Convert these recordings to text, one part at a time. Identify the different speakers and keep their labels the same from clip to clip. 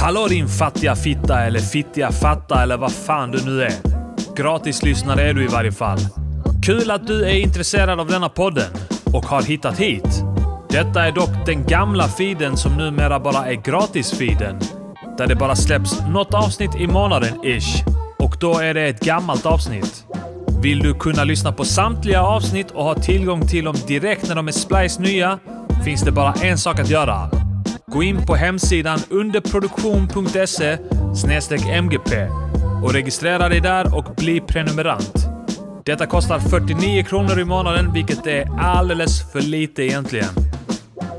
Speaker 1: Hallå din fattiga fitta eller fittiga fatta eller vad fan du nu är. Gratislyssnare är du i varje fall. Kul att du är intresserad av denna podden och har hittat hit. Detta är dock den gamla feeden som numera bara är gratisfeeden. Där det bara släpps något avsnitt i månaden, ish. Och då är det ett gammalt avsnitt. Vill du kunna lyssna på samtliga avsnitt och ha tillgång till dem direkt när de är splice nya finns det bara en sak att göra. Gå in på hemsidan underproduktion.se mgp och registrera dig där och bli prenumerant. Detta kostar 49 kronor i månaden, vilket är alldeles för lite egentligen.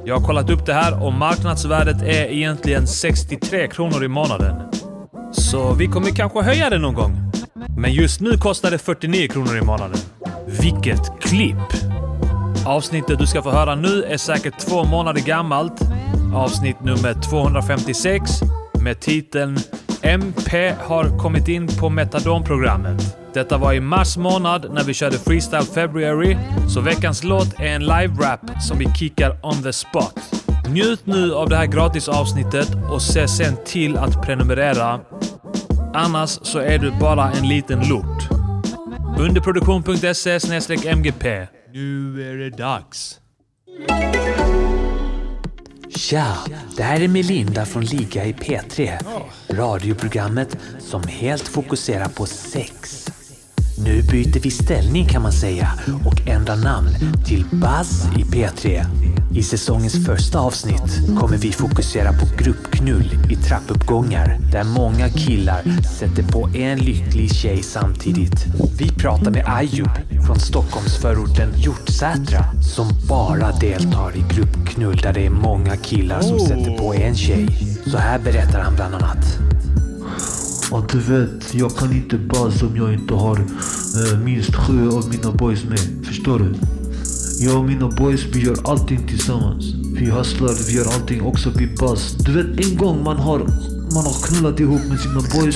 Speaker 1: Jag har kollat upp det här och marknadsvärdet är egentligen 63 kronor i månaden. Så vi kommer kanske höja det någon gång. Men just nu kostar det 49 kronor i månaden. Vilket klipp! Avsnittet du ska få höra nu är säkert två månader gammalt. Avsnitt nummer 256 med titeln MP har kommit in på metadonprogrammet. Detta var i mars månad när vi körde Freestyle February, så veckans låt är en live-rap som vi kickar on the spot. Njut nu av det här gratisavsnittet och se sen till att prenumerera. Annars så är du bara en liten lort. Underproduktion.se mgp. Nu är det dags.
Speaker 2: Tja! Det här är Melinda från Liga i P3. Radioprogrammet som helt fokuserar på sex. Nu byter vi ställning kan man säga och ändrar namn till Buzz i P3. I säsongens första avsnitt kommer vi fokusera på gruppknull i trappuppgångar där många killar sätter på en lycklig tjej samtidigt. Vi pratar med Ayub från Stockholmsförorten Hjortsätra som bara deltar i gruppknull där det är många killar som sätter på en tjej. Så här berättar han bland annat.
Speaker 3: Ja, du vet, jag kan inte buzz om jag inte har eh, minst sju av mina boys med. Förstår du? Jag och mina boys, vi gör allting tillsammans. Vi hustlar, vi gör allting också, vi buzz. Du vet, en gång man har, man har knullat ihop med sina boys.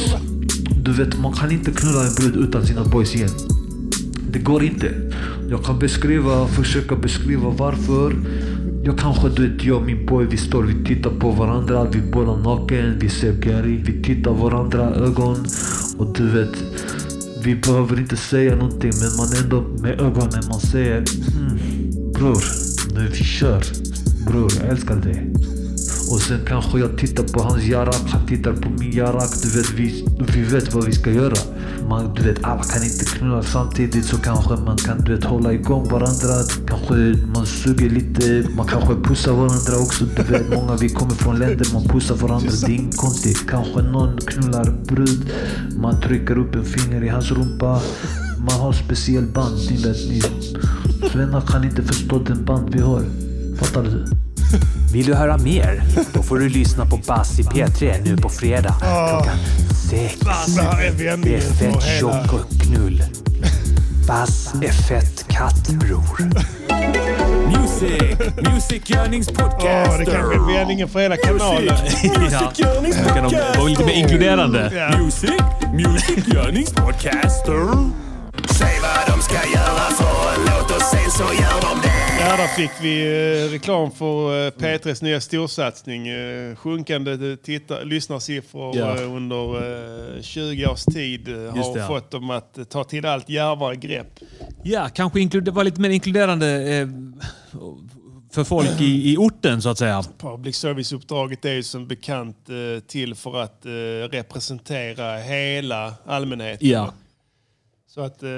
Speaker 3: Du vet, man kan inte knulla en brud utan sina boys igen. Det går inte. Jag kan beskriva, försöka beskriva varför. Jag kanske, du vet, jag och min boy, vi står, vi tittar på varandra, vi bollar naken, vi ser Gary, vi tittar varandra i ögon. Och du vet, vi behöver inte säga någonting, men man ändå med ögonen, man säger mm, bror, nu vi kör. Bror, jag älskar dig. Och sen kanske jag tittar på hans jarak, han tittar på min jarak. Du vet, vi, vi vet vad vi ska göra. Man, du vet, alla kan inte knulla samtidigt så kanske man kan du vet, hålla igång varandra. Kanske man suger lite, man kanske pussar varandra också. Du vet, många vi kommer från länder, man pussar varandra. Det är inget konstigt. Kanske någon knullar brud, man trycker upp en finger i hans rumpa. Man har speciell band, ni vet ni. Svennar kan inte förstå den band vi har. Fattar du?
Speaker 2: Vill du höra mer? Då får du lyssna på Bass i P3 nu på fredag klockan sex. Det är fett tjock och knull. Bass är fett katt, bror.
Speaker 4: Music! Musikgörningspodcaster!
Speaker 5: Ja, det kanske är vändningen för hela kanalen.
Speaker 1: Nu kan de vara lite mer inkluderande.
Speaker 5: Ja.
Speaker 4: Music! Musikgörningspodcaster!
Speaker 6: Säg vad de ska göra för en låt och sen så gör de det.
Speaker 5: Ja, där fick vi eh, reklam för eh, P3s nya storsatsning. Eh, sjunkande titta- lyssnarsiffror
Speaker 1: Ja.
Speaker 5: eh, under eh, 20 års tid eh, har
Speaker 1: det, ja.
Speaker 5: fått dem att eh, ta till allt djärvare grepp.
Speaker 1: Ja, kanske inkluder- vara lite mer inkluderande eh, för folk i, i orten så att säga.
Speaker 5: Public service-uppdraget är ju som bekant eh, till för att eh, representera hela allmänheten.
Speaker 1: Ja.
Speaker 5: Så att, eh,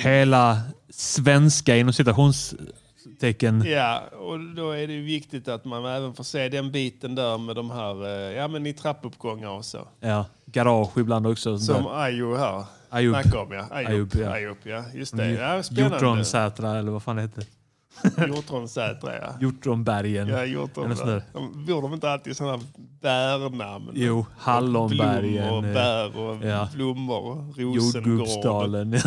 Speaker 1: Hela svenska inom citationstecken.
Speaker 5: ja, och då är det ju viktigt att man även får se den biten där med de här eh, ja, men i trappuppgångar och så.
Speaker 1: Ja. Garage ibland också. sånt
Speaker 5: Som
Speaker 1: där.
Speaker 5: Ayo här.
Speaker 1: Ayub.
Speaker 5: Snackar om ja. Ayub.
Speaker 1: Ayub, ja. Mm.
Speaker 5: ja. ja. Just det. Ja, spännande.
Speaker 1: Hjortronsätra eller vad fan det heter.
Speaker 5: Hjortronsätra. ja.
Speaker 1: Hjortronbergen.
Speaker 5: Ja,
Speaker 1: Eller sånt
Speaker 5: hjortron.
Speaker 1: där.
Speaker 5: De bor de inte alltid sådana bärnamn?
Speaker 1: Jo, Hallonbergen.
Speaker 5: Blommor,
Speaker 1: eh,
Speaker 5: bär och
Speaker 1: ja.
Speaker 5: blommor. och Rosengård.
Speaker 1: Jordgubbsdalen.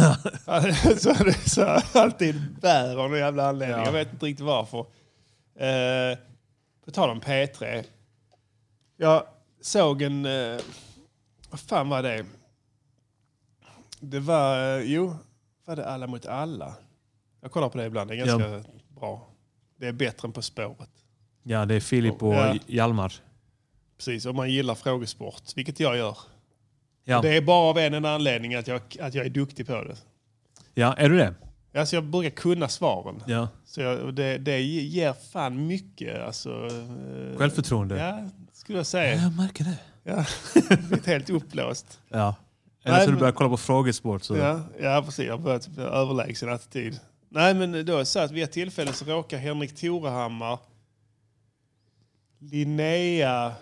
Speaker 1: Ja.
Speaker 5: så är det så här, alltid bär av någon jävla anledning.
Speaker 1: Ja.
Speaker 5: Jag vet inte riktigt varför. Eh, på tal om P3. Jag såg en... Eh, vad fan var det? Det var... Eh, jo, var det Alla mot alla? Jag kollar på det ibland. Det är ganska bra. Det är bättre än På spåret.
Speaker 1: ja, det är Filip och
Speaker 5: Ja.
Speaker 1: Hjalmar.
Speaker 5: Precis, om man gillar frågesport, vilket jag gör.
Speaker 1: Ja.
Speaker 5: Det är bara av en enda anledning att jag, att jag är duktig på det.
Speaker 1: ja, är du det?
Speaker 5: Alltså jag brukar kunna svaren.
Speaker 1: Ja.
Speaker 5: Så jag, det, det ger fan mycket. Alltså, eh,
Speaker 1: Självförtroende?
Speaker 5: ja, skulle jag säga.
Speaker 1: Jag märker det.
Speaker 5: Ja. Blivit helt uppblåst.
Speaker 1: Ja. Eller
Speaker 5: Nej,
Speaker 1: så du
Speaker 5: men-
Speaker 1: börjar kolla på frågesport. Så.
Speaker 5: Ja, ja precis. Jag har börjat typ bli överlägsen attityd. Nej, men då är det så att vid ett tillfälle så råkar Henrik Torehammar, Linnea,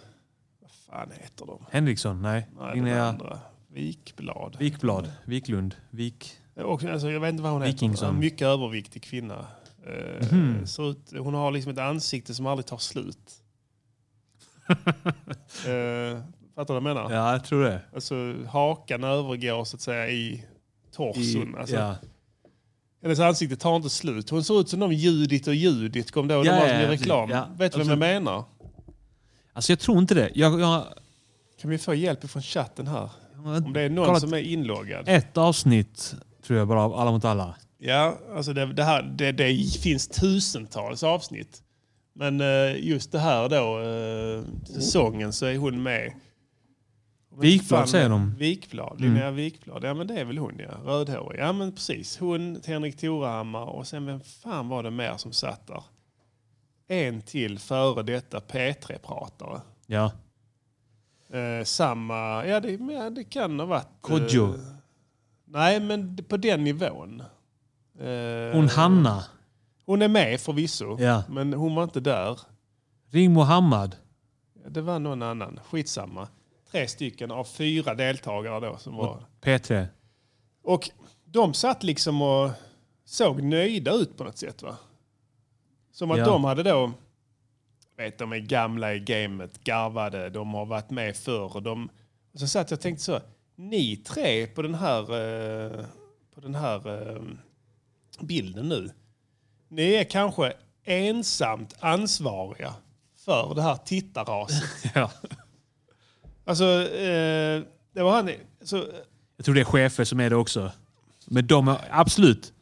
Speaker 5: vad fan heter de?
Speaker 1: Henriksson? Nej.
Speaker 5: Nej, den
Speaker 1: Linnea
Speaker 5: andra. Vikblad.
Speaker 1: Wikblad? Wiklund? Wik...
Speaker 5: Och, alltså, jag vet inte vad hon heter.
Speaker 1: Wikingsson.
Speaker 5: En mycket överviktig kvinna. Eh,
Speaker 1: Mhm.
Speaker 5: ser ut, hon har liksom ett ansikte som aldrig tar slut. eh, fattar du vad jag menar?
Speaker 1: Ja, jag tror det.
Speaker 5: Alltså, hakan övergår så att säga i torson. alltså,
Speaker 1: ja.
Speaker 5: Hennes ansikte tar inte slut. Hon ser ut som de Judit och Judit kom då. De
Speaker 1: Ja,
Speaker 5: var
Speaker 1: ja,
Speaker 5: som i
Speaker 1: ja,
Speaker 5: reklam.
Speaker 1: ja.
Speaker 5: Vet du vem jag menar?
Speaker 1: Alltså jag tror inte det. Jag, jag,
Speaker 5: Kan vi få hjälp från chatten här?
Speaker 1: jag har
Speaker 5: Om det är någon
Speaker 1: kollat
Speaker 5: som är inloggad.
Speaker 1: ett avsnitt tror jag bara av Alla mot alla.
Speaker 5: Ja, alltså det, det, här, det, det finns tusentals avsnitt. Men eh, just det här då, eh, säsongen, så är hon med.
Speaker 1: Wikblad
Speaker 5: Fan,
Speaker 1: säger de. Mm.
Speaker 5: Wikblad, Linnea Wikblad. Ja men det är väl hon ja, rödhårig. Ja men precis, hon, Henrik Torehammar och sen vem fan var det mer som satt där? En till före detta P3-pratare.
Speaker 1: Ja.
Speaker 5: Eh, samma, ja det, ja, det kan ha varit... eh,
Speaker 1: Kodjo.
Speaker 5: nej men på den nivån. Eh,
Speaker 1: Hon Hanna.
Speaker 5: hon är med förvisso,
Speaker 1: Ja.
Speaker 5: men hon var inte där.
Speaker 1: Ring Mohammed.
Speaker 5: Det var någon annan. Skitsamma. Tre stycken av fyra deltagare då som var.
Speaker 1: P3.
Speaker 5: Och de satt liksom och såg nöjda ut på något sätt va? Som att
Speaker 1: Ja.
Speaker 5: de hade då, vet de är gamla i gamet, garvade, de har varit med förr. Och de, och så satt jag och tänkte så, ni tre på den här, eh, på den här eh, bilden nu, ni är kanske ensamt ansvariga för det här tittarraset.
Speaker 1: Ja.
Speaker 5: Alltså, eh, det var han, så,
Speaker 1: Jag tror det är chefer som är det också. Men de är absolut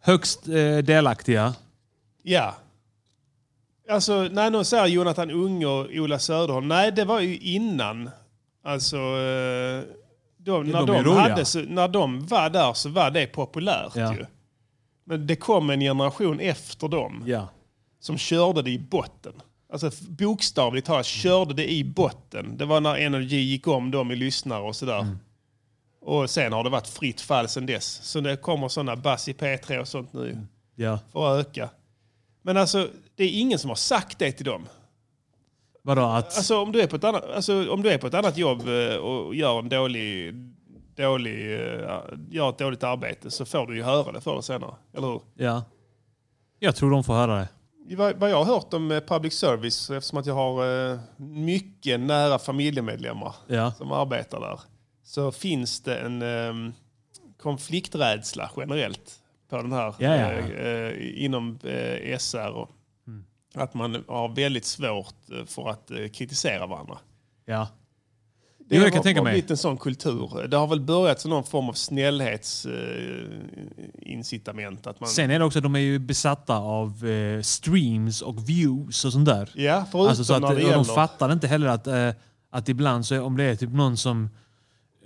Speaker 1: högst eh, delaktiga.
Speaker 5: Ja. Alltså, när någon säger Jonathan Unge och Ola Söderholm. Nej, det var ju innan. Alltså, eh, de, när,
Speaker 1: de är
Speaker 5: de
Speaker 1: roliga.
Speaker 5: hade, så, när de var där så var det populärt
Speaker 1: Ja.
Speaker 5: ju. Men det kom en generation efter dem
Speaker 1: Ja.
Speaker 5: som körde det i botten. Alltså f- bokstavligt talat körde det i botten. Det var när Energy gick om dem i lyssnare och sådär.
Speaker 1: Mm.
Speaker 5: Och sen har det varit fritt fall sedan dess. Så det kommer sådana bass i P3 och sånt nu
Speaker 1: ja.
Speaker 5: för att öka. Men alltså, det är ingen som har sagt det till dem.
Speaker 1: Vadå att...
Speaker 5: Alltså om du är på ett annat, alltså, om du är på ett annat jobb eh, och gör, en dålig, dålig, eh, gör ett dåligt arbete så får du ju höra det förr eller senare. Eller hur?
Speaker 1: Ja. Jag tror de får höra det.
Speaker 5: Vad vad jag har hört om eh, public service, eftersom att jag har eh, mycket nära familjemedlemmar
Speaker 1: Ja.
Speaker 5: som arbetar där, så finns det en eh, konflikträdsla generellt på den här
Speaker 1: Ja, ja, Mm. ja.
Speaker 5: eh, eh, inom eh, SR. Och, Att man har väldigt svårt eh, för att eh, kritisera varandra.
Speaker 1: Ja.
Speaker 5: Det
Speaker 1: Jo, jag
Speaker 5: har-
Speaker 1: kan tänka
Speaker 5: har
Speaker 1: mig.
Speaker 5: blivit en sån kultur. Det har väl börjat som någon form av snällhetsincitament. att man,
Speaker 1: Sen är det också att de är ju besatta av eh, streams och views och sånt där.
Speaker 5: ja, förutom
Speaker 1: Alltså så att,
Speaker 5: när det
Speaker 1: och de
Speaker 5: gäller...
Speaker 1: fattar inte heller att, eh, att ibland så är, om det är typ någon som...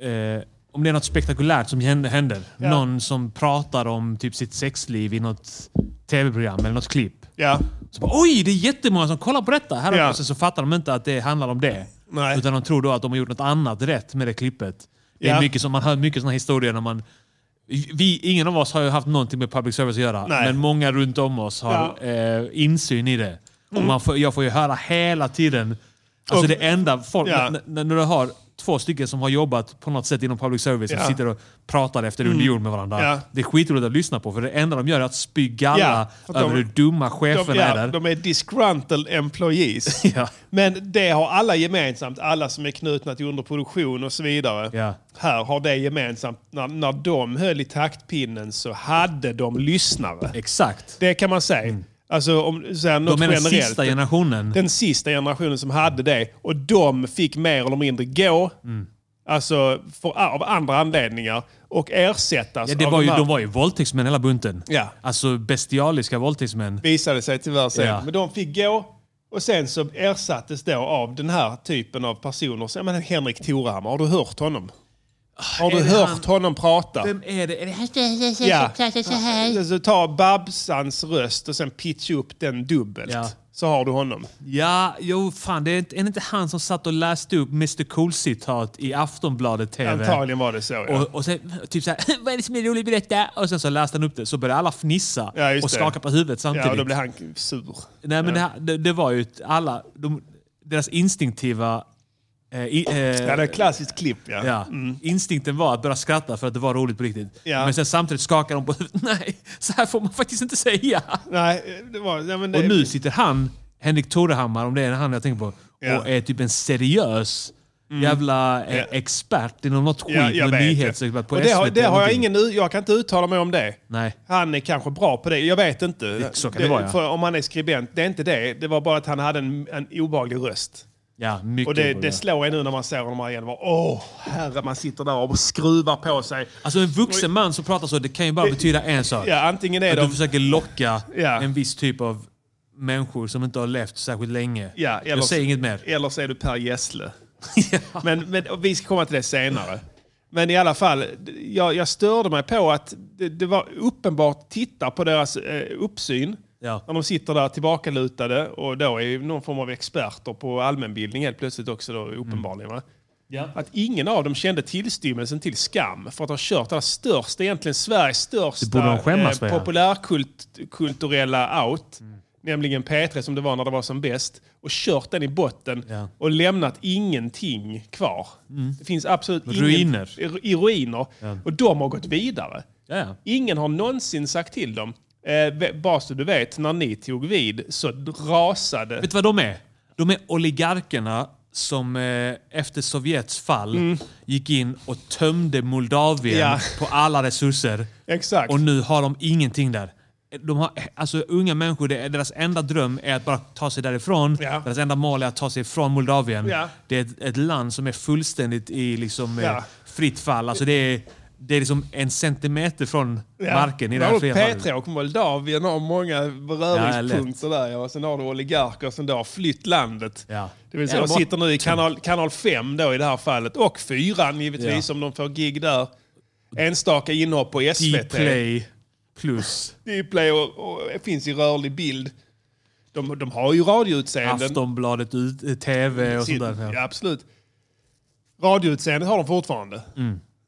Speaker 1: Eh, om det är något spektakulärt som händer. händer.
Speaker 5: Ja.
Speaker 1: Någon som pratar om typ sitt sexliv i något tv-program eller något klipp.
Speaker 5: ja.
Speaker 1: Så bara, Oj, det är jättemånga som kollar på detta! Här
Speaker 5: Ja.
Speaker 1: ja. så fattar de inte att det handlar om det.
Speaker 5: Nej.
Speaker 1: Utan de tror då att de har gjort något annat rätt med det klippet. Det är
Speaker 5: Ja.
Speaker 1: mycket som, man hör mycket sådana historier när man... Vi, ingen av oss har ju haft någonting med public service att göra,
Speaker 5: Nej.
Speaker 1: men många runt om oss har eh, insyn i det. Och man får, jag får ju höra hela tiden... Alltså
Speaker 5: Mm. Och-
Speaker 1: det enda folk...
Speaker 5: Ja.
Speaker 1: n- n- När du har två stycken som har jobbat på något sätt inom public service
Speaker 5: Ja. Mm.
Speaker 1: som sitter och pratar efter under jord med varandra.
Speaker 5: Ja.
Speaker 1: Det är skitroligt att lyssna på, för det enda de gör är att spy galla
Speaker 5: Ja, för att
Speaker 1: över
Speaker 5: de-
Speaker 1: hur dumma cheferna
Speaker 5: de,
Speaker 1: är
Speaker 5: ja,
Speaker 1: där.
Speaker 5: de är disgruntled employees.
Speaker 1: Ja.
Speaker 5: Men det har alla gemensamt, alla som är knutna till underproduktion och så vidare.
Speaker 1: Ja.
Speaker 5: Här har det gemensamt, när, när de höll i taktpinnen så hade de lyssnare.
Speaker 1: Exakt.
Speaker 5: Det kan man säga. Alltså om, så här, något
Speaker 1: Mm. De är den
Speaker 5: generellt.
Speaker 1: sista generationen.
Speaker 5: den sista generationen som hade det. Och de fick mer eller mindre gå.
Speaker 1: Mm.
Speaker 5: Alltså för, av andra anledningar. Och ersättas
Speaker 1: Ja, det
Speaker 5: av
Speaker 1: var ju,
Speaker 5: här-
Speaker 1: de var ju våldtäktsmän hela bunten.
Speaker 5: Ja.
Speaker 1: Alltså bestialiska våldtäktsmän.
Speaker 5: visade sig tyvärr sen.
Speaker 1: Ja.
Speaker 5: Men de fick gå Och sen så ersattes då av den här typen av personer. Så, jag menar, Henrik Torhammar, har du hört honom? Har du
Speaker 1: Ah, är det
Speaker 5: hört
Speaker 1: han-
Speaker 5: honom prata?
Speaker 1: Vem är det? Är det här?
Speaker 5: Ja.
Speaker 1: Så här.
Speaker 5: Så- Så ta Babsans röst och sen pitcha upp den dubbelt.
Speaker 1: Ja.
Speaker 5: Så har du honom.
Speaker 1: Ja, jo fan. Det är, inte, är det inte han som satt och läste upp Mr Cool-citat i Aftonbladet TV?
Speaker 5: Antagligen var det så. Ja.
Speaker 1: Och, och sen typ såhär, vad är det som är roligt med detta? Och sen så läste han upp det, så började alla fnissa
Speaker 5: Ja, just
Speaker 1: och
Speaker 5: det.
Speaker 1: skaka på huvudet
Speaker 5: Ja,
Speaker 1: samtidigt.
Speaker 5: och då blir han sur.
Speaker 1: Nej, men det, här- det, det var ju ett- alla, de, deras instinktiva... Eh, i, eh,
Speaker 5: Ja, det är ett klassiskt klipp. Ja. Mm.
Speaker 1: ja, Instinkten var att börja skratta för att det var roligt på riktigt.
Speaker 5: Ja.
Speaker 1: Men sen samtidigt skakar de på huvudet. Nej, så här får man faktiskt inte säga.
Speaker 5: Nej, det var... Nej, men det,
Speaker 1: Och nu sitter han, Henrik Torehammar, om det är han jag tänker på,
Speaker 5: Ja. Mm.
Speaker 1: och är typ en seriös jävla eh,
Speaker 5: Ja.
Speaker 1: expert inom något skit,
Speaker 5: Ja, jag
Speaker 1: någon
Speaker 5: vet
Speaker 1: nyhets...
Speaker 5: det.
Speaker 1: På
Speaker 5: Och det, har,
Speaker 1: SVT
Speaker 5: det har jag
Speaker 1: någonting.
Speaker 5: ingen... u- Jag kan inte uttala mig om det.
Speaker 1: Nej.
Speaker 5: Han är kanske bra på det. Jag vet inte.
Speaker 1: Så kan det vara, ja.
Speaker 5: För om han är skribent, det är inte det. Det var bara att han hade en, en obehaglig röst.
Speaker 1: Ja, mycket
Speaker 5: Och det,
Speaker 1: bra.
Speaker 5: det slår en nu när man ser honom här igen. Bara, Åh, herre, man sitter där och skruvar på sig.
Speaker 1: Alltså en vuxen man som pratar så, det kan ju bara betyda en sak.
Speaker 5: Ja, antingen är
Speaker 1: Att du
Speaker 5: de...
Speaker 1: försöker locka
Speaker 5: Ja.
Speaker 1: en viss typ av människor som inte har levt särskilt länge.
Speaker 5: Ja, eller,
Speaker 1: Jag säger inget mer.
Speaker 5: Eller så är du Per Gessle. men, men, och vi ska komma till det senare. Men i alla fall, d- jag, jag störde mig på att det, det var uppenbart, titta på deras eh, uppsyn.
Speaker 1: Ja.
Speaker 5: När de sitter där tillbakalutade och då är någon form av experter på allmänbildning helt plötsligt också då,
Speaker 1: Mm.
Speaker 5: uppenbarligen. Va? Att ingen av dem kände tillstymmelsen till skam för att ha kört det här största, egentligen Sveriges största eh,
Speaker 1: Det borde de skämmas för, ja.
Speaker 5: populärkulturella out.
Speaker 1: Mm.
Speaker 5: Nämligen P3 som det var när det var som bäst. Och kört den i botten
Speaker 1: Ja. Mm.
Speaker 5: och lämnat ingenting kvar. Det finns absolut
Speaker 1: Ruiner.
Speaker 5: Ingen, i ruiner. Och de har gått vidare.
Speaker 1: Ja, ja.
Speaker 5: Ingen har någonsin sagt till dem. Eh, v- bara så du vet, när ni tog vid så rasade...
Speaker 1: Vet du vad de är? De är oligarkerna som eh, efter Sovjets fall gick in och tömde Moldavien
Speaker 5: Mm. Ja.
Speaker 1: på alla resurser.
Speaker 5: Exakt.
Speaker 1: Och nu har de ingenting där. De har, alltså, unga människor, det är, deras enda dröm är att bara ta sig därifrån.
Speaker 5: Ja.
Speaker 1: Deras enda mål är att ta sig från Moldavien.
Speaker 5: Ja.
Speaker 1: Det är ett, ett land som är fullständigt i liksom, eh,
Speaker 5: Ja.
Speaker 1: fritt fall. Alltså, det, är, det är liksom en centimeter från
Speaker 5: Ja.
Speaker 1: marken i det
Speaker 5: Där
Speaker 1: här
Speaker 5: har
Speaker 1: fria
Speaker 5: du
Speaker 1: fallet.
Speaker 5: Petra och Moldavien har många beröringspunkter där. Ja. Och sen har du oligarker som då har flytt landet.
Speaker 1: Ja.
Speaker 5: Det vill säga,
Speaker 1: Ja,
Speaker 5: de
Speaker 1: bra.
Speaker 5: sitter nu i kanal, kanal 5 då i det här fallet. Och fyran givetvis om de får gig där. Enstaka inhopp på SVT.
Speaker 1: Dplay plus
Speaker 5: Dplay och, och finns i rörlig bild. De, de har ju radioutseenden.
Speaker 1: Aftonbladet, ut, TV och sånt där.
Speaker 5: Ja, absolut. Radioutseendet har de fortfarande.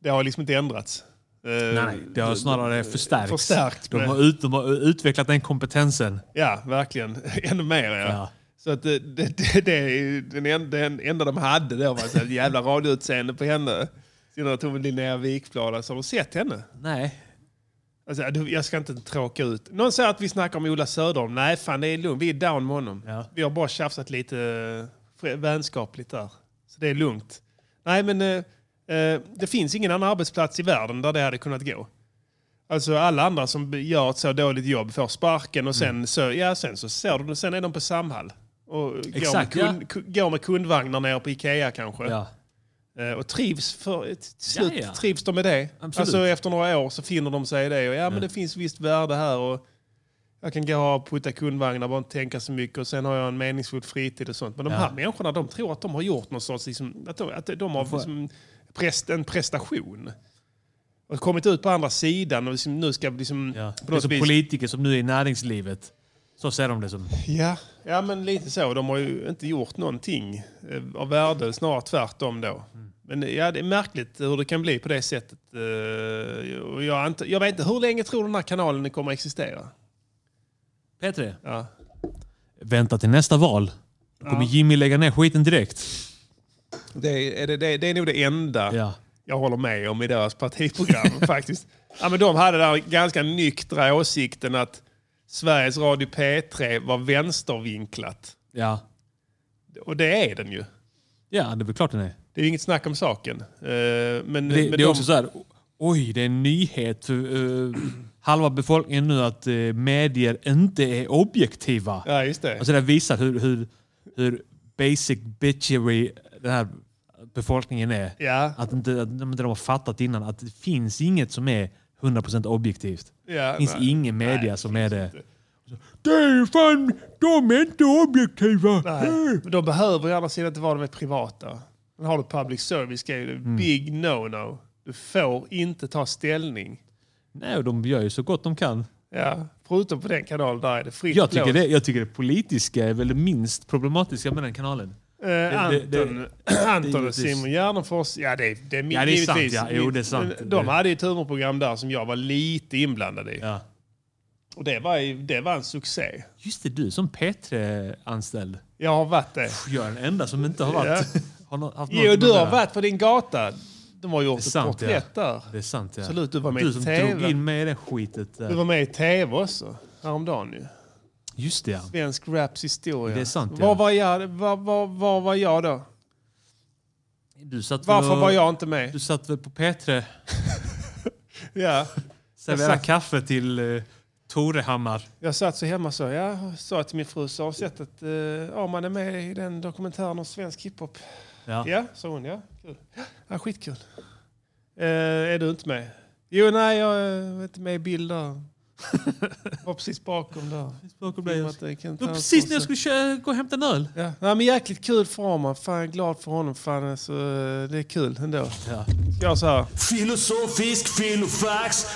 Speaker 5: Det har liksom inte ändrats. Eh,
Speaker 1: Mm. Nej, det har snarare förstärkts.
Speaker 5: Förstärkt
Speaker 1: de,
Speaker 5: med-
Speaker 1: har ut, de har utvecklat den kompetensen.
Speaker 5: Ja, verkligen. Ännu mer ja.
Speaker 1: Ja.
Speaker 5: Så att det, det, det, det är ju den enda, den enda de hade då var så här ett jävla radioutseende på henne. Sen när Tove Linnea Wikblad, alltså, har du sett henne?
Speaker 1: Nej.
Speaker 5: Alltså, du, jag ska inte tråka ut. Någon säger att vi snackar om Ola Söderholm. Nej, fan det är lugnt. Vi är down med honom.
Speaker 1: Ja.
Speaker 5: Vi har bara tjafsat lite eh, fr- vänskapligt där. Så det är lugnt. Nej, men eh, eh, det finns ingen annan arbetsplats i världen där det hade kunnat gå. Alltså alla andra som gör ett så dåligt jobb får sparken och sen,
Speaker 1: Mm.
Speaker 5: så, ja, sen så ser du, sen är de på Samhall. Och går, med
Speaker 1: Exakt,
Speaker 5: kund, ku- går med kundvagnar nere på Ikea kanske.
Speaker 1: Ja.
Speaker 5: Eh, Och trivs, för, till slut,
Speaker 1: Ja, ja.
Speaker 5: trivs de med det.
Speaker 1: Absolut.
Speaker 5: Alltså efter några år så finner de sig i det. Och, ja, men det finns visst värde här. Och jag kan gå och putta kundvagnar, bara inte tänka så mycket. Och sen har jag en meningsfull fritid och sånt. Men de här människorna, de tror att de har gjort någon sorts, liksom, att, de, att de har liksom, prest, en prestation. Och kommit ut på andra sidan och liksom, nu ska vi liksom,
Speaker 1: Ja.
Speaker 5: på
Speaker 1: Det är
Speaker 5: något
Speaker 1: som
Speaker 5: vis...
Speaker 1: politiker som nu är i näringslivet. Så ser de det som.
Speaker 5: Ja. ja, men lite så. De har ju inte gjort någonting eh, av värde, snarare tvärtom då. Men eh, ja, det är märkligt hur det kan bli på det sättet. Eh, och Jag, ant- jag vet inte, hur länge tror du den här kanalen kommer att existera?
Speaker 1: P3,
Speaker 5: Ja.
Speaker 1: vänta till nästa val. Då kommer Jimmy lägga ner skiten direkt.
Speaker 5: Det, är, är det, det, det är nog det enda
Speaker 1: Ja.
Speaker 5: jag håller med om i deras partiprogram faktiskt. Ja, men de hade där ganska nyktra åsikten att Sveriges Radio P3 var vänstervinklat.
Speaker 1: Ja.
Speaker 5: Och det är den ju.
Speaker 1: ja, det är väl klart den är.
Speaker 5: Det är ju inget snack om saken. Eh, Men, men
Speaker 1: Det, det är
Speaker 5: de-
Speaker 1: också så här, oj, det är en nyhet för eh, halva befolkningen nu att uh, medier inte är objektiva.
Speaker 5: Ja, just det.
Speaker 1: Alltså det visar hur, hur, hur basic bitchery den här befolkningen är.
Speaker 5: Ja.
Speaker 1: Att, inte, att de inte har fattat innan att det finns inget som är 100% objektivt.
Speaker 5: Ja,
Speaker 1: det finns
Speaker 5: nej.
Speaker 1: ingen media som är det. Det är fan, de är inte objektiva.
Speaker 5: Nej. Men de behöver å andra sidan inte vara de är privata. Men har du public service är det
Speaker 1: Mm.
Speaker 5: big no-no. Du får inte ta ställning.
Speaker 1: Nej, och de gör ju så gott de kan.
Speaker 5: Ja. Förutom på den kanalen där är det fritt
Speaker 1: Jag tycker,
Speaker 5: blås.
Speaker 1: det, jag tycker det politiska är väl det minst problematiska med den kanalen.
Speaker 5: Eh, Anton,
Speaker 1: det- det är
Speaker 5: Anton och
Speaker 1: givetvis-
Speaker 5: Simon Gärdenfors, ja det, det är min-
Speaker 1: Ja, det är sant,
Speaker 5: givetvis
Speaker 1: ja. Jo,
Speaker 5: min-
Speaker 1: det är sant.
Speaker 5: men De
Speaker 1: Det-
Speaker 5: hade ju ett humorprogram där som jag var lite inblandad i.
Speaker 1: Ja.
Speaker 5: Och det var, ju- det var en succé.
Speaker 1: Just det, du som P3-anställd.
Speaker 5: Jag har varit det.
Speaker 1: Jag är den enda som inte har varit... Har nå- haft
Speaker 5: Jo,
Speaker 1: något
Speaker 5: du
Speaker 1: med
Speaker 5: har
Speaker 1: det.
Speaker 5: varit på din gata. De har gjort
Speaker 1: Det är
Speaker 5: ett
Speaker 1: sant,
Speaker 5: porträtt där.
Speaker 1: Det är sant ja.
Speaker 5: Absolut, du var med i
Speaker 1: Du som
Speaker 5: TV.
Speaker 1: drog in mig i det skitet. där.
Speaker 5: Du var med i tv också, häromdagen ju.
Speaker 1: Just det ja.
Speaker 5: Svensk raps historia.
Speaker 1: Det är sant, ja.
Speaker 5: Var var jag, var, var, var var jag då?
Speaker 1: Du satt väl
Speaker 5: Varför
Speaker 1: och-
Speaker 5: var jag inte
Speaker 1: Du
Speaker 5: med?
Speaker 1: satt väl på P3
Speaker 5: Ja.
Speaker 1: servera
Speaker 5: satt-
Speaker 1: kaffe till eh, Torehammar.
Speaker 5: Jag satt så hemma så, jag sa till min fru, så har jag sett att eh, Arman är med i den dokumentären om svensk hiphop.
Speaker 1: Ja.
Speaker 5: Ja, sa hon. Ja, kul. Ja, skitkul. Eh, är du inte med? Jo, nej, jag är inte med i bild där. Var precis bakom där.
Speaker 1: Bakom dig,
Speaker 5: Filmat
Speaker 1: Jens.
Speaker 5: det, Kent
Speaker 1: Det var precis när jag
Speaker 5: Hansson.
Speaker 1: skulle kö- gå och hämta en öl.
Speaker 5: Ja. Nej, men jäkligt kul för Arman. Fan, jag är glad för honom. Fan, alltså, eh, det är kul ändå.
Speaker 1: Ja.
Speaker 5: Ska jag så här?
Speaker 7: Filosofisk filofax.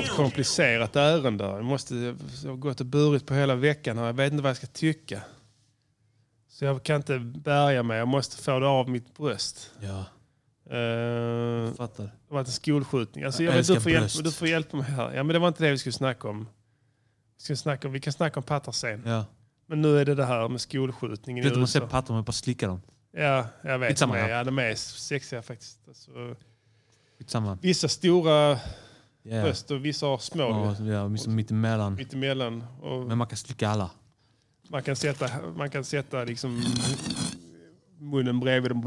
Speaker 5: ett komplicerat ärende. Jag måste jag har gått och burit på hela veckan här. Jag vet inte vad jag ska tycka. Så jag kan inte bärga mig. Jag måste få det av mitt bröst.
Speaker 1: Ja,
Speaker 5: Eh,
Speaker 1: fattar.
Speaker 5: det var en skolskjutning. Alltså, jag
Speaker 1: Jag
Speaker 5: vet, du,
Speaker 1: älskar
Speaker 5: får hjälpa,
Speaker 1: bröst.
Speaker 5: du får hjälpa mig här. Ja, men det var inte det vi skulle snacka om. Vi, ska snacka om, vi kan snacka om pattar sen.
Speaker 1: Ja.
Speaker 5: Men nu är det det här med skolskjutningen
Speaker 1: Du vet
Speaker 5: i
Speaker 1: man ser
Speaker 5: USA.
Speaker 1: pattar men bara slickar dem.
Speaker 5: Ja, jag vet.
Speaker 1: Skitsamma,
Speaker 5: ja.
Speaker 1: ja.
Speaker 5: Ja, de är sexiga faktiskt. Alltså,
Speaker 1: Skitsamma.
Speaker 5: vissa stora
Speaker 1: Ja, ja.
Speaker 5: bröst och vissa har små.
Speaker 1: Ja, ja, liksom mittemellan.
Speaker 5: Mitt emellan. Och
Speaker 1: Men man kan slicka alla.
Speaker 5: Man kan sätta, man kan sätta liksom munnen bredvid dem.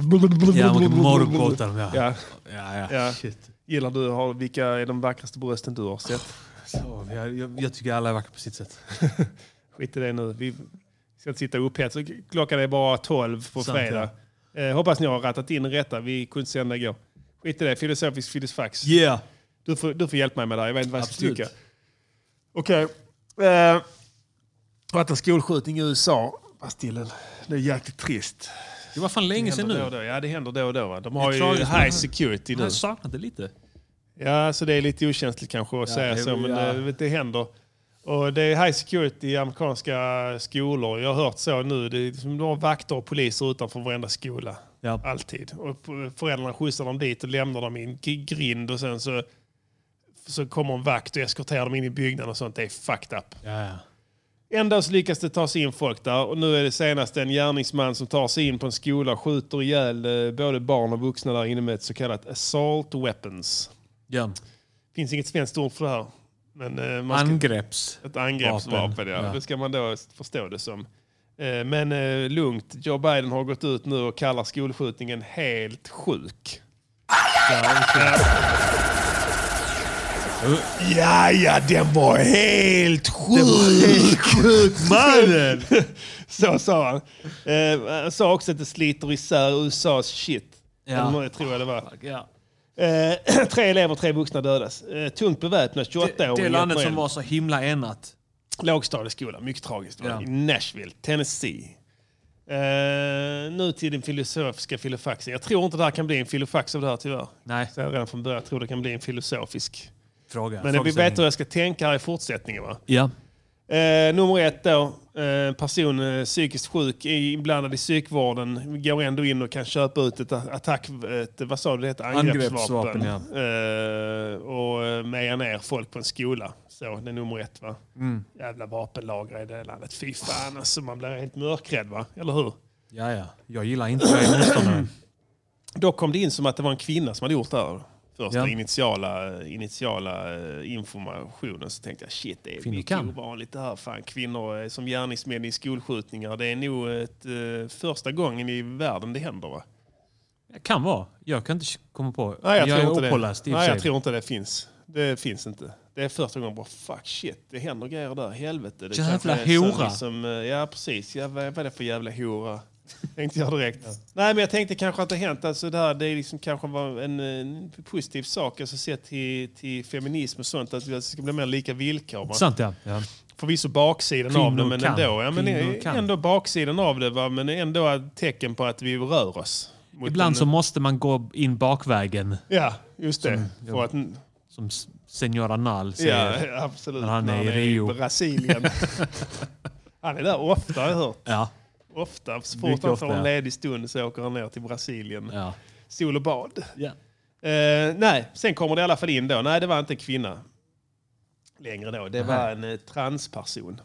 Speaker 1: Ja, man kan morgongåta dem. Ja.
Speaker 5: Ja,
Speaker 1: Ja, ja.
Speaker 5: Ja.
Speaker 1: Shit.
Speaker 5: gillar du att ha, vilka är de vackraste brösten du har sett?
Speaker 1: Så, jag, jag, jag tycker alla är vackra på sitt sätt.
Speaker 5: Skit i det nu. Vi ska inte sitta upphetsade. Klockan är bara 12 på
Speaker 1: Sant,
Speaker 5: fredag. Eh, hoppas ni har rattat in rätta. Vi kunde inte sända igår. Skit i det. Filosofisk filosofax.
Speaker 1: Yeah!
Speaker 5: Du, får, du får hjälpa mig med det här. Jag vet inte vad jag ska
Speaker 1: Absolut.
Speaker 5: tycka. Okej. Eh, det har varit en skolskjutning i USA. Bastillen. Det är jäkligt trist.
Speaker 1: Det var fan länge sedan
Speaker 5: händer då och
Speaker 1: nu.
Speaker 5: då. Ja, det händer då och då. va? De
Speaker 1: Det
Speaker 5: har
Speaker 1: är
Speaker 5: ju
Speaker 1: tragiskt, men-
Speaker 5: high security nu.
Speaker 1: Jag saknat det lite.
Speaker 5: Ja, så det är lite okänsligt kanske att säga
Speaker 1: det är
Speaker 5: så,
Speaker 1: väl-
Speaker 5: men
Speaker 1: ja.
Speaker 5: eh, vet det händer. Och det är high security i amerikanska skolor. Jag har hört så nu. Det är liksom, de har vakter och poliser utanför varenda skola.
Speaker 1: Ja.
Speaker 5: Alltid. Och p- föräldrarna skjutsar dem dit och lämnar dem i en g- grind och sen så, så kommer en vakt och eskorterar dem in i byggnaden och sånt. Det är fucked up.
Speaker 1: Ja, ja.
Speaker 5: Ändå så lyckas det ta sig in folk där och nu är det senast en gärningsman som tar sig in på en skola och skjuter ihjäl eh, både barn och vuxna där inne med ett så kallat assault weapons.
Speaker 1: ja.
Speaker 5: finns inget svenskt ord för det här. Men eh, man ska,
Speaker 1: Angrepps.
Speaker 5: ett angreppsvapen,
Speaker 1: Vapen,
Speaker 5: ja.
Speaker 1: ja.
Speaker 5: Det ska man då förstå det som. Eh, Men eh, lugnt, Joe Biden har gått ut nu och kallar skolskjutningen helt sjuk. Ja, ja, den var helt sjuk! Den var helt sjuk, mannen! Så sa han. Eh, Han sa också att det sliter isär USAs shit.
Speaker 1: Ja.
Speaker 5: Eller, tror jag det var.
Speaker 1: Ja.
Speaker 5: Eh, tre elever, tre vuxna dödas. Eh, tungt beväpnad, 28
Speaker 1: Det,
Speaker 5: år.
Speaker 1: det landet som var så himla enat.
Speaker 5: Lågstadieskola, mycket tragiskt. var det.
Speaker 1: Ja.
Speaker 5: I Nashville, Tennessee. Eh, nu till den filosofiska filofaxen. Jag tror inte det här kan bli en filofax av det här tyvärr.
Speaker 1: Nej,
Speaker 5: Så jag redan från början tror det kan bli en filosofisk.
Speaker 1: fråga.
Speaker 5: Men vi vet hur jag ska tänka här i fortsättningen. Va?
Speaker 1: Ja.
Speaker 5: Eh, nummer ett då. Eh, person eh, psykiskt sjuk, är inblandad i psykvården, går ändå in och kan köpa ut ett a- attack... Ett, vad sa du det heter? Angreppsvapen.
Speaker 1: Angreppsvapen,
Speaker 5: eh, och eh, mejar ner folk på en skola. Så, det är nummer ett va? Jävla vapenlagrare i det landet. Fy fan alltså, man blir helt mörkrädd va? Eller hur?
Speaker 1: Ja, ja. Jag gillar inte jag är motståndare.
Speaker 5: Då kom det in som att det var en kvinna som hade gjort det här. Första
Speaker 1: Ja.
Speaker 5: initiala, initiala eh, informationen så tänkte jag shit det är
Speaker 1: Kvinnor
Speaker 5: mycket
Speaker 1: kan.
Speaker 5: ovanligt det här. Fan, kvinnor eh, som gärningsmän i skolskjutningar. Det är nog ett, eh, första gången i världen det händer va?
Speaker 1: Jag kan vara. Jag kan inte komma på.
Speaker 5: Nej jag,
Speaker 1: jag
Speaker 5: tror
Speaker 1: är
Speaker 5: inte
Speaker 1: opåläst
Speaker 5: det.
Speaker 1: i och
Speaker 5: Nej
Speaker 1: för
Speaker 5: jag
Speaker 1: sig.
Speaker 5: tror inte det finns. Det finns inte. Det är första gången bara fuck shit det händer grejer där. Helvete. Det
Speaker 1: Jävla
Speaker 5: kanske är så
Speaker 1: hora.
Speaker 5: Liksom, eh, ja precis. Ja, vad vad är det för jävla hora? Tänkte jag direkt. Nej, men jag tänkte kanske att det hänt. Alltså det här det är liksom kanske var en, en positiv sak, alltså sett till, till feminism och sånt, att det ska bli mer lika villkor. Va?
Speaker 1: Sant ja. ja.
Speaker 5: Förvisso baksidan av det,
Speaker 1: Kvinnor
Speaker 5: men
Speaker 1: kan.
Speaker 5: ändå. Ja, men eh,
Speaker 1: Kvinnor kan.
Speaker 5: ändå baksidan av det, va? men ändå ett tecken på att vi rör oss. mot en-
Speaker 1: Ibland så måste man gå in bakvägen,
Speaker 5: Ja, just det. För att,
Speaker 1: som s- Senora Nall
Speaker 5: ja,
Speaker 1: säger. Ja.
Speaker 5: absolut.
Speaker 1: När han är i
Speaker 5: När
Speaker 1: Rio.
Speaker 5: Brasilien. han är där ofta har jag hört.
Speaker 1: Ja,
Speaker 5: Ofta. Så fort
Speaker 1: Mycket
Speaker 5: han
Speaker 1: ofta,
Speaker 5: får en
Speaker 1: ja.
Speaker 5: ledig stund så åker han ner till Brasilien.
Speaker 1: ja.
Speaker 5: Sol och bad. Eh, nej, sen kommer det i alla fall in då. Nej, det var inte en kvinna längre då. Det var en eh, transperson.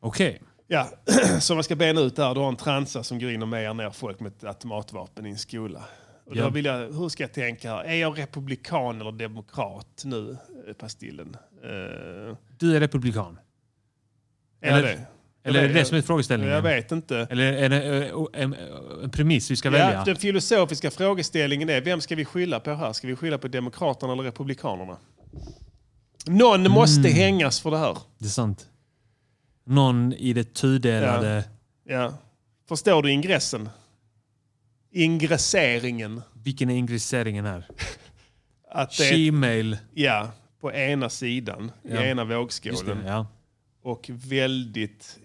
Speaker 1: Okej.
Speaker 5: Ja, som man ska bena ut där. Du har en transa som går in och mejar ner folk med ett automatvapen i en skola. Och då
Speaker 1: Ja.
Speaker 5: vill jag, hur ska jag tänka här? Är jag republikan eller demokrat nu, eh, Pastillen? Eh, är
Speaker 1: Du är republikan.
Speaker 5: eller,
Speaker 1: Eller-
Speaker 5: jag det?
Speaker 1: Eller är det
Speaker 5: vet-
Speaker 1: det som är frågeställningen?
Speaker 5: Jag vet inte.
Speaker 1: Eller är det eh, en, en premiss vi ska
Speaker 5: Ja, typ.
Speaker 1: välja?
Speaker 5: den filosofiska frågeställningen är, vem ska vi skylla på här? Ska vi skylla på demokraterna eller republikanerna? Någon
Speaker 1: Mm.
Speaker 5: måste hängas för det här.
Speaker 1: Det är sant. Någon i det tudelade...
Speaker 5: Ja. Förstår du ingressen? Ingresseringen.
Speaker 1: Vilken är ingresseringen här?
Speaker 5: Att det är,
Speaker 1: Shemale.
Speaker 5: ja, på ena sidan,
Speaker 1: Ja.
Speaker 5: i ena
Speaker 1: Just det,
Speaker 5: vågskålen.
Speaker 1: ja.
Speaker 5: Och väldigt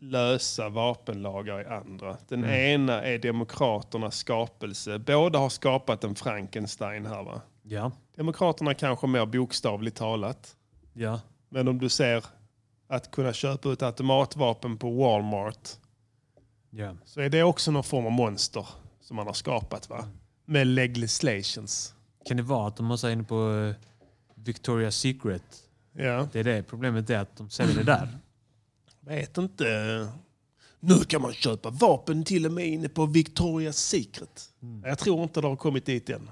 Speaker 5: lösa vapenlagar i andra. Den
Speaker 1: Mm.
Speaker 5: ena är demokraternas skapelse. Båda har skapat en Frankenstein här va?
Speaker 1: Ja.
Speaker 5: Demokraterna kanske mer bokstavligt talat.
Speaker 1: ja.
Speaker 5: Men om du ser att kunna köpa ut automatvapen på Walmart
Speaker 1: ja.
Speaker 5: så är det också någon form av monster som man har skapat va? Med legislations.
Speaker 1: Kan det vara att de har sig inne på eh, Victoria's Secret?
Speaker 5: Ja,
Speaker 1: Det är det. Problemet är att de säljer det där.
Speaker 5: vet inte. Nu kan man köpa vapen till och med inne på Victoria's Secret. Mm. Jag tror inte det har kommit dit än.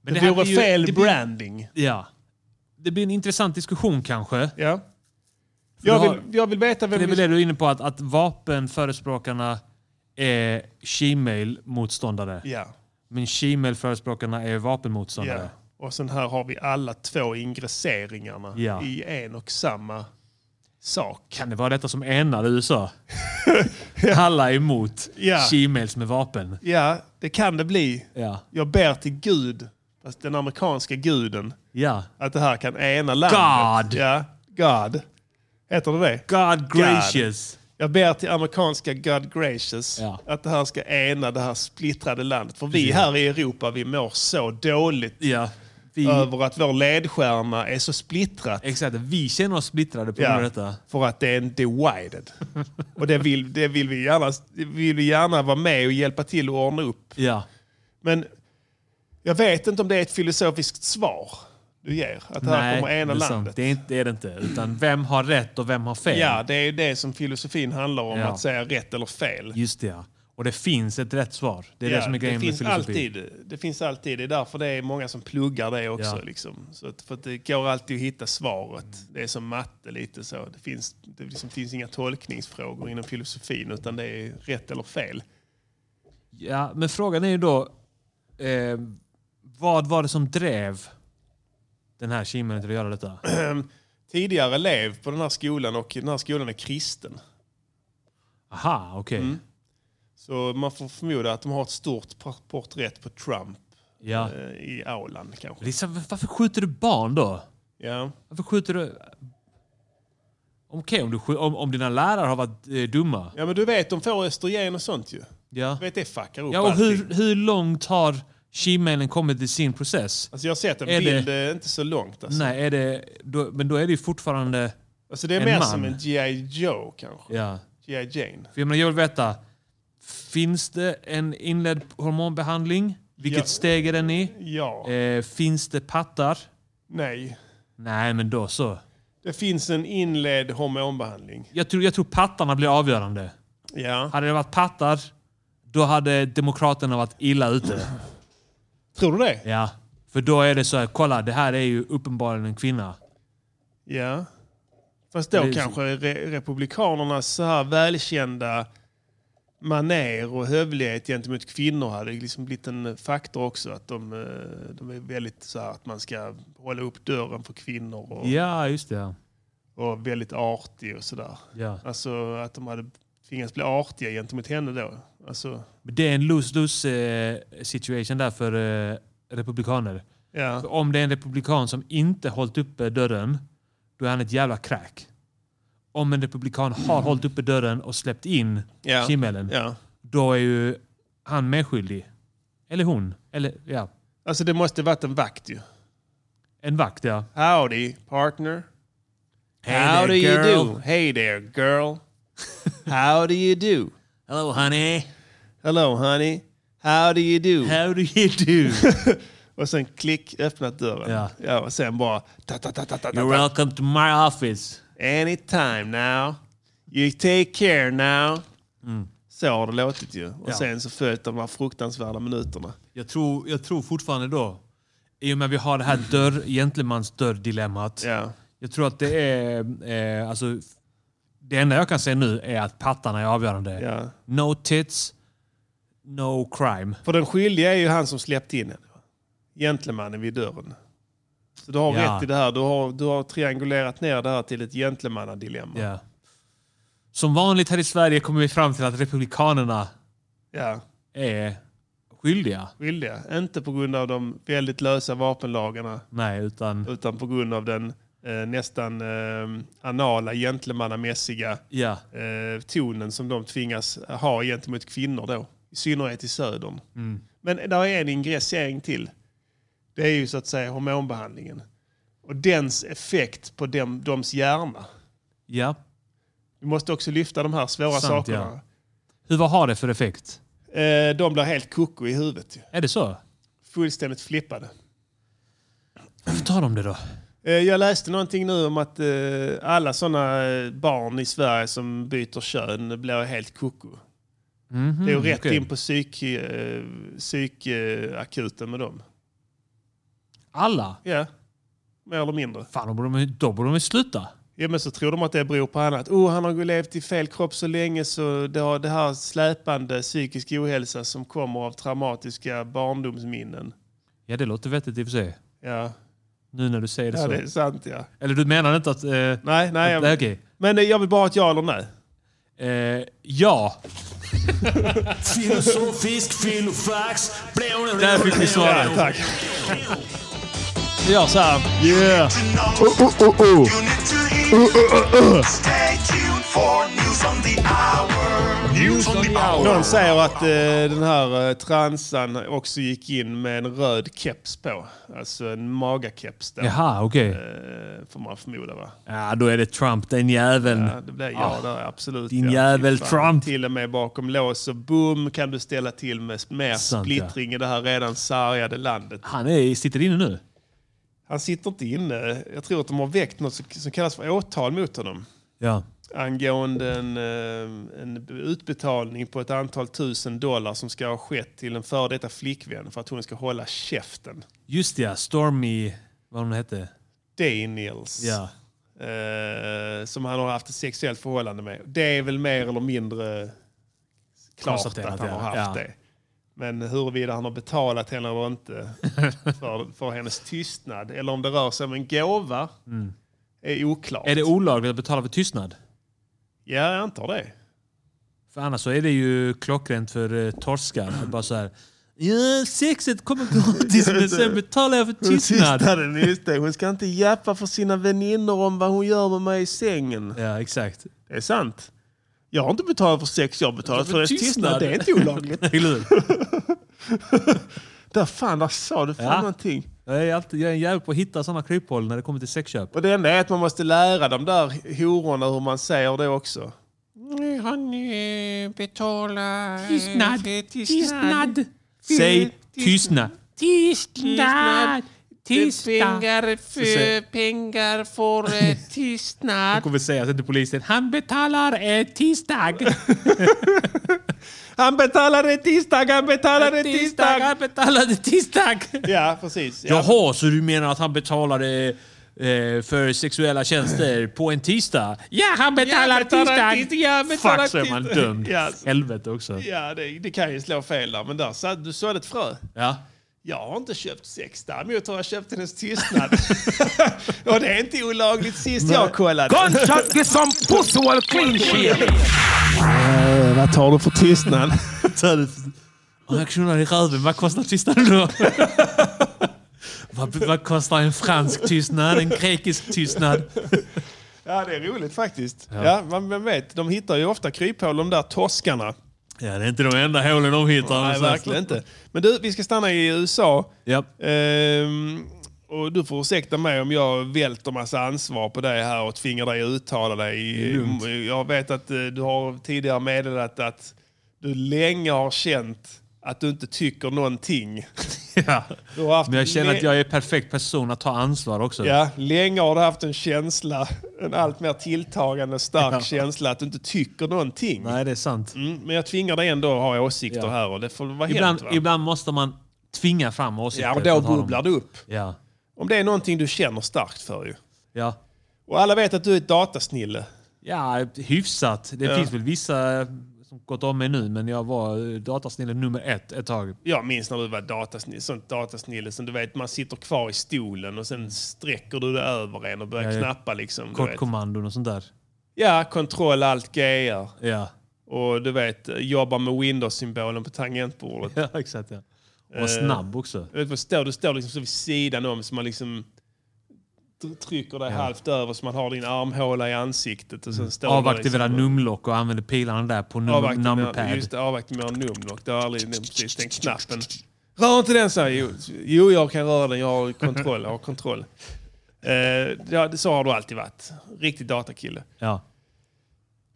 Speaker 1: Men
Speaker 5: det
Speaker 1: här
Speaker 5: vore
Speaker 1: blir ju-
Speaker 5: fel
Speaker 1: det blir-
Speaker 5: branding.
Speaker 1: Ja. Det blir en intressant diskussion kanske.
Speaker 5: Ja. Jag
Speaker 1: har-
Speaker 5: vill, jag vill veta
Speaker 1: För
Speaker 5: vem
Speaker 1: det är väl
Speaker 5: vi...
Speaker 1: det du är inne på, att, att vapenförespråkarna är Shemale-motståndare.
Speaker 5: Ja.
Speaker 1: Men Shemale-förespråkarna är vapenmotståndare.
Speaker 5: ja. Och sen här har vi alla två ingresseringarna
Speaker 1: Ja.
Speaker 5: i en och samma sak.
Speaker 1: Kan det vara detta som enar USA? Alla är emot
Speaker 5: Ja.
Speaker 1: Shemales med vapen.
Speaker 5: Ja, det kan det bli.
Speaker 1: Ja.
Speaker 5: Jag ber till Gud, fast den amerikanska guden,
Speaker 1: ja.
Speaker 5: att det här kan ena landet.
Speaker 1: God.
Speaker 5: Ja, God. Heter det det?
Speaker 1: God gracious.
Speaker 5: Jag ber till amerikanska God gracious
Speaker 1: Ja.
Speaker 5: att det här ska ena det här splittrade landet. För vi här i Europa, vi mår så dåligt
Speaker 1: Ja. Vi,
Speaker 5: över att vår ledstjärna är så splittrat.
Speaker 1: exakt, vi känner oss splittrade på grund
Speaker 5: Ja,
Speaker 1: av detta.
Speaker 5: för att det är en divided. och det vill, det vill vi gärna det vill vi gärna vara med och hjälpa till att ordna upp.
Speaker 1: Ja.
Speaker 5: Men jag vet inte om det är ett filosofiskt svar du ger. Att det här
Speaker 1: Nej,
Speaker 5: kommer ena
Speaker 1: det är sant.
Speaker 5: landet.
Speaker 1: Det är, inte, det är det inte. Utan vem har rätt och vem har fel?
Speaker 5: Ja, det är ju det som filosofin handlar om,
Speaker 1: Ja.
Speaker 5: att säga rätt eller fel.
Speaker 1: Just det, ja. Och det finns ett rätt svar. Det är
Speaker 5: Ja,
Speaker 1: det som är grejen
Speaker 5: finns
Speaker 1: med filosofi.
Speaker 5: alltid, det finns alltid, det är därför det är många som pluggar det också.
Speaker 1: Ja.
Speaker 5: Liksom. Så att, för att det går alltid att hitta svaret. Det är som matte lite så. Det finns, det liksom finns inga tolkningsfrågor inom filosofin utan det är rätt eller fel.
Speaker 1: Ja, men frågan är ju då, eh, vad var det som drev den här kimen till att göra detta?
Speaker 5: Tidigare elev på den här skolan och den här skolan är kristen.
Speaker 1: Aha, okej.
Speaker 5: Mm. Så man får förmoda att de har ett stort por- porträtt på Trump
Speaker 1: Ja.
Speaker 5: eh, i aulan kanske.
Speaker 1: Lisa, varför skjuter du barn då?
Speaker 5: Ja.
Speaker 1: Varför skjuter du... Okej, om, du skj- om, om dina lärare har varit eh, dumma.
Speaker 5: ja men du vet, de får östrogen och sånt ju.
Speaker 1: Ja.
Speaker 5: Du vet, det fuckar upp
Speaker 1: ja och
Speaker 5: allting.
Speaker 1: hur, hur långt har shemalen kommit i sin process?
Speaker 5: Alltså jag har sett en
Speaker 1: Är det-
Speaker 5: bild, det... inte så långt. Alltså.
Speaker 1: Nej, är det, då, men då är det ju fortfarande...
Speaker 5: Alltså det är
Speaker 1: En
Speaker 5: mer
Speaker 1: man.
Speaker 5: som en G.I. Joe kanske.
Speaker 1: Ja.
Speaker 5: G.I. Jane.
Speaker 1: För jag, menar, jag vill veta, finns det en inledd hormonbehandling? Vilket
Speaker 5: Ja.
Speaker 1: steg är den i?
Speaker 5: Ja.
Speaker 1: Eh, finns det pattar?
Speaker 5: Nej.
Speaker 1: Nej, men då så.
Speaker 5: Det finns en inledd hormonbehandling.
Speaker 1: Jag tror, jag tror pattarna blir avgörande.
Speaker 5: Ja.
Speaker 1: Hade det varit pattar, då hade demokraterna varit illa ute.
Speaker 5: Tror du det?
Speaker 1: Ja. För då är det så här, kolla det här är ju uppenbarligen en kvinna.
Speaker 5: Ja. Fast då
Speaker 1: Det är-
Speaker 5: kanske re- republikanernas så här välkända maner och hövlighet gentemot kvinnor hade liksom blivit en faktor också. Att de, eh, de är väldigt så här att man ska hålla upp dörren för kvinnor och,
Speaker 1: Ja, just det.
Speaker 5: och väldigt artig och sådär.
Speaker 1: Ja.
Speaker 5: Alltså att de hade tvingas bli artiga gentemot henne då. Alltså,
Speaker 1: Det är en lose-lose eh, situation där för eh, republikaner.
Speaker 5: ja.
Speaker 1: Om det är en republikan som inte hållit uppe dörren, då är han ett jävla crack. Om en republikan har hållit uppe dörren och släppt in
Speaker 5: Ja.
Speaker 1: Kimmelen,
Speaker 5: ja.
Speaker 1: då är ju han medskyldig. Eller hon. Eller ja,
Speaker 5: Alltså det måste varit en vakt ju.
Speaker 1: en vakt ja.
Speaker 5: Howdy partner.
Speaker 1: Hey
Speaker 5: How do
Speaker 1: there,
Speaker 5: you
Speaker 1: girl.
Speaker 5: do? Hey there girl. How do you do?
Speaker 1: Hello honey.
Speaker 5: Hello honey. How do you do?
Speaker 1: How do you do?
Speaker 5: Och sen klick, öppnat dörren.
Speaker 1: Ja.
Speaker 5: Ja, och sen bara... Ta, ta, ta, ta, ta,
Speaker 1: You're
Speaker 5: ta.
Speaker 1: welcome to my office.
Speaker 5: Anytime now. You take care now. Så har det låtit ju. Och
Speaker 1: Mm. Ja.
Speaker 5: sen så följt de här fruktansvärda minuterna.
Speaker 1: Jag tror, jag tror fortfarande då, i och med vi har det här dörr, gentlemans dörr-dilemmat.
Speaker 5: Ja.
Speaker 1: Jag tror att det är... Eh, alltså, det enda jag kan säga nu är att pattarna är avgörande.
Speaker 5: Ja.
Speaker 1: No tits, no crime.
Speaker 5: För den skyldiga är ju han som släppte in henne. Gentlemannen vid dörren. Så du har
Speaker 1: Ja.
Speaker 5: rätt i det här. Du har, du har triangulerat ner det här till ett gentlemannadilemma.
Speaker 1: Ja. Som vanligt här i Sverige kommer vi fram till att republikanerna
Speaker 5: Ja.
Speaker 1: är skyldiga.
Speaker 5: Skyldiga. Inte på grund av de väldigt lösa vapenlagarna.
Speaker 1: Nej, utan...
Speaker 5: utan på grund av den eh, nästan eh, anala, gentlemannamässiga
Speaker 1: Ja.
Speaker 5: eh, tonen som de tvingas ha gentemot kvinnor då. I synnerhet i södern.
Speaker 1: Mm.
Speaker 5: Men där är en ingressering till. Det är ju så att säga hormonbehandlingen. Och dens effekt på dem, dems hjärna.
Speaker 1: ja.
Speaker 5: Vi måste också lyfta de här svåra
Speaker 1: Sant,
Speaker 5: sakerna.
Speaker 1: Hur, vad har det för effekt?
Speaker 5: Eh, de blir helt koko i huvudet. ju.
Speaker 1: Är det så?
Speaker 5: Fullständigt flippade.
Speaker 1: Varför tar de det då?
Speaker 5: Eh, Jag läste någonting nu om att eh, alla sådana barn i Sverige som byter kön blir helt koko. det är ju rätt
Speaker 1: Mm, okej.
Speaker 5: in på psykakuten psyk, eh, akuten med dem.
Speaker 1: Alla?
Speaker 5: Ja, mer eller mindre.
Speaker 1: Fan, då borde de, ju- då borde de ju sluta.
Speaker 5: Ja, men så tror de att det beror på annat. Oh, han har levt i fel kropp så länge så det har det här släpande psykisk ohälsa som kommer av traumatiska barndomsminnen.
Speaker 1: Ja, det låter vettigt i och för sig.
Speaker 5: Ja,
Speaker 1: Nu när du säger det
Speaker 5: ja
Speaker 1: så.
Speaker 5: det är sant ja.
Speaker 1: Eller du menar inte att... Eh,
Speaker 5: Nej, nej.
Speaker 1: nej,
Speaker 5: Jag,
Speaker 1: okej.
Speaker 5: men eh, jag vill bara ha ett ja eller nej.
Speaker 1: Eh, ja.
Speaker 7: Filosofisk filofax.
Speaker 1: Där fick vi
Speaker 5: Ja,
Speaker 1: svaret.
Speaker 5: tack. Vi gör så här. Någon säger att eh, den här eh, transan också gick in med en röd keps på. Alltså en magakeps där.
Speaker 1: Jaha, okej.
Speaker 5: Eh, får man förmoda va?
Speaker 1: Ja, då är det Trump, den jäveln.
Speaker 5: Ja, det blir ja där, absolut.
Speaker 1: Ah, Din
Speaker 5: ja.
Speaker 1: jävel
Speaker 5: Fy
Speaker 1: Trump.
Speaker 5: Till och med bakom lås och bom kan du ställa till med mer
Speaker 1: Sant, ja.
Speaker 5: splittring i det här redan sargade landet.
Speaker 1: Han är, sitter inne nu.
Speaker 5: Han sitter inte inne. Jag tror att de har väckt något som- som kallas för åtal mot honom.
Speaker 1: Ja.
Speaker 5: angående en, eh, en utbetalning på ett antal tusen dollar som ska ha skett till en före detta flickvän för att hon ska hålla käften.
Speaker 1: Just det, ja, Stormy... Vad hon hette.
Speaker 5: Daniels.
Speaker 1: Ja.
Speaker 5: Eh, som han har haft ett sexuellt förhållande med. Det är väl mer eller mindre klart att
Speaker 1: Konstaterat,
Speaker 5: han
Speaker 1: ja.
Speaker 5: har haft
Speaker 1: Ja.
Speaker 5: det. Men huruvida han har betalat henne eller inte för, för hennes tystnad eller om det rör sig om en gåva Mm. är oklart.
Speaker 1: Är det olagligt att betala för tystnad?
Speaker 5: ja, jag antar det.
Speaker 1: För annars så är det ju klockrent för eh, torskar. Att bara så här... Ja, sexet kommer gratis men sen betalar jag för tystnad.
Speaker 5: Tystnaden, just det. Hon ska inte jappa för sina väninnor om vad hon gör med mig i sängen.
Speaker 1: Ja, exakt.
Speaker 5: Det är sant. Jag har inte betalat för sex, jag har betalat för hennes tystnad. Det är inte olagligt.
Speaker 1: Eller hur?
Speaker 5: där fan, där sa du fan
Speaker 1: Ja.
Speaker 5: någonting.
Speaker 1: Jag är, alltid, jag är en jävel på att hitta sådana kryphål när det kommer till sexköp.
Speaker 5: Och det enda är att man måste lära de där hororna hur man säger det också. Han betalar... Tystnad! Tystnad!
Speaker 1: Säg tystnad.
Speaker 5: Tystnad! Pengar
Speaker 1: säger-
Speaker 5: pengar för tystnad.
Speaker 1: kommer säga till polisen. Han betalar eh, tisdag.
Speaker 5: Han betalade tisdag, han betalade tisdag.
Speaker 1: Han betalade tisdag.
Speaker 5: Ja, precis. Ja.
Speaker 1: Jaha, så du menar att han betalade eh, för sexuella tjänster på en tisdag? Ja, han betalar
Speaker 5: Ja, betalar
Speaker 1: tisdag.
Speaker 5: tis- ja, betalar
Speaker 1: Fuck, så är man
Speaker 5: tis-
Speaker 1: dömd.
Speaker 5: Ja.
Speaker 1: Helvete också.
Speaker 5: Ja, det, det kan ju slå fel där, men där så, du sådde ett frö.
Speaker 1: Ja.
Speaker 5: Jag har inte köpt sex, däremot har jag köpt hennes tystnad. Och det är inte olagligt sist jag kollade.
Speaker 7: Gunshot get some pussy while clean shit.
Speaker 5: Eh, vad tar du för tystnad?
Speaker 1: Jag knullar i röven. Vad kostar tystnaden då? vad, vad kostar en fransk tystnad? En grekisk tystnad?
Speaker 5: ja, det är roligt faktiskt. Ja. man, man vet, de hittar ju ofta kryphål de där torskarna.
Speaker 1: Ja, det är inte de enda hålen de hittar.
Speaker 5: Nej, verkligen inte. Men du, vi ska stanna i USA.
Speaker 1: Ja.
Speaker 5: Ehm, och du får ursäkta mig om jag välter massa ansvar på dig här och tvingar dig att uttala dig. Jag vet att eh, du har tidigare meddelat att du länge har känt att du inte tycker någonting.
Speaker 1: ja.
Speaker 5: Du har haft
Speaker 1: Men jag känner
Speaker 5: lä-
Speaker 1: att jag är perfekt person att ta ansvar också.
Speaker 5: Ja, länge har du haft en känsla, en allt mer tilltagande stark känsla att du inte tycker någonting.
Speaker 1: Nej, det är sant.
Speaker 5: Mm, men jag tvingar dig ändå att ha åsikter
Speaker 1: Ja.
Speaker 5: här och det får vara
Speaker 1: Ibland,
Speaker 5: hänt. Va?
Speaker 1: ibland måste man tvinga fram åsikter.
Speaker 5: ja, och
Speaker 1: för
Speaker 5: då
Speaker 1: att ha dem.
Speaker 5: bubblar du upp.
Speaker 1: Ja.
Speaker 5: Om det är någonting du känner starkt för ju.
Speaker 1: Ja.
Speaker 5: Och alla vet att du är ett datasnille.
Speaker 1: ja, hyfsat. Det finns väl vissa som gått om mig nu, men jag var eh, datasnille nummer ett ett tag.
Speaker 5: Jag minns när du var datasnille, sånt datasnille som du vet man sitter kvar i stolen och sen sträcker du dig över en och börjar
Speaker 1: Ja, ja.
Speaker 5: knappa liksom. du vet.
Speaker 1: Kortkommandon och sånt där.
Speaker 5: Ja, kontroll allt GR.
Speaker 1: Ja,
Speaker 5: Och du vet, jobba med Windows-symbolen på tangentbordet.
Speaker 1: ja exakt. Ja. Och
Speaker 5: Eh,
Speaker 1: snabb också.
Speaker 5: Du, vet, vad står, du står liksom så vid sidan om så man liksom tr- trycker dig halvt över så man har din armhåla i ansiktet. Och sen står du där
Speaker 1: Avaktivera
Speaker 5: liksom-
Speaker 1: numlock och använde pilarna där på num-
Speaker 5: Avvakta
Speaker 1: numberpad.
Speaker 5: med- Just det, avvaktivera numlock. Det har jag aldrig nämnt precis den knappen. Rör inte den, säger jag. Jo, jag kan röra den. Jag har kontroll. Jag har kontroll. Eh, ja, det- så har du alltid varit. Riktig datakille.
Speaker 1: Ja.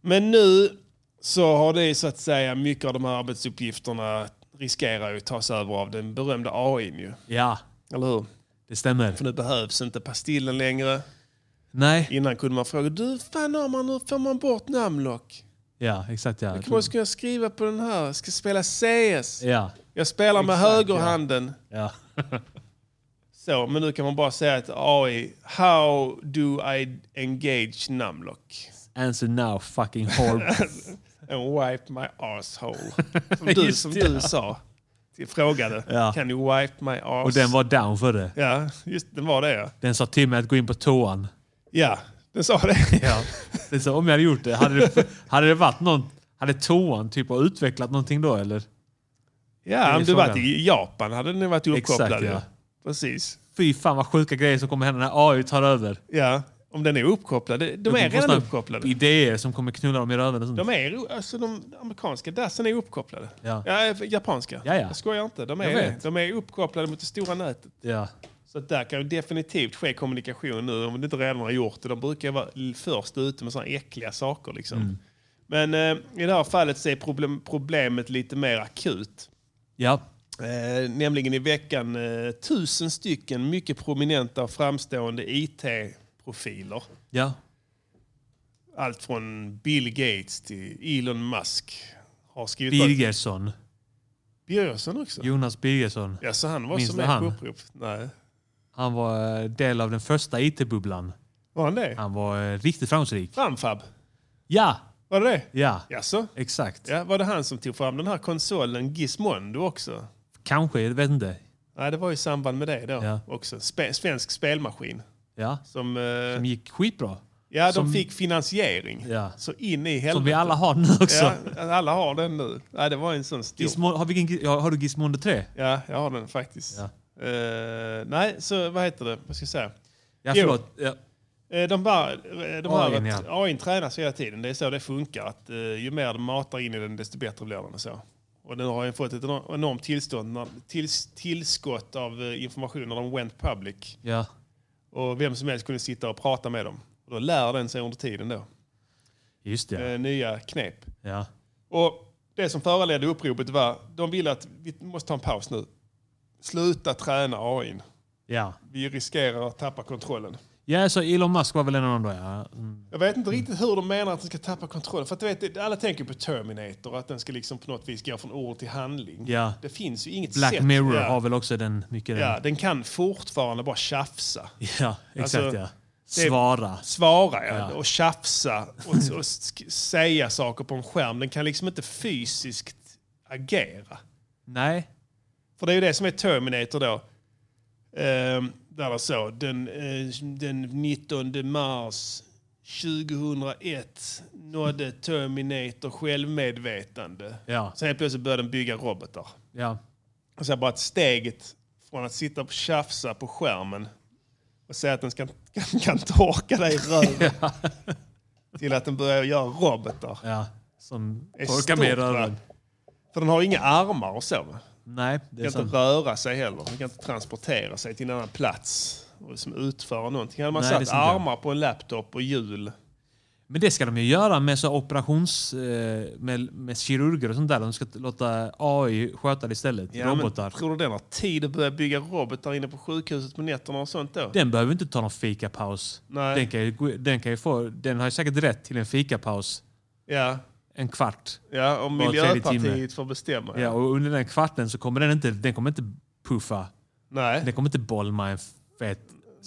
Speaker 5: Men nu så har det så att säga mycket av de här arbetsuppgifterna riskerar ju att tas över av den berömda AI ju.
Speaker 1: ja,
Speaker 5: Eller hur?
Speaker 1: det stämmer.
Speaker 5: För nu behövs inte pastillen längre.
Speaker 1: Nej,
Speaker 5: Innan kunde man fråga, du fan Arman, hur får man bort namnlock?
Speaker 1: ja exakt ja.
Speaker 5: Vad ska jag skriva på den här? Ska spela CS?
Speaker 1: Ja,
Speaker 5: Jag spelar med högerhanden.
Speaker 1: ja.
Speaker 5: Så, men nu kan man bara säga att AI, how do I engage numlock?
Speaker 1: Answer now fucking hole.
Speaker 5: And wipe my asshole. Som du,
Speaker 1: Just
Speaker 5: som
Speaker 1: det,
Speaker 5: du sa. Jag frågade.
Speaker 1: Ja.
Speaker 5: Kan du wipe my ass?
Speaker 1: Och den var down för det.
Speaker 5: Ja, just den var det ja.
Speaker 1: Den sa till mig att gå in på toan.
Speaker 5: Ja, den sa det.
Speaker 1: Ja. Det sa, om jag hade gjort det, hade det, hade det varit någon... Hade toan typ har utvecklat någonting då eller?
Speaker 5: Ja, om du
Speaker 1: frågan.
Speaker 5: varit i Japan hade den varit uppkopplad.
Speaker 1: Exakt, ja.
Speaker 5: ja. Precis.
Speaker 1: Fy fan vad sjuka grejer som kommer hända när AI tar över.
Speaker 5: Ja, om den är uppkopplad. De är redan uppkopplade.
Speaker 1: Idéer som kommer knulla dem i röven och sånt.
Speaker 5: De är, alltså de amerikanska dassen är uppkopplade. eh,
Speaker 1: Ja.
Speaker 5: japanska.
Speaker 1: Ja, ja.
Speaker 5: Jag skojar inte. De är,
Speaker 1: Jag
Speaker 5: det.
Speaker 1: vet.
Speaker 5: de är uppkopplade mot det stora nätet.
Speaker 1: Ja.
Speaker 5: Så att där kan ju definitivt ske kommunikation nu om det inte redan har gjort det. De brukar ju vara l- först ute med sådana äckliga saker. Liksom.
Speaker 1: Mm.
Speaker 5: Men eh, i det här fallet så är problem, problemet lite mer akut.
Speaker 1: ja.
Speaker 5: Eh, nämligen i veckan eh, tusen stycken mycket prominenta och framstående IT-profiler.
Speaker 1: Ja.
Speaker 5: Allt från Bill Gates till Elon Musk. Har skrivit
Speaker 1: Birgersson.
Speaker 5: Birgersson också?
Speaker 1: Jonas Birgersson.
Speaker 5: Ja, så han var
Speaker 1: Minns
Speaker 5: som
Speaker 1: du
Speaker 5: med på
Speaker 1: han?
Speaker 5: upprop? Nej.
Speaker 1: Han var eh, del av den första IT-bubblan.
Speaker 5: Var han det?
Speaker 1: Han var eh, riktigt framgångsrik.
Speaker 5: Framfab?
Speaker 1: Ja,
Speaker 5: Var det det?
Speaker 1: ja,
Speaker 5: Jaså?
Speaker 1: exakt.
Speaker 5: Ja, var det han som tog fram den här konsolen Gizmondo också?
Speaker 1: Kanske, jag vet inte.
Speaker 5: Nej, det var i samband med det då
Speaker 1: Ja.
Speaker 5: också. Spe- svensk spelmaskin.
Speaker 1: Ja,
Speaker 5: Som, eh,
Speaker 1: de gick skitbra.
Speaker 5: ja, de
Speaker 1: som-
Speaker 5: fick finansiering.
Speaker 1: Ja.
Speaker 5: Så in i helvete.
Speaker 1: Som vi alltså- alla har nu också.
Speaker 5: Ja, alla har den nu. Ja, det var en sån stor.
Speaker 1: Gizmo, har, vilken, gi- ja, har du Gizmondo 3?
Speaker 5: Ja, jag har den faktiskt.
Speaker 1: Ja.
Speaker 5: Eh, nej, så vad heter det? Vad ska jag säga?
Speaker 1: Ja,
Speaker 5: Jo.
Speaker 1: förlåt. Ja,
Speaker 5: Eh, De, bara, eh, de här,
Speaker 1: AI,
Speaker 5: att AI tränas hela tiden. Det är så det funkar. Att, eh, ju mer de matar in i den, desto bättre blir den. Och, så. och nu har jag fått ett enor- enormt tillstånd, när- tills, tillskott av eh, information när de went public.
Speaker 1: ja.
Speaker 5: Och vem som helst kunde sitta och prata med dem. Och då lär den sig under tiden då.
Speaker 1: just det.
Speaker 5: Eh, nya knep.
Speaker 1: Ja.
Speaker 5: Och det som föranledde uppropet var de ville att vi måste ta en paus nu. Sluta träna AI.
Speaker 1: Ja.
Speaker 5: Vi riskerar att tappa kontrollen.
Speaker 1: ja, så Elon Musk var väl en av dem då, ja. Mm.
Speaker 5: Jag vet inte riktigt hur de menar att den ska tappa kontrollen. För att du vet, alla tänker på Terminator, att den ska liksom på något vis gå från ord till handling.
Speaker 1: Ja.
Speaker 5: Det finns ju inget
Speaker 1: Black
Speaker 5: sätt.
Speaker 1: Mirror
Speaker 5: ja.
Speaker 1: har väl också den, mycket
Speaker 5: Ja,
Speaker 1: den.
Speaker 5: den kan fortfarande bara tjafsa.
Speaker 1: Ja, exakt
Speaker 5: Alltså,
Speaker 1: ja. Svara.
Speaker 5: Svara ja.
Speaker 1: Ja.
Speaker 5: och tjafsa och, och sk- säga saker på en skärm. Den kan liksom inte fysiskt agera.
Speaker 1: Nej.
Speaker 5: För det är ju det som är Terminator då. Ehm, där det så, den, eh, den 19 mars 2001 nådde Terminator självmedvetande.
Speaker 1: Ja,
Speaker 5: Sen helt plötsligt började den bygga robotar.
Speaker 1: ja.
Speaker 5: Och så här bara att steget från att sitta och tjafsa på skärmen och säga att den ska, kan, kan torka dig i röven till att den börjar göra robotar.
Speaker 1: ja. Som
Speaker 5: är
Speaker 1: torkar mig i
Speaker 5: stort, va?
Speaker 1: röven.
Speaker 5: För den har ju inga armar och så. va?
Speaker 1: Nej, det är
Speaker 5: Den kan
Speaker 1: sant.
Speaker 5: inte röra sig heller. Den kan inte transportera sig till en annan plats och liksom utföra någonting. Hade man
Speaker 1: Nej, det är
Speaker 5: satt
Speaker 1: sant, ja.
Speaker 5: armar på en laptop och hjul.
Speaker 1: Men det ska de ju göra med så operations... eh, Med, med kirurger och sånt där. De ska låta AI sköta det istället.
Speaker 5: men
Speaker 1: Robotar.
Speaker 5: Tror du den har tid att börja bygga robotar inne på sjukhuset på nätterna och sånt då?
Speaker 1: Den behöver inte ta någon fikapaus.
Speaker 5: Nej.
Speaker 1: Den, kan ju, gå- den, kan ju få, den har ju säkert rätt till en fikapaus.
Speaker 5: Ja,
Speaker 1: En kvart.
Speaker 5: ja om
Speaker 1: Var tredje timme.
Speaker 5: Miljöpartiet får bestämma.
Speaker 1: Ja, och under den kvarten så kommer den inte, den kommer inte puffa.
Speaker 5: Nej.
Speaker 1: Den kommer inte bolma en fet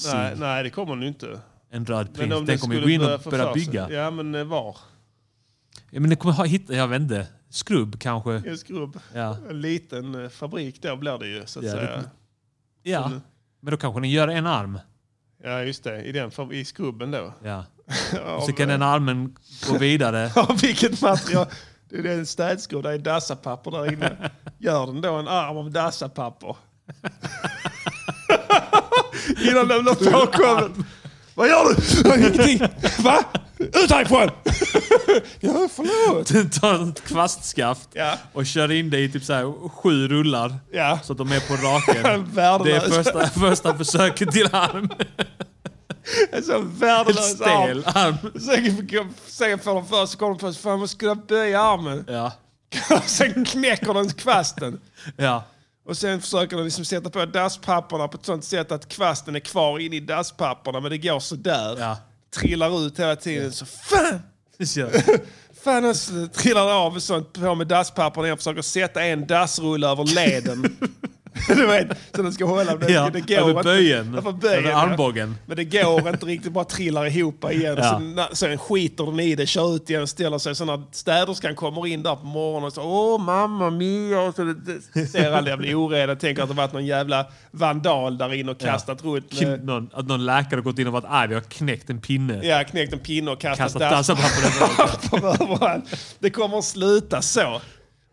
Speaker 5: Nej,
Speaker 1: sig,
Speaker 5: nej, det kommer den ju inte.
Speaker 1: en röd
Speaker 5: Men
Speaker 1: prins. Den,
Speaker 5: det
Speaker 1: kommer ju
Speaker 5: skulle
Speaker 1: gå in och
Speaker 5: få
Speaker 1: börja
Speaker 5: för sig-
Speaker 1: bygga. Ja.
Speaker 5: Ja, men eh, var?
Speaker 1: men den kommer ha, hitta, jag vet inte, skrubb kanske.
Speaker 5: En skrubb.
Speaker 1: Ja.
Speaker 5: En liten eh, fabrik då blir det ju, så att
Speaker 1: Ja, det-
Speaker 5: säga.
Speaker 1: ja. Men då kanske den gör en arm.
Speaker 5: Ja, just det. I, den, fab- i skrubben då.
Speaker 1: Ja.
Speaker 5: Av,
Speaker 1: Och så kan
Speaker 5: eh,
Speaker 1: den armen gå vidare.
Speaker 5: av vilket material? Det är en städskrubb, där är dassapapper där inne. Gör den då en arm av dassapapper? Innan den blir påkommen. Vad gör du? Ingenting. Va? Ut härifrån! ja, förlåt.
Speaker 1: Den tar ett kvastskaft
Speaker 5: Ja.
Speaker 1: och kör in det i typ så här sju rullar.
Speaker 5: Ja.
Speaker 1: Så att de är på raken. Det är
Speaker 5: Värdelös.
Speaker 1: första, första försöket till arm.
Speaker 5: En sån
Speaker 1: Till
Speaker 5: värdelös arm.
Speaker 1: stel arm.
Speaker 5: Sen sen får de först, så kommer de först, fan man skulle böja armen.
Speaker 1: Ja.
Speaker 5: sen knäcker den kvasten.
Speaker 1: Ja.
Speaker 5: Och sen försöker de liksom sätta på dasspapperna på ett sånt sätt att kvasten är kvar inne i dasspapperna, men det går sådär.
Speaker 1: Ja.
Speaker 5: Trillar ut hela tiden. Så fan!
Speaker 1: Så-
Speaker 5: Fan, och så trillar det av och sånt på med dasspapperna igen. Försöker sätta en dassrulle över leden. du vet, så den ska hålla. Men
Speaker 1: Ja,
Speaker 5: det går
Speaker 1: över
Speaker 5: inte.
Speaker 1: böjen.
Speaker 5: Över böjen.
Speaker 1: Över
Speaker 5: ja.
Speaker 1: armbågen.
Speaker 5: Men det går inte riktigt, bara trillar ihop igen.
Speaker 1: Ja.
Speaker 5: Sen, na- sen skiter den i det, kör ut igen, ställer sig. Så när städerskan kommer in där på morgonen och så åh mamma mia. Och så det, det, ser alla jävla oreda, tänker att det varit någon jävla vandal där inne och kastat runt.
Speaker 1: Kim,
Speaker 5: Med,
Speaker 1: någon, att någon läkare gått in och varit arg. Vi har knäckt en pinne.
Speaker 5: ja, knäckt en pinne och kastat,
Speaker 1: Kastat
Speaker 5: dass-
Speaker 1: dasspapper över
Speaker 5: papper överallt. Det kommer att sluta så.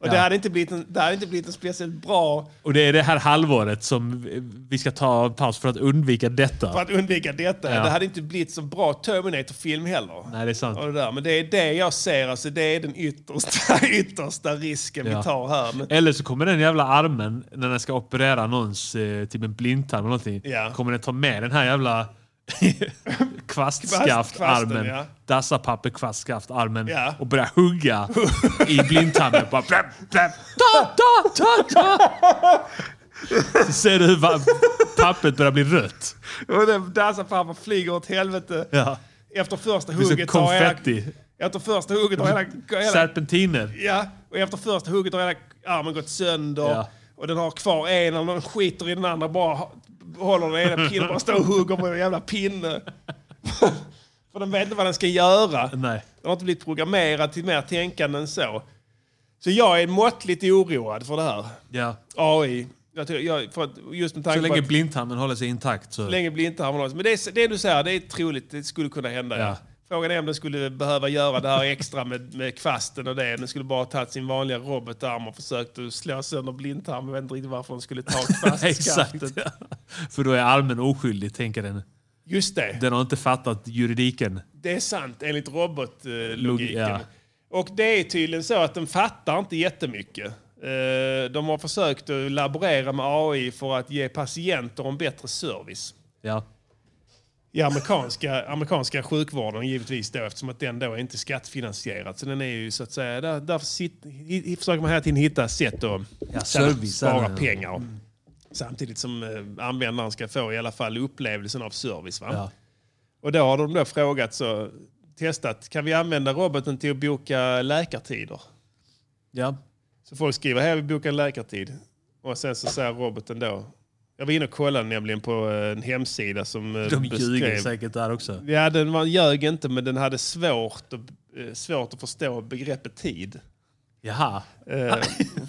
Speaker 5: Och det,
Speaker 1: Ja.
Speaker 5: hade inte blivit en, det hade inte blivit en speciellt bra
Speaker 1: Och det är det här halvåret som vi ska ta en paus för att undvika
Speaker 5: för
Speaker 1: detta.
Speaker 5: att undvika detta.
Speaker 1: Ja.
Speaker 5: Det hade inte blivit så bra Terminator-film heller.
Speaker 1: Nej, det är sant.
Speaker 5: Och det där. Men det är det jag ser, alltså, det är den yttersta, yttersta risken
Speaker 1: Ja.
Speaker 5: vi tar här. Men,
Speaker 1: Eller så kommer den jävla armen, när den ska operera någons, eh, typ en blindtarm eller någonting,
Speaker 5: Ja.
Speaker 1: kommer den ta med den här jävla
Speaker 5: Kvast- kvasten,
Speaker 1: kvastskaftarmen,
Speaker 5: ja.
Speaker 1: dassapapper kvastskaftarmen
Speaker 5: Ja.
Speaker 1: och börja hugga i blindtarmen. Bara bläm, bläm, ta, ta, ta, ta. Så ser du hur va- pappret börjar bli rött.
Speaker 5: och den dansarfarbrorn flyger åt helvete.
Speaker 1: Ja.
Speaker 5: Efter första
Speaker 1: Det är så
Speaker 5: hugget har hela...
Speaker 1: konfetti.
Speaker 5: Efter första hugget har hela... hela
Speaker 1: Serpentiner.
Speaker 5: ja, och efter första hugget har hela armen gått sönder.
Speaker 1: Ja.
Speaker 5: Och den har kvar en och den skiter i den andra bara ha- håller den ena pinnen bara står och hugger med en jävla pinne. För den vet inte vad den ska göra.
Speaker 1: Nej.
Speaker 5: Den har inte blivit programmerad till mer tänkande än så. Så jag är måttligt oroad för det här.
Speaker 1: Ja.
Speaker 5: AI. Jag tror, jag, för att just med
Speaker 1: Så
Speaker 5: tanke
Speaker 1: länge
Speaker 5: på att,
Speaker 1: blindtarmen håller sig intakt så...
Speaker 5: så länge blir inte harmoniskt. Men det, är, det du säger, det är troligt. Det skulle kunna hända.
Speaker 1: Ja.
Speaker 5: Ja. Frågan är om den skulle behöva göra det här extra med, med kvasten och det. Den skulle bara ha tagit sin vanliga robotarm och försökt att slå sönder blindtarmen. Jag vet inte riktigt varför den skulle ta
Speaker 1: Exakt.
Speaker 5: kvastskaftet.
Speaker 1: Ja. För då är armen oskyldig, tänker den.
Speaker 5: Just det.
Speaker 1: Den har inte fattat juridiken.
Speaker 5: Det är sant enligt
Speaker 1: Log-
Speaker 5: robotlogiken.
Speaker 1: ja.
Speaker 5: Och det är tydligen så att den fattar inte jättemycket. Eh, De har försökt att laborera med AI för att ge patienter en bättre service.
Speaker 1: Ja.
Speaker 5: I amerikanska, amerikanska sjukvården givetvis då eftersom att den då är inte skattfinansierad. Så den är ju så att säga, där, därför sitt, i, i, försöker man hela tiden hitta sätt att
Speaker 1: Ja,
Speaker 5: spara-
Speaker 1: service,
Speaker 5: spara
Speaker 1: ja. Mm.
Speaker 5: pengar. Samtidigt som eh, användaren ska få i alla fall upplevelsen av service. Va?
Speaker 1: Ja.
Speaker 5: Och då har de då frågat så testat, kan vi använda roboten till att boka läkartider?
Speaker 1: ja.
Speaker 5: Så folk skriver, här vi bokar en läkartid. Och sen så säger roboten då, jag var inne och kollade nämligen på eh, en hemsida som eh,
Speaker 1: De ljuger säkert där också.
Speaker 5: Ja, den var, ljög inte men den hade svårt, att- eh, svårt att förstå begreppet tid.
Speaker 1: Jaha.
Speaker 5: Eh,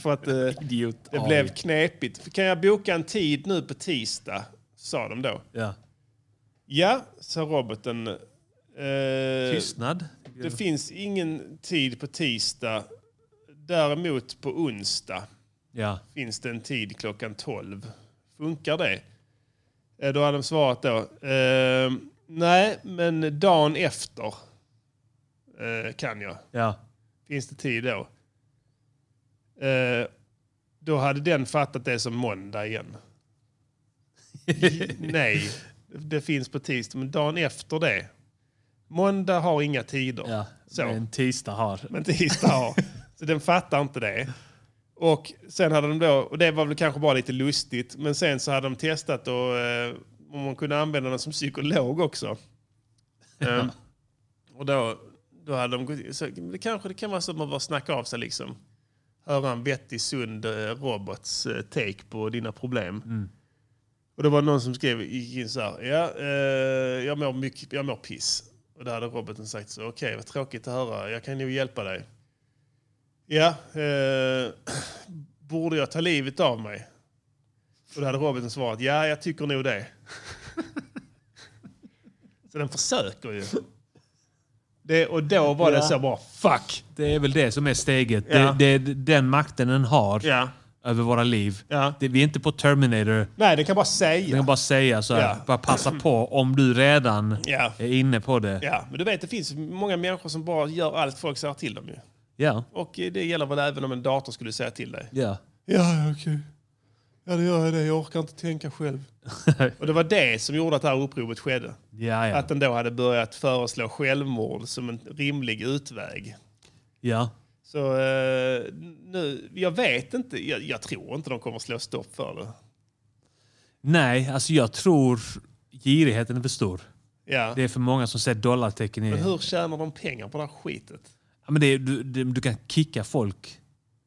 Speaker 5: för att eh,
Speaker 1: Idiot.
Speaker 5: det
Speaker 1: AI.
Speaker 5: blev knepigt. Kan jag boka en tid nu på tisdag? Sa de då.
Speaker 1: Ja.
Speaker 5: Ja, sa roboten. Eh,
Speaker 1: Tystnad.
Speaker 5: Det finns ingen tid på tisdag. Däremot på onsdag
Speaker 1: Ja.
Speaker 5: finns det en tid klockan 12. Funkar det? Eh, Då hade de svarat då. Eh, nej, men dagen efter eh, kan jag.
Speaker 1: Ja.
Speaker 5: Finns det tid då? Eh, då hade den fattat det som måndag igen. Nej, det finns på tisdag, men dagen efter det. Måndag har inga tider.
Speaker 1: ja.
Speaker 5: Så.
Speaker 1: En tisdag har.
Speaker 5: Men tisdag har. Så den fattar inte det. Och sen hade de då, och det var väl kanske bara lite lustigt, men sen så hade de testat och, eh, om man kunde använda den som psykolog också. Ehm, och då, då hade de gått så det kanske det kan vara så att man bara snackar av sig liksom. Höra en vettig, sund eh, robots eh, take på dina problem. Och det var någon som skrev, gick in så här, ja, eh, jag, mår mycket, jag mår piss. Och då hade roboten sagt så, okej vad tråkigt att höra, jag kan nog hjälpa dig. Ja, eh, borde jag ta livet av mig? Och då hade roboten svarat, ja jag tycker nog det. så den försöker ju. Det, och då var det så bara, fuck!
Speaker 1: Det är väl det som är steget.
Speaker 5: Ja.
Speaker 1: Det, det är den makten den har
Speaker 5: Ja.
Speaker 1: över våra liv.
Speaker 5: Ja.
Speaker 1: Det, vi är inte på Terminator.
Speaker 5: Nej, den kan bara
Speaker 1: Jag
Speaker 5: säga.
Speaker 1: kan bara säga så här,
Speaker 5: Ja.
Speaker 1: bara passa på om du redan
Speaker 5: Ja.
Speaker 1: är inne på det.
Speaker 5: Ja, men du vet det finns många människor som bara gör allt folk säger till dem ju.
Speaker 1: Ja.
Speaker 5: Och eh, det gäller väl även om en dator skulle säga till dig.
Speaker 1: Ja.
Speaker 5: Ja, ja, okej. Ja, det gör jag det. Jag orkar inte tänka själv. och det var det som gjorde att det här uppropet skedde.
Speaker 1: Ja, ja.
Speaker 5: Att den då hade börjat föreslå självmord som en rimlig utväg.
Speaker 1: ja.
Speaker 5: Så eh, nu, jag vet inte. Jag, jag tror inte de kommer slå stopp för det.
Speaker 1: Nej, alltså jag tror girigheten är för stor.
Speaker 5: Ja.
Speaker 1: Det är för många som ser dollartecken i...
Speaker 5: Men hur tjänar de pengar på det här skitet?
Speaker 1: Ja, men det är, du, du, du kan kicka folk.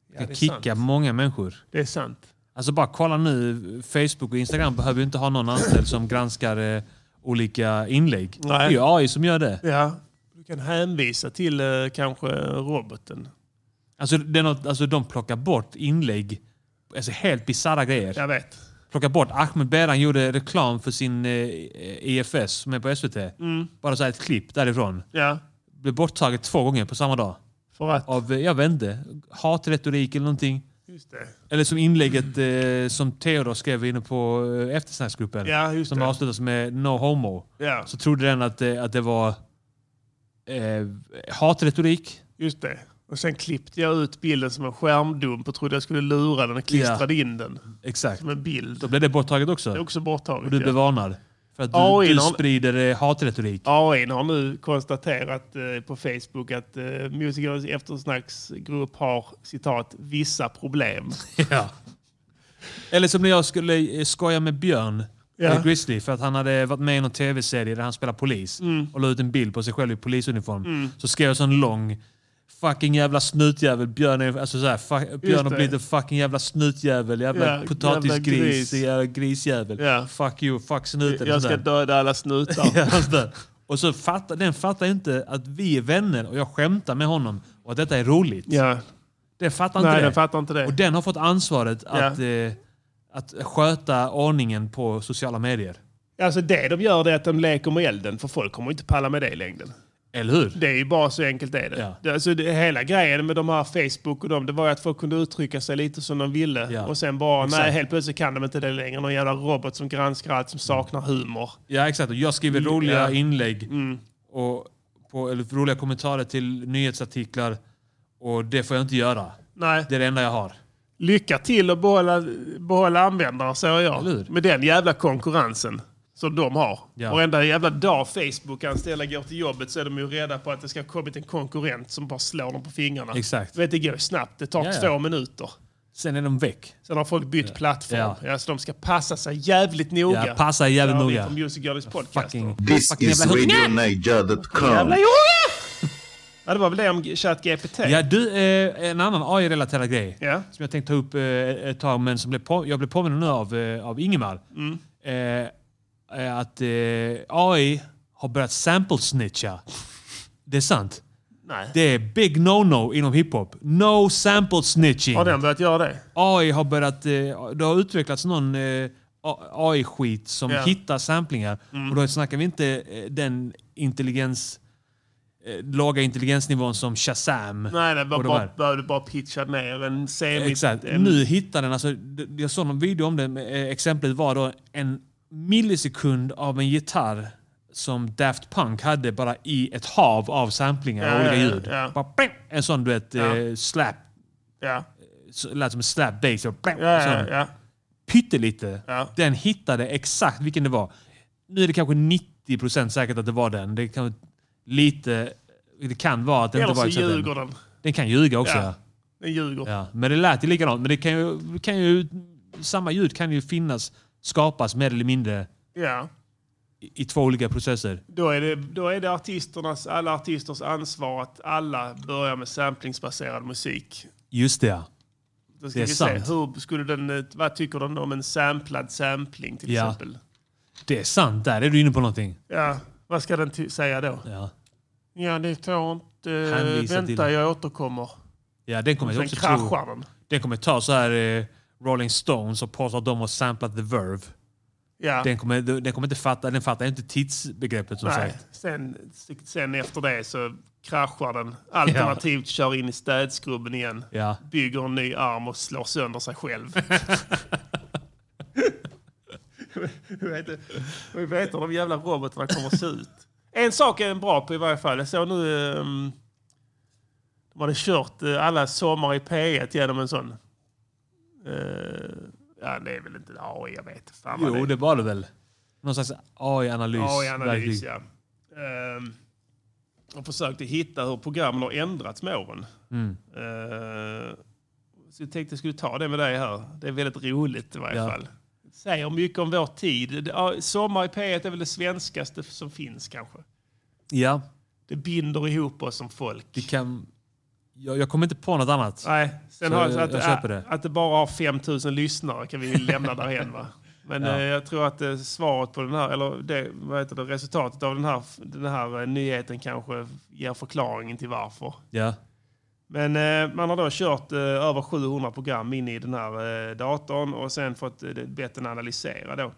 Speaker 1: Du
Speaker 5: Ja,
Speaker 1: kan kicka många människor.
Speaker 5: Det är sant.
Speaker 1: Alltså bara kolla nu. Facebook och Instagram behöver ju inte ha någon anställd som granskar eh, olika inlägg.
Speaker 5: Nej.
Speaker 1: Det är ju AI som gör det.
Speaker 5: Ja. Du kan hänvisa till eh, kanske roboten.
Speaker 1: Alltså, det är något, alltså de plockar bort inlägg. Alltså helt bisarra grejer.
Speaker 5: Jag vet.
Speaker 1: plocka bort. Ahmed Beran gjorde reklam för sin eh, EFS som är på SVT.
Speaker 5: Mm.
Speaker 1: Bara så här ett klipp därifrån.
Speaker 5: Ja.
Speaker 1: Blev borttaget två gånger på samma dag.
Speaker 5: För att...
Speaker 1: Av, eh, jag vet inte, hatretorik eller någonting.
Speaker 5: Just det.
Speaker 1: Eller som inlägget eh, som Theodor skrev inne på eh, eftersnacksgruppen.
Speaker 5: Ja, just
Speaker 1: som
Speaker 5: det.
Speaker 1: avslutas med No Homo.
Speaker 5: Ja,
Speaker 1: Så trodde den att, eh, att det var eh, hatretorik.
Speaker 5: just det. Och sen klippte jag ut bilden som en skärmdump och trodde jag skulle lura den och klistrade in den
Speaker 1: Exakt.
Speaker 5: som en bild.
Speaker 1: Då blev det borttaget
Speaker 5: Det är
Speaker 1: också.
Speaker 5: också borttaget.
Speaker 1: Och du blev
Speaker 5: ja.
Speaker 1: varnad. För att
Speaker 5: AI
Speaker 1: du, du
Speaker 5: har-
Speaker 1: sprider eh, hatretorik.
Speaker 5: AI har nu konstaterat eh, på Facebook att eh, musikernas eftersnacksgrupp har citat vissa problem.
Speaker 1: Ja. Eller som när jag skulle eh, skoja med Björn
Speaker 5: Ja.
Speaker 1: eh, Grizzly för att han hade varit med i någon tv-serie där han spelar polis
Speaker 5: Mm.
Speaker 1: och la ut en bild på sig själv i polisuniform. Så skrev jag sån lång fucking jävla snutjävel. Björn, är, alltså så här, fuck, Björn har
Speaker 5: det.
Speaker 1: blivit en fucking jävla snutjävel. Jävla
Speaker 5: Ja, jävla
Speaker 1: potatisgris.
Speaker 5: gris.
Speaker 1: Jävla grisjävel.
Speaker 5: Ja.
Speaker 1: Fuck you, fuck snuten.
Speaker 5: Jag
Speaker 1: och
Speaker 5: ska
Speaker 1: sådär.
Speaker 5: döda alla snutar.
Speaker 1: Ja, allt det. Och så fattar, den fattar inte att vi är vänner och jag skämtar med honom och att detta är roligt.
Speaker 5: ja.
Speaker 1: Den fattar inte
Speaker 5: Nej,
Speaker 1: det.
Speaker 5: den fattar inte
Speaker 1: Och
Speaker 5: det.
Speaker 1: den har fått ansvaret att, eh, att sköta ordningen på sociala medier.
Speaker 5: Alltså det de gör det är att de leker med elden för folk kommer inte palla med det i längden.
Speaker 1: Eller hur?
Speaker 5: Det är ju bara så enkelt är det.
Speaker 1: Ja.
Speaker 5: det, alltså, det hela grejen med de här Facebook och de, det var ju att folk kunde uttrycka sig lite som de ville.
Speaker 1: Ja.
Speaker 5: Och sen bara, nej
Speaker 1: Exakt.
Speaker 5: helt plötsligt kan de inte det längre. Någon jävla robot som granskar allt som
Speaker 1: Mm.
Speaker 5: saknar humor.
Speaker 1: Ja, exakt. Och jag skriver roliga
Speaker 5: Mm, ja. Mm.
Speaker 1: inlägg och på, eller roliga kommentarer till nyhetsartiklar och det får jag inte göra.
Speaker 5: Nej,
Speaker 1: Det är det enda jag har.
Speaker 5: lycka till att behålla, behålla användare säger jag.
Speaker 1: Eller hur?
Speaker 5: Med den jävla konkurrensen som de har.
Speaker 1: Ja.
Speaker 5: Varenda jävla dag Facebook-anställda går till jobbet så är de ju rädda på att det ska ha kommit en konkurrent som bara slår dem på fingrarna.
Speaker 1: Exakt.
Speaker 5: Du vet, det går ju snabbt. Det tar
Speaker 1: Ja, ja.
Speaker 5: två minuter.
Speaker 1: Sen är de väck.
Speaker 5: Sen har folk bytt plattform.
Speaker 1: Ja.
Speaker 5: Ja, så de ska passa sig jävligt noga.
Speaker 1: Ja, passa jävligt
Speaker 5: Ja,
Speaker 1: noga.
Speaker 5: Vi på Music Girls podcast.
Speaker 1: Fucking,
Speaker 7: This
Speaker 1: fucking jävla hund.
Speaker 7: radionaja.com.
Speaker 5: Ja, det var väl det om ChatGPT.
Speaker 1: Ja, du, eh, en annan AI-relaterad grej
Speaker 5: Ja.
Speaker 1: som jag tänkte ta upp eh, ett tag, men som blev på, jag blev påmind nu av, eh, av Ingemar.
Speaker 5: Mm.
Speaker 1: Eh, eh, att eh, AI har börjat sample-snitcha. Det är sant.
Speaker 5: Nej.
Speaker 1: Det är big no-no inom hiphop. No sample-snitching.
Speaker 5: Har den börjat göra det?
Speaker 1: AI har börjat... Eh, det har utvecklats någon eh, AI-skit som
Speaker 5: Ja. Mm.
Speaker 1: hittar samplingar. Och då snackar vi inte eh, den intelligens, eh, låga intelligensnivån som Shazam.
Speaker 5: Nej, nej, bara,
Speaker 1: Och de
Speaker 5: bara,
Speaker 1: här.
Speaker 5: behövde bara pitcha ner en semi...
Speaker 1: Exakt.
Speaker 5: En,
Speaker 1: Nu hittar den, alltså, d- jag såg någon video om det, eh, exemplet var då en millisekund av en gitarr som Daft Punk hade bara i ett hav av samplingar
Speaker 5: Ja,
Speaker 1: av olika
Speaker 5: ja, ja,
Speaker 1: ljud.
Speaker 5: ja.
Speaker 1: Bara, pling! en sån du vet, eh, slap,
Speaker 5: ja,
Speaker 1: så- lät som en slap bass. Så, pling!
Speaker 5: ja, ja,
Speaker 1: sån.
Speaker 5: ja.
Speaker 1: Pyttelite.
Speaker 5: Ja.
Speaker 1: Den hittade exakt vilken det var. Nu är det kanske 90% säkert att det var den. Det kan, lite, det kan vara att det
Speaker 5: Eller
Speaker 1: inte var
Speaker 5: så
Speaker 1: exakt den.
Speaker 5: ljuger den.
Speaker 1: Den kan ljuga också.
Speaker 5: Ja.
Speaker 1: Ja.
Speaker 5: Den ljuger.
Speaker 1: Ja, men det lät ju likadant. Men det kan ju, det kan ju, samma ljud kan ju finnas, skapas mer eller mindre
Speaker 5: Ja.
Speaker 1: i, i två olika processer.
Speaker 5: Då är det, då är det artisternas, alla artisters ansvar att alla börjar med samplingsbaserad musik.
Speaker 1: Just det ja.
Speaker 5: Då ska
Speaker 1: Det är
Speaker 5: vi
Speaker 1: sant.
Speaker 5: se, hur skulle den, eh, vad tycker den om en samplad sampling till
Speaker 1: Ja.
Speaker 5: exempel?
Speaker 1: Det är sant. Där är du inne på någonting.
Speaker 5: Ja, vad ska den ty- säga då?
Speaker 1: Ja,
Speaker 5: Ja, det tror inte...
Speaker 1: Hänvisa
Speaker 5: vänta,
Speaker 1: till-
Speaker 5: jag återkommer.
Speaker 1: ja den kommer jag
Speaker 5: Sen
Speaker 1: också tro.
Speaker 5: kraschar den.
Speaker 1: Den kommer ta så här eh, Rolling Stones och påstå att de har samplat The Verve.
Speaker 5: Ja.
Speaker 1: Den kommer, den kommer inte fatta, den fattar ju inte tidsbegreppet som
Speaker 5: Nej,
Speaker 1: sagt.
Speaker 5: sen, sen efter det så kraschar den. Alternativt kör in i städskrubben igen.
Speaker 1: Ja.
Speaker 5: Bygger en ny arm och slår sönder sig själv. Jag vet inte- Jag vet inte hur de jävla robotarna kommer att se ut. En sak är den bra på i varje fall. Jag såg nu... ehm, de hade kört eh, alla sommar i P1 genom en sån... eh, ja, det är väl inte AI, jag vet inte fan vad det
Speaker 1: Jo,
Speaker 5: är.
Speaker 1: det var det väl. Någon slags AI-analys.
Speaker 5: AI-analys,
Speaker 1: verktyg.
Speaker 5: ja. Ehm, och försökte hitta hur programmen har ändrats med åren. Ehm, så jag tänkte jag skulle ta det med dig här. Det är väldigt roligt i varje
Speaker 1: Ja.
Speaker 5: fall. Säger mycket om vår tid. Det- ja, Sommar i P1 är väl det svenskaste som finns kanske.
Speaker 1: ja,
Speaker 5: Det binder ihop oss som folk.
Speaker 1: det kan... Jag, jag kommer inte på något annat.
Speaker 5: Nej, sen
Speaker 1: Så
Speaker 5: har,
Speaker 1: jag-
Speaker 5: att,
Speaker 1: jag köper det.
Speaker 5: att det bara har 5000 lyssnare kan vi lämna därhen va. Men
Speaker 1: Ja.
Speaker 5: eh, jag tror att eh, svaret på den här, eller det, vad heter det, resultatet av den här, den här eh, nyheten kanske ger förklaringen till varför.
Speaker 1: Ja.
Speaker 5: Men eh, man har då kört eh, över 700 program in i den här eh, datorn och sen fått eh, bett den analysera då.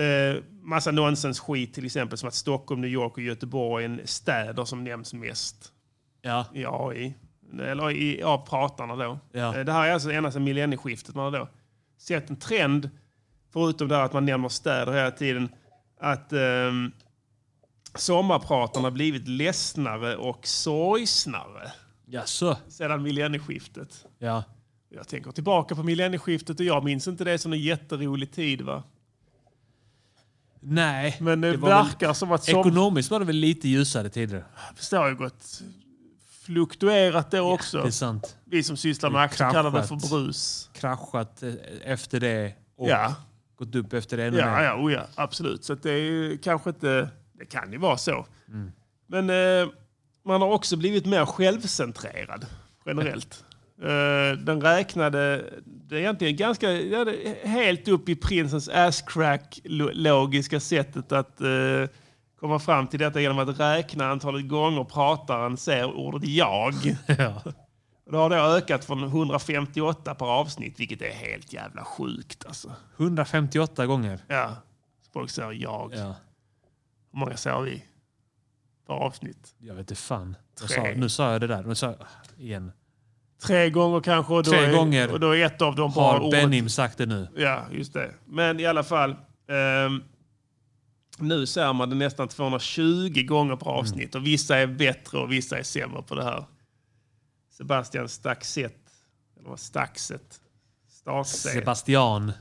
Speaker 5: Eh, massa nonsensskit till exempel som att Stockholm, New York och Göteborg är en städer som nämns mest
Speaker 1: Ja.
Speaker 5: i AI. Eller i av pratarna då.
Speaker 1: Ja.
Speaker 5: Eh, Det här är alltså ena sedan millennieskiftet man har då sett en trend, förutom det här att man nämner städer hela tiden, att ehm, sommarpratarna blivit ledsnare och sorgsnare
Speaker 1: Ja, så.
Speaker 5: sedan millennieskiftet.
Speaker 1: Ja.
Speaker 5: Jag tänker tillbaka på millennieskiftet och jag minns inte det som en jätterolig tid va?
Speaker 1: Nej.
Speaker 5: Men det,
Speaker 1: var väl-
Speaker 5: verkar som att som
Speaker 1: Ekonomiskt var det väl lite ljusare tider.
Speaker 5: det har ju gått fluktuerat då
Speaker 1: Det
Speaker 5: också.
Speaker 1: är sant.
Speaker 5: Vi som sysslar med
Speaker 1: Det
Speaker 5: aktier kallar det för
Speaker 1: kraschat.
Speaker 5: brus.
Speaker 1: Kraschat eh, efter det och
Speaker 5: Ja.
Speaker 1: gått upp efter det ännu
Speaker 5: Ja,
Speaker 1: mer.
Speaker 5: ja, oh ja, absolut. Så att det är ju kanske inte... Det kan ju vara så.
Speaker 1: Mm.
Speaker 5: Men eh, man har också blivit mer självcentrerad generellt. eh, den räknade... Det är egentligen ganska... Ja, det, är helt upp i prinsens asscrack-logiska sättet att eh, komma fram till detta genom att räkna antalet gånger prataren ser ordet jag. Det har då ökat från 158 per avsnitt, vilket är helt jävla sjukt alltså.
Speaker 1: 158 gånger.
Speaker 5: Ja. Så folk säger jag.
Speaker 1: Ja.
Speaker 5: Hur många säger vi? Per avsnitt.
Speaker 1: Jag vet inte fan. Jag
Speaker 5: Tre.
Speaker 1: sa, nu sa jag det där. Nu sa jag, igen.
Speaker 5: Tre gånger kanske. Och då
Speaker 1: Tre
Speaker 5: är,
Speaker 1: gånger
Speaker 5: Och då är ett av dem bara
Speaker 1: Har
Speaker 5: ordet.
Speaker 1: Benim sagt det nu?
Speaker 5: Ja, just det. Men i alla fall. ehm, nu ser man det nästan 220 gånger
Speaker 1: Mm.
Speaker 5: per avsnitt. Och vissa är bättre och vissa är sämre på det här. Sebastian Staxet. Eller vad Staxet? Staxet.
Speaker 1: Sebastian.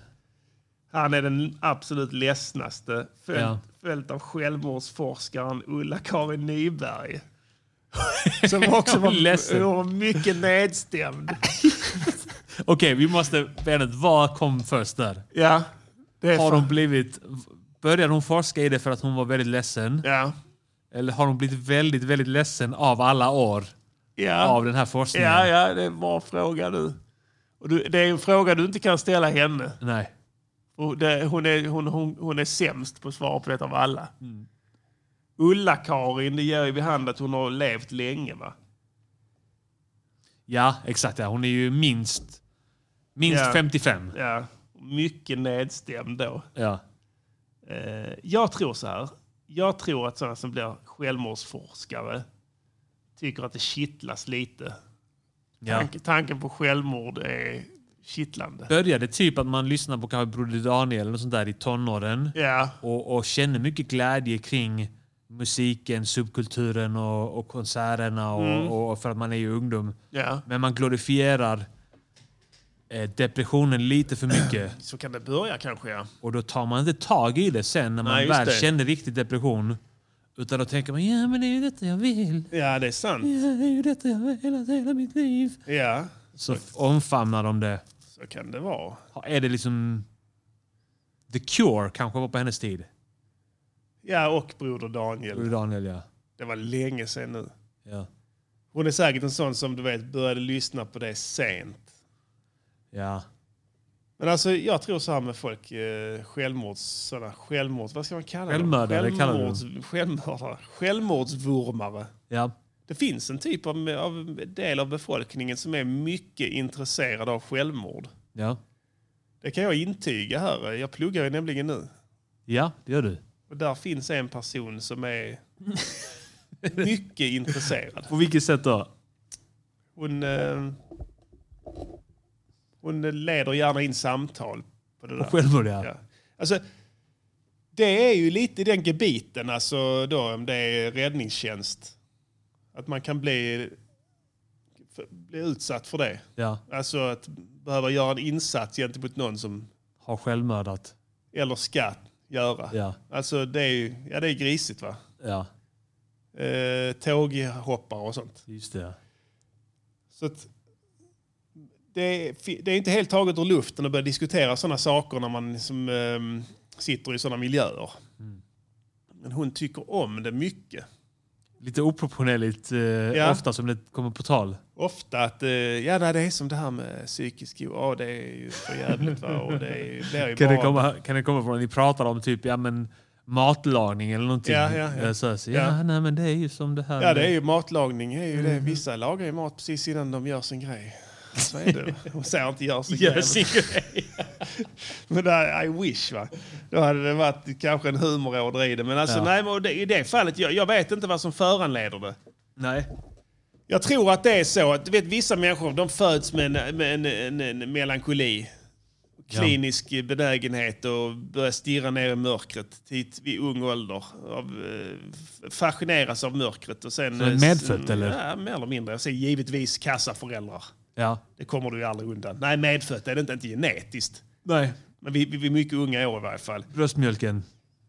Speaker 5: Han är den absolut ledsnaste. Följt,
Speaker 1: Ja.
Speaker 5: följt av självmordsforskaren Ulla-Karin Nyberg. Som också var,
Speaker 1: Ledsen.
Speaker 5: hon var mycket nedstämd.
Speaker 1: Okej, vi måste... Benet, vad kom först där?
Speaker 5: Ja, det är
Speaker 1: Har
Speaker 5: fan-
Speaker 1: hon blivit... Började hon forska i det för att hon var väldigt ledsen?
Speaker 5: Ja.
Speaker 1: Eller har hon blivit väldigt, väldigt ledsen av alla år
Speaker 5: Ja.
Speaker 1: av den här forskningen?
Speaker 5: ja, ja, det är en bra fråga du. Och du. Det är en fråga du inte kan ställa henne.
Speaker 1: Nej.
Speaker 5: Och det, hon, är, hon, hon, hon är sämst på att svara på det av alla.
Speaker 1: Mm.
Speaker 5: Ulla-Karin, det ger ju vid hand att hon har levt länge va?
Speaker 1: Ja, exakt. Ja. Hon är ju minst, minst
Speaker 5: Ja.
Speaker 1: 55.
Speaker 5: Ja. Mycket nedstämd då.
Speaker 1: Ja.
Speaker 5: Eh, jag tror så här. jag tror att sådana som blir självmordsforskare tycker att det kittlas lite.
Speaker 1: Ja.
Speaker 5: Tank, tanken på självmord är kittlande.
Speaker 1: Började typ att man lyssnade på kanske Broder Daniel eller något sånt där i tonåren.
Speaker 5: Ja,
Speaker 1: och, och känner mycket glädje kring musiken, subkulturen och, och konserterna och,
Speaker 5: Mm.
Speaker 1: och för att man är ju ungdom.
Speaker 5: ja.
Speaker 1: Men man glorifierar eh, depressionen lite för mycket
Speaker 5: Så kan det börja kanske, ja.
Speaker 1: och då tar man inte tag i det sen när man
Speaker 5: Nej, just
Speaker 1: väl
Speaker 5: det.
Speaker 1: känner riktig depression. Utan då tänker man ja men det är ju detta jag vill.
Speaker 5: Ja, det är sant.
Speaker 1: Ja, Det är ju detta jag vill hela, hela mitt liv.
Speaker 5: Ja,
Speaker 1: Så omfamnar de det.
Speaker 5: så kan det vara.
Speaker 1: Är det liksom The Cure kanske var på hennes tid?
Speaker 5: Ja, och Broder Daniel.
Speaker 1: Daniel ja.
Speaker 5: Det var länge sedan nu.
Speaker 1: Ja.
Speaker 5: Hon är säkert en sån som du vet började lyssna på det sent.
Speaker 1: ja.
Speaker 5: Men alltså jag tror så här med folk, eh, självmords, sådana självmord, vad ska man kalla dem?
Speaker 1: Självmördare kallar vi dem.
Speaker 5: Självmords, självmördare, självmordsvurmare.
Speaker 1: ja.
Speaker 5: Det finns en typ av, av del av befolkningen som är mycket intresserad av självmord.
Speaker 1: Ja,
Speaker 5: Det kan jag intyga här. Jag pluggar ju nämligen nu.
Speaker 1: ja det gör du.
Speaker 5: Och där finns en person som är mycket intresserad.
Speaker 1: På vilket sätt då?
Speaker 5: Hon, eh, hon leder gärna in samtal på det där.
Speaker 1: Självmord ja.
Speaker 5: Ja. Alltså, det är ju lite i den gebiten, alltså då om det är räddningstjänst. Att man kan bli, för- bli utsatt för det.
Speaker 1: ja.
Speaker 5: Alltså att behöva göra en insats gentemot någon som,
Speaker 1: Har självmördat.
Speaker 5: eller ska göra.
Speaker 1: Ja.
Speaker 5: Alltså det är ju, ja det är grisigt va.
Speaker 1: Ja,
Speaker 5: Eh, tåghoppare och sånt.
Speaker 1: just det. ja.
Speaker 5: Så att, det, är, fi- det är inte helt taget ur luften att börja diskutera sådana saker när man liksom, ehm, sitter i sådana miljöer.
Speaker 1: Mm.
Speaker 5: Men hon tycker om det mycket.
Speaker 1: Lite oproportionerligt eh, ofta som det kommer på tal.
Speaker 5: Ofta att eh, ja, nej, det är som det här med psykisk o- ja, det är ju för jävligt va? Och det är, blir ju
Speaker 1: Kan det,
Speaker 5: bara...
Speaker 1: komma, kan det komma från att ni pratar om typ ja, men matlagning eller någonting?
Speaker 5: Ja, ja, ja.
Speaker 1: Eh, Så, här, så, ja,
Speaker 5: Ja.
Speaker 1: nej men det är Mm. ju som det här.
Speaker 5: Ja, det är ju matlagning. Är ju det. Vissa lagar ju mat precis innan de gör sin grej. Så är det. Hon säger inte gör sin
Speaker 1: Gör
Speaker 5: grej.
Speaker 1: sin
Speaker 5: grej. men där, I wish va. Då hade det varit kanske en humoråder i det. Men alltså,
Speaker 1: Ja.
Speaker 5: nej, men det, i det fallet, jag, jag vet inte vad som föranleder det.
Speaker 1: Nej.
Speaker 5: Jag tror att det är så att du vet, vissa människor de föds med en, med en, en, en melankoli. Klinisk benägenhet och börjar stirra ner i mörkret tit- vid ung ålder. Av, eh, f- fascineras av mörkret. Och sen,
Speaker 1: Så det är medfött,
Speaker 5: sen-
Speaker 1: eller?
Speaker 5: Ja, mer eller mindre. Sen givetvis kassaföräldrar.
Speaker 1: Ja.
Speaker 5: Det kommer du ju aldrig undan. Nej, medfött är det inte, inte genetiskt.
Speaker 1: Nej.
Speaker 5: Men vi, vi, vi är mycket unga år i varje fall.
Speaker 1: Bröstmjölken.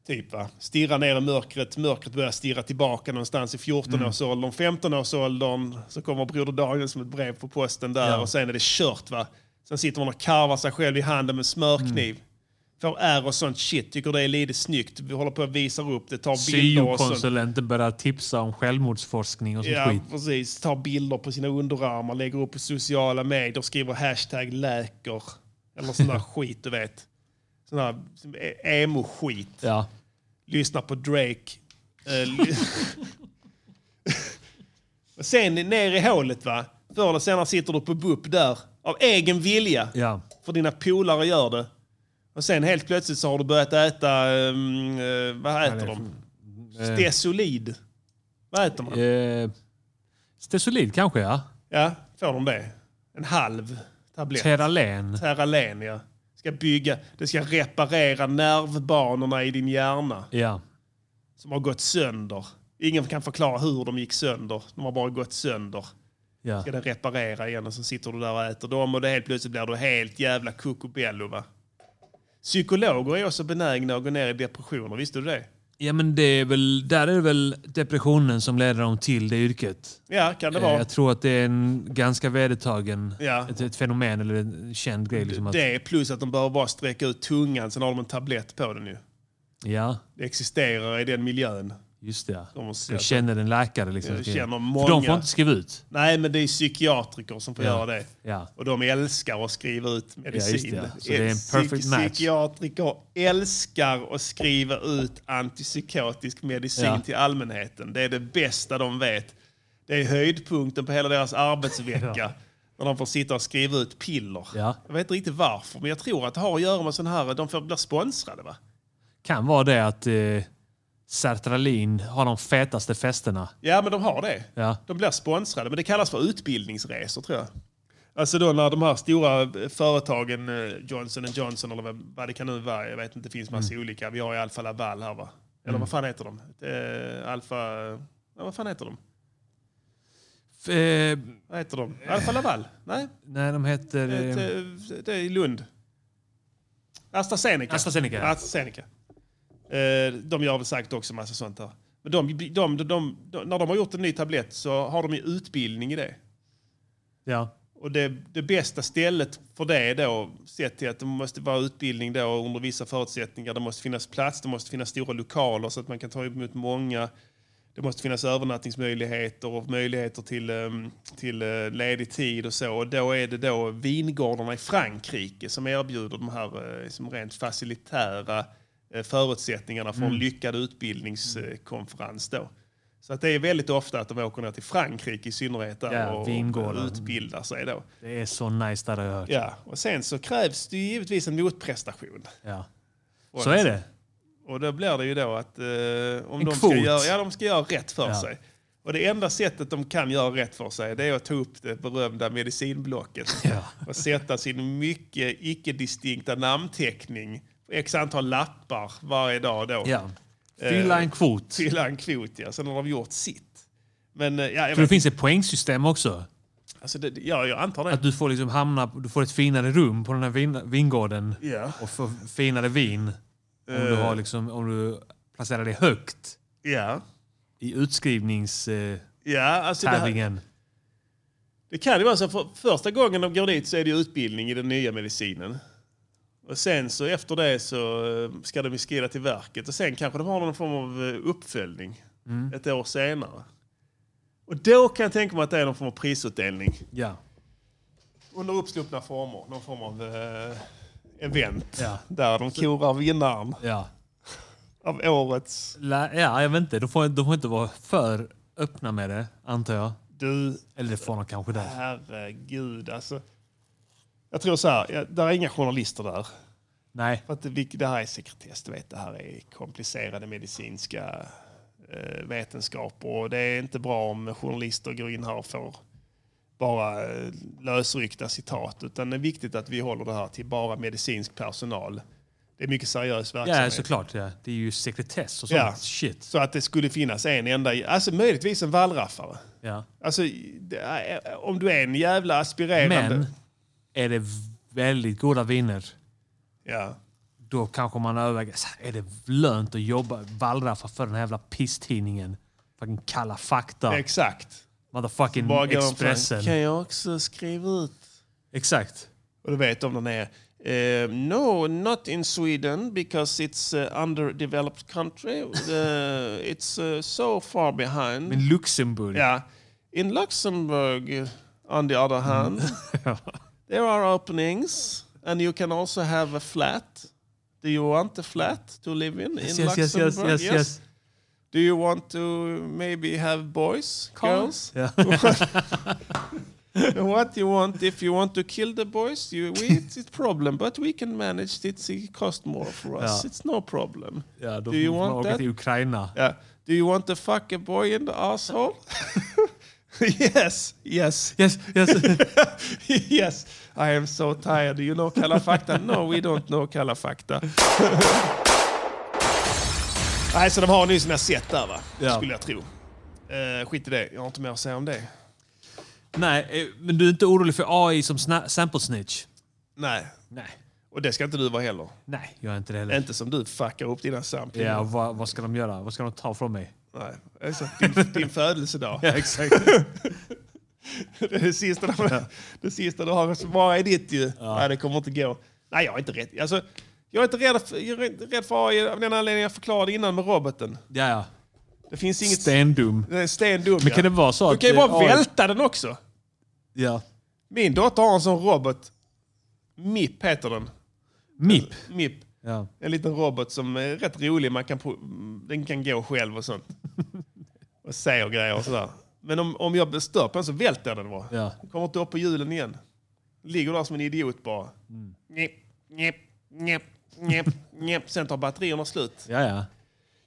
Speaker 5: Typ va? Stirra ner i mörkret, mörkret börjar stirra tillbaka någonstans i 14-årsåldern, 15-årsåldern. Så kommer Broder Daniel som ett brev på posten där
Speaker 1: Ja.
Speaker 5: och sen är det kört va. Sen sitter man och karvar sig själv i handen med smörkniv. Får ärr och sånt shit, tycker det är lite snyggt. Vi håller på och visar upp det, tar bilder och sånt.
Speaker 1: Syokonsulenten börjar tipsa om självmordsforskning och sånt
Speaker 5: Ja,
Speaker 1: skit.
Speaker 5: precis. Tar bilder på sina underarmar, lägger upp på sociala medier, skriver hashtag läker. Eller sån där skit du vet. Sån där emo-skit
Speaker 1: Ja.
Speaker 5: lyssnar på Drake. Eh, ly- Och Sen ner i hålet va. Förr eller senare sitter du på BUP där. Av egen vilja.
Speaker 1: Ja.
Speaker 5: För dina polare gör det. Och sen helt plötsligt så har du börjat äta, ehm, eh, vad
Speaker 1: det
Speaker 5: äter
Speaker 1: är
Speaker 5: de? Stesolid. Vad äter man?
Speaker 1: Eh, Stesolid kanske ja.
Speaker 5: Ja, får de det? En halv tablett.
Speaker 1: Teralen.
Speaker 5: Teralen ja. Ska bygga, det ska reparera nervbanorna i din hjärna.
Speaker 1: Ja.
Speaker 5: som har gått sönder. Ingen kan förklara hur de gick sönder. De har bara gått sönder.
Speaker 1: Ja.
Speaker 5: Ska den reparera igen och så sitter du där och äter dem och det helt plötsligt blir du helt jävla kuckobello va. Psykologer är också benägna att gå ner i depressioner, visste du det?
Speaker 1: Ja men det är väl, där är det väl depressionen som leder dem till det yrket.
Speaker 5: Ja, kan det
Speaker 1: Eh,
Speaker 5: vara.
Speaker 1: Jag tror att det är en ganska vedertagen,
Speaker 5: Ja.
Speaker 1: ett, ett fenomen eller en känd grej. Liksom att,
Speaker 5: Det är plus att de behöver bara sträcka ut tungan, sen har de en tablett på den ju.
Speaker 1: Ja,
Speaker 5: Det existerar i den miljön.
Speaker 1: just det. ja.
Speaker 5: De måste
Speaker 1: De
Speaker 5: säga.
Speaker 1: känner en läkare. Liksom.
Speaker 5: Jag känner
Speaker 1: För de
Speaker 5: många.
Speaker 1: får inte skriva ut.
Speaker 5: Nej, men det är psykiatriker som får
Speaker 1: Ja.
Speaker 5: göra det.
Speaker 1: Ja.
Speaker 5: Och de älskar att skriva ut
Speaker 1: just
Speaker 5: medicin.
Speaker 1: det, ja. Så det är en
Speaker 5: Psyk-
Speaker 1: perfect match.
Speaker 5: Psykiatriker älskar att skriva ut antipsykotisk medicin
Speaker 1: Ja.
Speaker 5: till allmänheten. Det är det bästa de vet. Det är höjdpunkten på hela deras arbetsvecka. När de får sitta och skriva ut piller.
Speaker 1: Ja.
Speaker 5: Jag vet inte riktigt varför, men jag tror att det har att göra med sån här... De får bli sponsrade, va?
Speaker 1: Kan vara det att eh, Sertralin har de fetaste festerna.
Speaker 5: Ja, men de har det.
Speaker 1: Ja.
Speaker 5: De blir sponsrade, men det kallas för utbildningsresor tror jag. Alltså då när de här stora eh, företagen, eh, Johnson Johnson eller vad- vad det kan nu vara, jag vet inte, det finns massa
Speaker 1: Mm.
Speaker 5: olika. Vi har ju Alfa Laval här va? Eller vad fan heter de? Eh, Alfa... Ja, vad fan heter de?
Speaker 1: F- eh,
Speaker 5: Vad heter de? Alfa Laval? Nej,
Speaker 1: nej, de heter...
Speaker 5: det,
Speaker 1: eh,
Speaker 5: det, det är i Lund. AstraZeneca.
Speaker 1: AstraZeneca, ja.
Speaker 5: AstraZeneca. Eh, de gör väl säkert också massa sånt där. Men de, de, de, de, de, när de har gjort en ny tablett så har de ju utbildning i det.
Speaker 1: ja.
Speaker 5: Och det, det bästa stället för det då, sett till att det måste vara utbildning då under vissa förutsättningar. Det måste finnas plats, det måste finnas stora lokaler så att man kan ta emot många. Det måste finnas övernattningsmöjligheter och möjligheter till, ehm, till eh, ledig tid och så. Och då är det då vingårdarna i Frankrike som erbjuder de här eh, som rent facilitära eh, förutsättningarna för en lyckad utbildningskonferens då. Så att det är väldigt ofta att de åker ner till Frankrike i synnerhet där
Speaker 1: Ja,
Speaker 5: och,
Speaker 1: vingårdar.
Speaker 5: och utbildar sig då.
Speaker 1: Det är så nice där har jag hört.
Speaker 5: Ja, och sen så krävs det ju givetvis en motprestation.
Speaker 1: Ja.
Speaker 5: Och
Speaker 1: Så är det.
Speaker 5: Och då blir det ju då att eh, om
Speaker 1: En
Speaker 5: de
Speaker 1: kvot.
Speaker 5: ska, göra, ja, de ska göra rätt för
Speaker 1: Ja.
Speaker 5: sig. Och det enda sättet de kan göra rätt för sig det är att ta upp det berömda medicinblocket och sätta sin mycket icke-distinkta namnteckning på x antal lappar varje dag då.
Speaker 1: Ja. Fylla en kvot.
Speaker 5: Fylla en kvot, ja. Sen har de gjort sitt. Men eh, ja, jag,
Speaker 1: För det
Speaker 5: vet,
Speaker 1: finns ett poängsystem också.
Speaker 5: alltså det, ja, jag antar det.
Speaker 1: Att du får liksom hamna, du får ett finare rum på den här vin, vingården
Speaker 5: Ja.
Speaker 1: och får finare vin om du,
Speaker 5: Eh.
Speaker 1: har liksom, om du placerar dig högt
Speaker 5: Ja,
Speaker 1: i eh, utskrivningstävlingen.
Speaker 5: ja alltså det, här, Det kan ju vara så. För första gången de går dit så är det ju utbildning i den nya medicinen. Och sen så efter det så eh, ska de ju skrida till verket. Och sen kanske de har någon form av eh, uppföljning ett år senare. Och då kan jag tänka mig att det är någon form av prisutdelning.
Speaker 1: Ja.
Speaker 5: Under uppsluppna former. Någon form av eh, event.
Speaker 1: Ja.
Speaker 5: Där de korar vinnaren
Speaker 1: Ja.
Speaker 5: av årets...
Speaker 1: La, ja, jag vet inte. De får, de får inte vara för öppna med det, antar jag.
Speaker 5: Du,
Speaker 1: Eller det får de kanske där.
Speaker 5: herregud alltså. Jag tror så här, ja, där är inga journalister där.
Speaker 1: Nej.
Speaker 5: För att det, vilk- det här är sekretess, du vet. Det här är komplicerade medicinska eh, vetenskaper. Och det är inte bra om journalister går in här och får bara eh, lösryckta citat. Utan det är viktigt att vi håller det här till bara medicinsk personal. Det är mycket seriös verksamhet.
Speaker 1: Ja, såklart. Ja. Det är ju sekretess och sånt
Speaker 5: Ja.
Speaker 1: shit.
Speaker 5: Så att det skulle finnas en enda, i- alltså möjligtvis en wallraffare.
Speaker 1: Ja.
Speaker 5: Alltså, det är- om du är en jävla aspirerande...
Speaker 1: Men är det väldigt goda viner
Speaker 5: Ja.
Speaker 1: då kanske man överväger, så här, är det lönt att jobba wallraffa för den här jävla pisstidningen? Fucking Kalla fakta,
Speaker 5: Exakt.
Speaker 1: motherfucking
Speaker 5: Bara gå och
Speaker 1: Expressen.
Speaker 5: Kan jag också skriva ut
Speaker 1: Exakt.
Speaker 5: Och då vet de den är eh, No, not in Sweden because it's uh, underdeveloped country. Eh, it's eh, so far behind.
Speaker 1: Men Luxemburg.
Speaker 5: ja. In Luxembourg, eh, on the
Speaker 1: Mm.
Speaker 5: other hand, there are openings and you can also have a flat. Do you want a flat to live in in
Speaker 1: Yes, yes, yes, yes,
Speaker 5: Luxembourg?
Speaker 1: yes, yes.
Speaker 5: Do you want to maybe have boys, girls?
Speaker 1: Ja.
Speaker 5: What you want, if you want to kill the boys, you, we, it's a problem, but we can manage it. It cost more for us.
Speaker 1: Ja.
Speaker 5: It's no problem.
Speaker 1: Ja, då
Speaker 5: Do you
Speaker 1: får man
Speaker 5: want
Speaker 1: åka
Speaker 5: that?
Speaker 1: till Ukraina.
Speaker 5: Yeah. Do you want to fuck a boy in the asshole? yes, yes,
Speaker 1: Yes, yes.
Speaker 5: yes. I am so tired. Do you know Kalla fakta? No, we don't know Kalla fakta. Nej, så de har nu sina set där va?
Speaker 1: Ja.
Speaker 5: Skulle jag tro. Eh, skit i det, jag har inte mer att säga om det.
Speaker 1: Nej, eh, men du är inte orolig för AI som sna- sample snitch?
Speaker 5: Nej,
Speaker 1: Nej.
Speaker 5: och det ska inte du vara heller.
Speaker 1: Nej, jag är inte det heller.
Speaker 5: Inte som du fuckar upp dina samplingar.
Speaker 1: Ja, vad, vad ska de göra? Vad ska de ta från mig?
Speaker 5: Nej, alltså, din, din födelsedag.
Speaker 1: exakt.
Speaker 5: Det, är det, sista de, det sista du har som bara är ditt ju. Nej, det kommer inte gå. Nej, jag är inte rädd. Alltså, jag är inte rädd för, jag är inte rädd för AI av den anledningen jag förklarade innan med roboten.
Speaker 1: Ja, ja.
Speaker 5: Det finns inget...
Speaker 1: Stendum.
Speaker 5: det är stendum,
Speaker 1: Men
Speaker 5: ja.
Speaker 1: kan det vara så
Speaker 5: Du
Speaker 1: att...
Speaker 5: kan ju
Speaker 1: eh,
Speaker 5: bara
Speaker 1: AI
Speaker 5: välta den också.
Speaker 1: Ja.
Speaker 5: Min dotter har en sån robot. MIP heter den.
Speaker 1: MIP.
Speaker 5: MIP.
Speaker 1: Ja.
Speaker 5: En liten robot som är rätt rolig. Man kan, pro- den kan gå själv och sånt. Och säger grejer och sådär. Men om, om jag stör på den så välter den bara.
Speaker 1: Ja.
Speaker 5: Den kommer inte upp på hjulen igen. Ligger där som en idiot bara.
Speaker 1: Mm.
Speaker 5: Njep, njep, njep, njep, njep. Sen tar batterierna slut.
Speaker 1: ja, ja.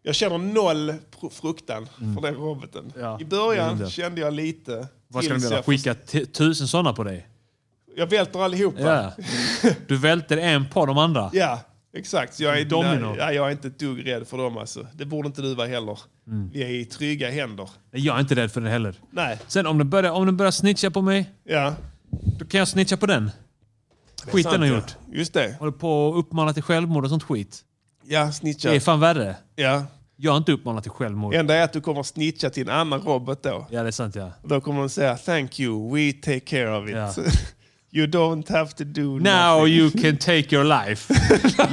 Speaker 5: Jag känner noll pro- fruktan för den roboten.
Speaker 1: Mm. Ja,
Speaker 5: I
Speaker 1: det är
Speaker 5: början
Speaker 1: det.
Speaker 5: kände jag lite...
Speaker 1: Vad ska de
Speaker 5: tills
Speaker 1: göra?
Speaker 5: jag
Speaker 1: Skicka t- tusen sådana på dig?
Speaker 5: först- Jag välter allihopa.
Speaker 1: Ja. Du välter en på de andra.
Speaker 5: Ja, exakt. Så Jag är,
Speaker 1: Domino.
Speaker 5: Nej, jag är inte ett dugg rädd för dem. Alltså. Det borde inte du vara heller.
Speaker 1: Mm.
Speaker 5: Vi är i trygga händer.
Speaker 1: Jag är inte rädd för den heller.
Speaker 5: Nej,
Speaker 1: Sen om den börjar, om den börjar snitcha på mig,
Speaker 5: ja.
Speaker 1: då kan jag snitcha på den. Skit den
Speaker 5: Sant,
Speaker 1: har
Speaker 5: ja.
Speaker 1: gjort.
Speaker 5: Just det.
Speaker 1: Håller på och uppmanar till självmord och sånt skit.
Speaker 5: Ja,
Speaker 1: Det är
Speaker 5: snitcha.
Speaker 1: fan värre.
Speaker 5: Ja.
Speaker 1: Jag har inte uppmanat till självmord.
Speaker 5: enda är att du kommer snitcha till en annan robot då.
Speaker 1: Ja, det är sant ja.
Speaker 5: Då kommer de säga “Thank you, we take care of it”.
Speaker 1: Ja.
Speaker 5: you don't have to do
Speaker 1: Now
Speaker 5: nothing.
Speaker 1: you can take your life.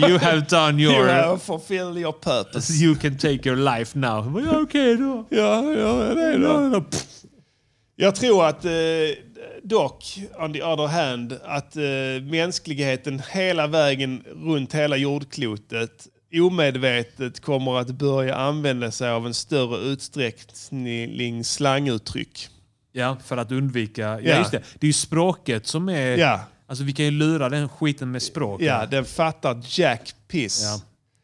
Speaker 1: You have done your...
Speaker 5: You have fulfilled your purpose.
Speaker 1: You can take your life now. Men Ja, okej då.
Speaker 5: Ja, ja, det är det. Jag tror att eh, dock, on the other hand, att eh, mänskligheten hela vägen runt hela jordklotet omedvetet kommer att börja använda sig av en större utsträckning slanguttryck.
Speaker 1: Ja, för att undvika... Ja,
Speaker 5: Ja.
Speaker 1: just det. Det är ju språket som är...
Speaker 5: Ja,
Speaker 1: Alltså vi kan ju lura den skiten med språk.
Speaker 5: ja den fattar jack piss.
Speaker 1: Ja.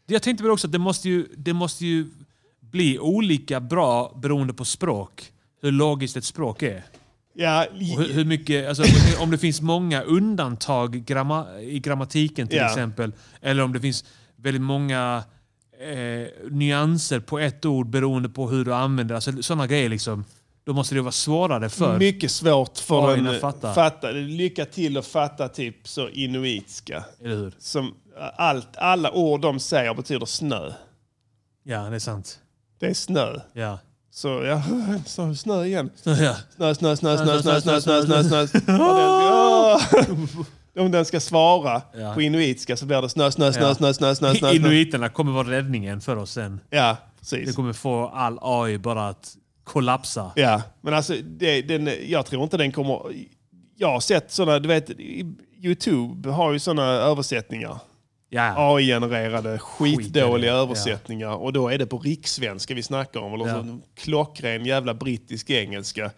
Speaker 1: Jag tänkte väl också att det måste, ju, det måste ju bli olika bra beroende på språk. Hur logiskt ett språk är.
Speaker 5: Ja,
Speaker 1: Och hur, hur mycket, alltså, om det- om det finns många undantag gramma, i grammatiken till
Speaker 5: Ja.
Speaker 1: exempel. Eller om det finns väldigt många eh, nyanser på ett ord beroende på hur du använder det. Alltså, sådana grejer liksom. Då måste det vara svårare för...
Speaker 5: mycket svårt för
Speaker 1: AI
Speaker 5: en...
Speaker 1: att fatta.
Speaker 5: fatta. Lycka till att fatta typ så inuitska.
Speaker 1: Eller hur?
Speaker 5: Som allt, alla ord de säger betyder snö.
Speaker 1: Ja, det är sant.
Speaker 5: Det är snö.
Speaker 1: Ja.
Speaker 5: Så ja, så snö igen.
Speaker 1: ja.
Speaker 5: Snö, snö, snö, snö, snö, snö, snö, snö, snö. Och den- ja. Om den ska svara
Speaker 1: Ja.
Speaker 5: på inuitska så blir det snö, snö, snö,
Speaker 1: Ja.
Speaker 5: snö, snö, snö, snö, snö.
Speaker 1: Inuiterna kommer vara räddningen för oss sen.
Speaker 5: Ja,
Speaker 1: Det
Speaker 5: precis.
Speaker 1: kommer få all AI bara att kollapsa.
Speaker 5: Ja, men alltså det, den, jag tror inte den kommer... Jag har sett sådana, du vet, i- Youtube har ju sådana översättningar.
Speaker 1: Ja.
Speaker 5: AI-genererade skitdåliga
Speaker 1: ja.
Speaker 5: översättningar och då är det på rikssvenska vi snackar om. Eller
Speaker 1: Ja.
Speaker 5: så klockren jävla brittisk engelska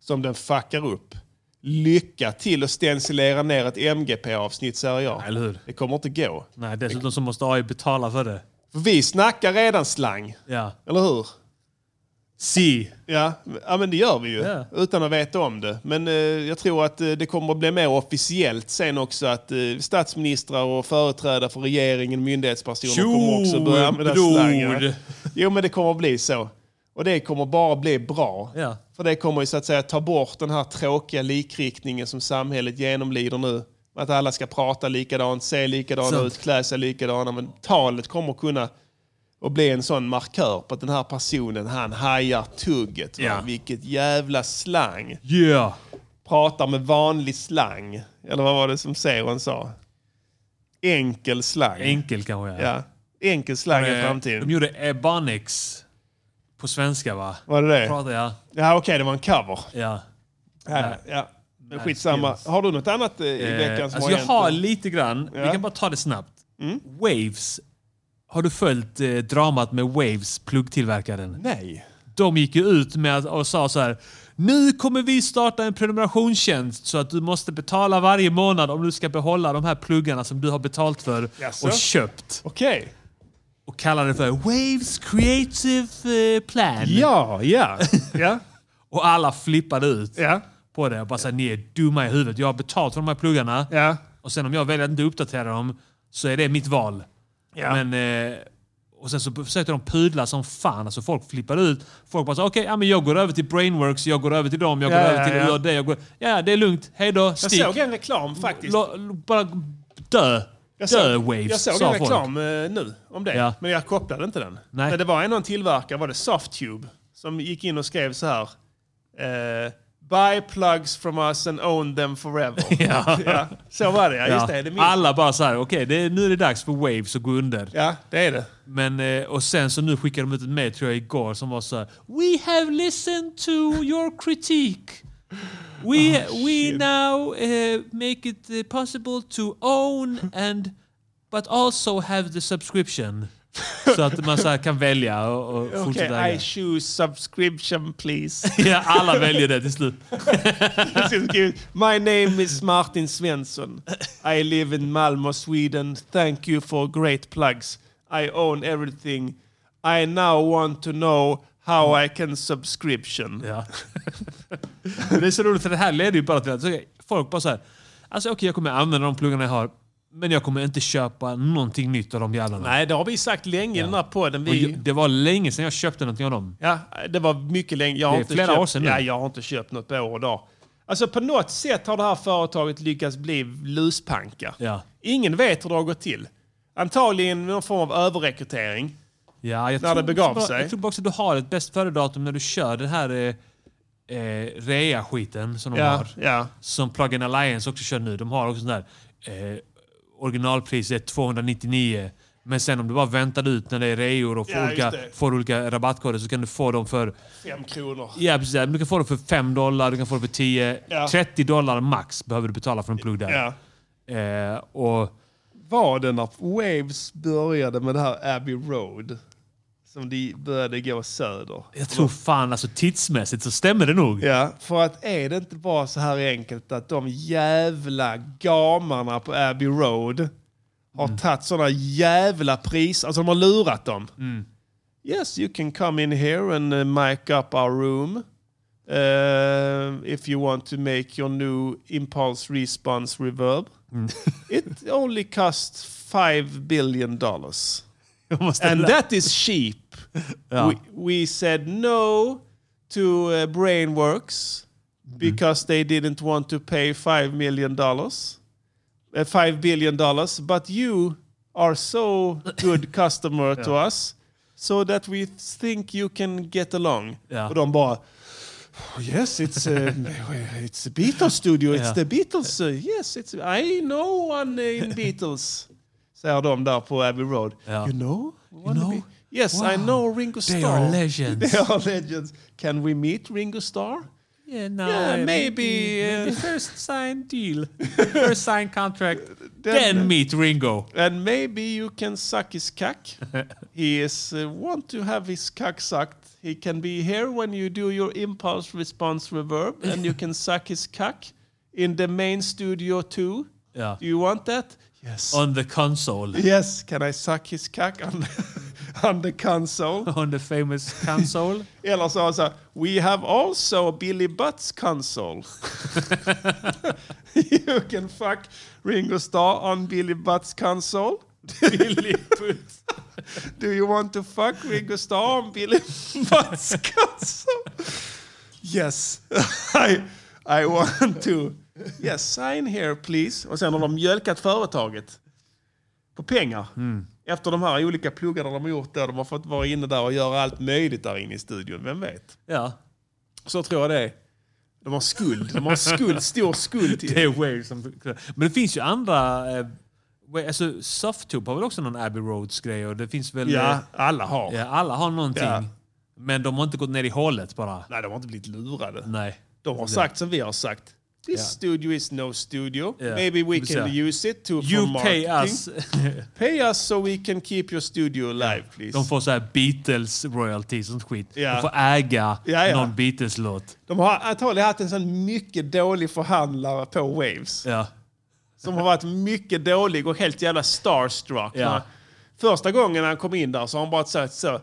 Speaker 5: som den fuckar upp. Lycka till att stencilera ner ett MGP-avsnitt säger jag.
Speaker 1: Eller hur?
Speaker 5: Det kommer inte gå.
Speaker 1: Nej, dessutom så måste AI betala för det.
Speaker 5: För vi snackar redan slang,
Speaker 1: Ja.
Speaker 5: eller hur?
Speaker 1: Si.
Speaker 5: Ja, ja men det gör vi ju.
Speaker 1: Ja.
Speaker 5: Utan att veta om det. Men eh, jag tror att eh, det kommer att bli mer officiellt sen också att eh, statsministrar och företrädare för regeringen, myndighetspersoner kommer också börja använda
Speaker 1: Tjoblod.
Speaker 5: slang. ja. Jo men det kommer att bli så. Och det kommer bara bli bra.
Speaker 1: Ja.
Speaker 5: För det kommer ju så att säga ta bort den här tråkiga likriktningen som samhället genomlider nu. Att alla ska prata likadant, se likadant
Speaker 1: Sant.
Speaker 5: ut, klä sig likadana. Men talet kommer att kunna och bli en sån markör på att den här personen, han hajar tugget. va?
Speaker 1: Ja.
Speaker 5: Vilket jävla slang.
Speaker 1: Yeah.
Speaker 5: Pratar med vanlig slang. Eller vad var det som Seron sa? Enkel slang.
Speaker 1: Enkel kanske.
Speaker 5: ja. Enkel slang i
Speaker 1: Eh, De
Speaker 5: framtiden.
Speaker 1: gjorde Ebonics på svenska va?
Speaker 5: Var det det?
Speaker 1: Pratar jag?
Speaker 5: Ja, okej, det var en cover.
Speaker 1: Ja.
Speaker 5: Ja, ja. Men skitsamma.
Speaker 1: skills.
Speaker 5: Har du något annat eh, i
Speaker 1: Eh,
Speaker 5: veckan som
Speaker 1: alltså jag
Speaker 5: hänt?
Speaker 1: har lite grann. Vi
Speaker 5: Ja. Mm.
Speaker 1: kan bara ta det snabbt. Waves. Har du följt eh, dramat med Waves, pluggtillverkaren?
Speaker 5: Nej.
Speaker 1: de gick ju ut med att, och sa så här. Nu kommer vi starta en prenumerationstjänst så att du måste betala varje månad om du ska behålla de här pluggarna som du har betalt för
Speaker 5: Jaså?
Speaker 1: och köpt.
Speaker 5: Okej.
Speaker 1: Och kallar det för Waves Creative eh, Plan.
Speaker 5: Ja, ja. ja.
Speaker 1: Och alla flippade ut
Speaker 5: Ja.
Speaker 1: på det och bara såhär, ni är dumma i huvudet. Jag har betalt för de här pluggarna
Speaker 5: Ja.
Speaker 1: och sen om jag väljer att inte uppdatera dem så är det mitt val.
Speaker 5: Ja.
Speaker 1: Men, eh, och sen så försökte de pudla som fan. Alltså folk flippade ut. Folk bara så, okej, ja, men jag går över till Brainworks, jag går över till dem, jag går
Speaker 5: Ja,
Speaker 1: över
Speaker 5: ja,
Speaker 1: till
Speaker 5: ja.
Speaker 1: ja. det, jag går... Ja, det är lugnt. Hej då,
Speaker 5: Jag
Speaker 1: stick.
Speaker 5: såg en reklam faktiskt.
Speaker 1: Lo- lo- bara dö.
Speaker 5: Jag
Speaker 1: dö
Speaker 5: såg,
Speaker 1: Waves,
Speaker 5: jag såg
Speaker 1: sa
Speaker 5: en
Speaker 1: folk.
Speaker 5: reklam eh, nu om det,
Speaker 1: Ja.
Speaker 5: men jag kopplade inte den.
Speaker 1: Nej.
Speaker 5: Men det var en av en tillverkare, var det Softtube, som gick in och skrev så här. Eh, Buy plugs from us and own them forever.
Speaker 1: Ja.
Speaker 5: Ja, så var det, ja.
Speaker 1: Ja.
Speaker 5: Just det, det är min.
Speaker 1: Alla bara såhär, okej, det är- nu är det dags för Waves att gå under.
Speaker 5: Ja, det är det.
Speaker 1: Men, eh, och sen så nu skickade de ut ett mejl tror jag igår som var så här. We have listened to your critique. We,
Speaker 5: Oh,
Speaker 1: we now eh, make it eh, possible to own and but also have the subscription. så att man så här kan välja och, och
Speaker 5: Okej,
Speaker 1: fortsätta äga.
Speaker 5: I choose subscription please.
Speaker 1: Ja, alla väljer det till slut.
Speaker 5: Det skulle skriva, My name is Martin Svensson. I live in Malmö, Sweden. Thank you for great plugs. I own everything. I now want to know how I can subscription.
Speaker 1: Ja. det är så roligt för det här leder ju bara till att så, folk bara såhär. Alltså okej, jag kommer använda de pluggarna jag har. Men jag kommer inte köpa någonting nytt av de jävlarna.
Speaker 5: Nej, det har vi sagt länge i den här podden.
Speaker 1: Och
Speaker 5: Vi,
Speaker 1: jag, det var länge sedan jag köpte någonting av dem.
Speaker 5: Ja, det var mycket länge. Jag har
Speaker 1: Det är
Speaker 5: inte
Speaker 1: flera
Speaker 5: köpt,
Speaker 1: år sedan nu.
Speaker 5: Ja, jag har inte köpt något på år och dag. Alltså på något sätt har det här företaget lyckats bli luspanka.
Speaker 1: Ja.
Speaker 5: Ingen vet hur det har gått till. Antagligen någon form av överrekrytering.
Speaker 1: Ja, jag
Speaker 5: När
Speaker 1: tror
Speaker 5: det begav
Speaker 1: också bara,
Speaker 5: sig.
Speaker 1: Jag tror bara också att du har ett bäst före-datum när du kör den här eh, eh, rea-skiten som de
Speaker 5: Ja,
Speaker 1: har.
Speaker 5: ja.
Speaker 1: Som Plug-in Alliance också kör nu. De har också sån där eh, originalpris är 299. Men sen om du bara väntar ut när det är reor och får,
Speaker 5: Ja, just
Speaker 1: olika,
Speaker 5: det.
Speaker 1: får olika rabattkoder så kan du få dem för
Speaker 5: Fem kronor.
Speaker 1: ja, precis, du kan få dem för 5 dollar, du kan få dem för 10.
Speaker 5: Ja.
Speaker 1: 30 dollar max behöver du betala för en plugg där.
Speaker 5: Ja.
Speaker 1: Eh, och
Speaker 5: Var det när Waves började med det här Abbey Road? Som de började gå söder.
Speaker 1: jag tror fan alltså tidsmässigt så stämmer det nog.
Speaker 5: Ja, för att är det inte bara så här enkelt att de jävla gamarna på Abbey Road har tagit sådana jävla priser, alltså de har lurat dem. Yes, you can come in here and uh, mic up our room. Uh, if you want to make your new impulse response reverb. It only costs five billion dollars.
Speaker 1: Jag måste
Speaker 5: And
Speaker 1: lä-
Speaker 5: that is cheap. We, we said no to uh, Brainworks because they didn't want to pay five million dollars, uh, five billion dollars. But you are so good customer to us, so that we think you can get along.
Speaker 1: Ja.
Speaker 5: Och de bara. "Oh, Yes, it's a, it's a Beatles studio. It's
Speaker 1: Ja.
Speaker 5: the Beatles. Uh, yes, it's I know one in Beatles. Säger de där på Abbey Road.
Speaker 1: Ja.
Speaker 5: You know? You
Speaker 1: know?
Speaker 5: Yes, I know Ringo Starr.
Speaker 1: They are legends.
Speaker 5: They are legends. Can we meet Ringo Starr?
Speaker 1: Yeah, no,
Speaker 5: Yeah,
Speaker 1: uh,
Speaker 5: maybe, uh,
Speaker 1: maybe first sign deal, first sign contract, then, meet Ringo.
Speaker 5: And maybe you can suck his cock. he is uh, want to have his cock sucked. He can be here when you do your impulse response reverb, and you can suck his cock in the main studio too.
Speaker 1: Yeah.
Speaker 5: Do you want that? Yes.
Speaker 1: On the console,
Speaker 5: yes. Can I suck his cock on on the console?
Speaker 1: on the famous console.
Speaker 5: Eller så har han så här, We have also Billy Butts console. you can fuck Ringo Starr on Billy Butts console. Billy Butts. Do you want to fuck Ringo Starr on Billy Butts console? Yes, I, I want to. Yes, sign here please. Och sen har de mjölkat företaget på pengar. Efter de här olika pluggarna de har gjort där. De har fått vara inne där och göra allt möjligt där inne i studion. Vem vet?
Speaker 1: ja,
Speaker 5: Så tror jag det är. De har skuld. De har skuld. Stor skuld. Till.
Speaker 1: det är Wave som... Men det finns ju andra... Eh, wa- alltså, Softtube har väl också någon Abbey Roads-grej och det finns väl... eh,
Speaker 5: Ja, alla har.
Speaker 1: ja, alla har någonting.
Speaker 5: Ja.
Speaker 1: Men de har inte gått ner i hålet bara.
Speaker 5: Nej, de har inte blivit lurade.
Speaker 1: Nej.
Speaker 5: De har sagt som vi har sagt. This
Speaker 1: Ja.
Speaker 5: studio is no studio.
Speaker 1: Ja.
Speaker 5: Maybe we
Speaker 1: Precis.
Speaker 5: can use it to for
Speaker 1: You pay
Speaker 5: marketing.
Speaker 1: us.
Speaker 5: Pay us so we can keep your studio alive please.
Speaker 1: De får så här Beatles royalties och sånt skit.
Speaker 5: Ja.
Speaker 1: De får äga
Speaker 5: Ja, ja.
Speaker 1: någon Beatles-låt.
Speaker 5: De har antagligen haft en sån mycket dålig förhandlare på Waves.
Speaker 1: Ja.
Speaker 5: Som har varit mycket dålig och helt jävla starstruck.
Speaker 1: Ja.
Speaker 5: När- Första gången han kom in där så har han bara sagt så.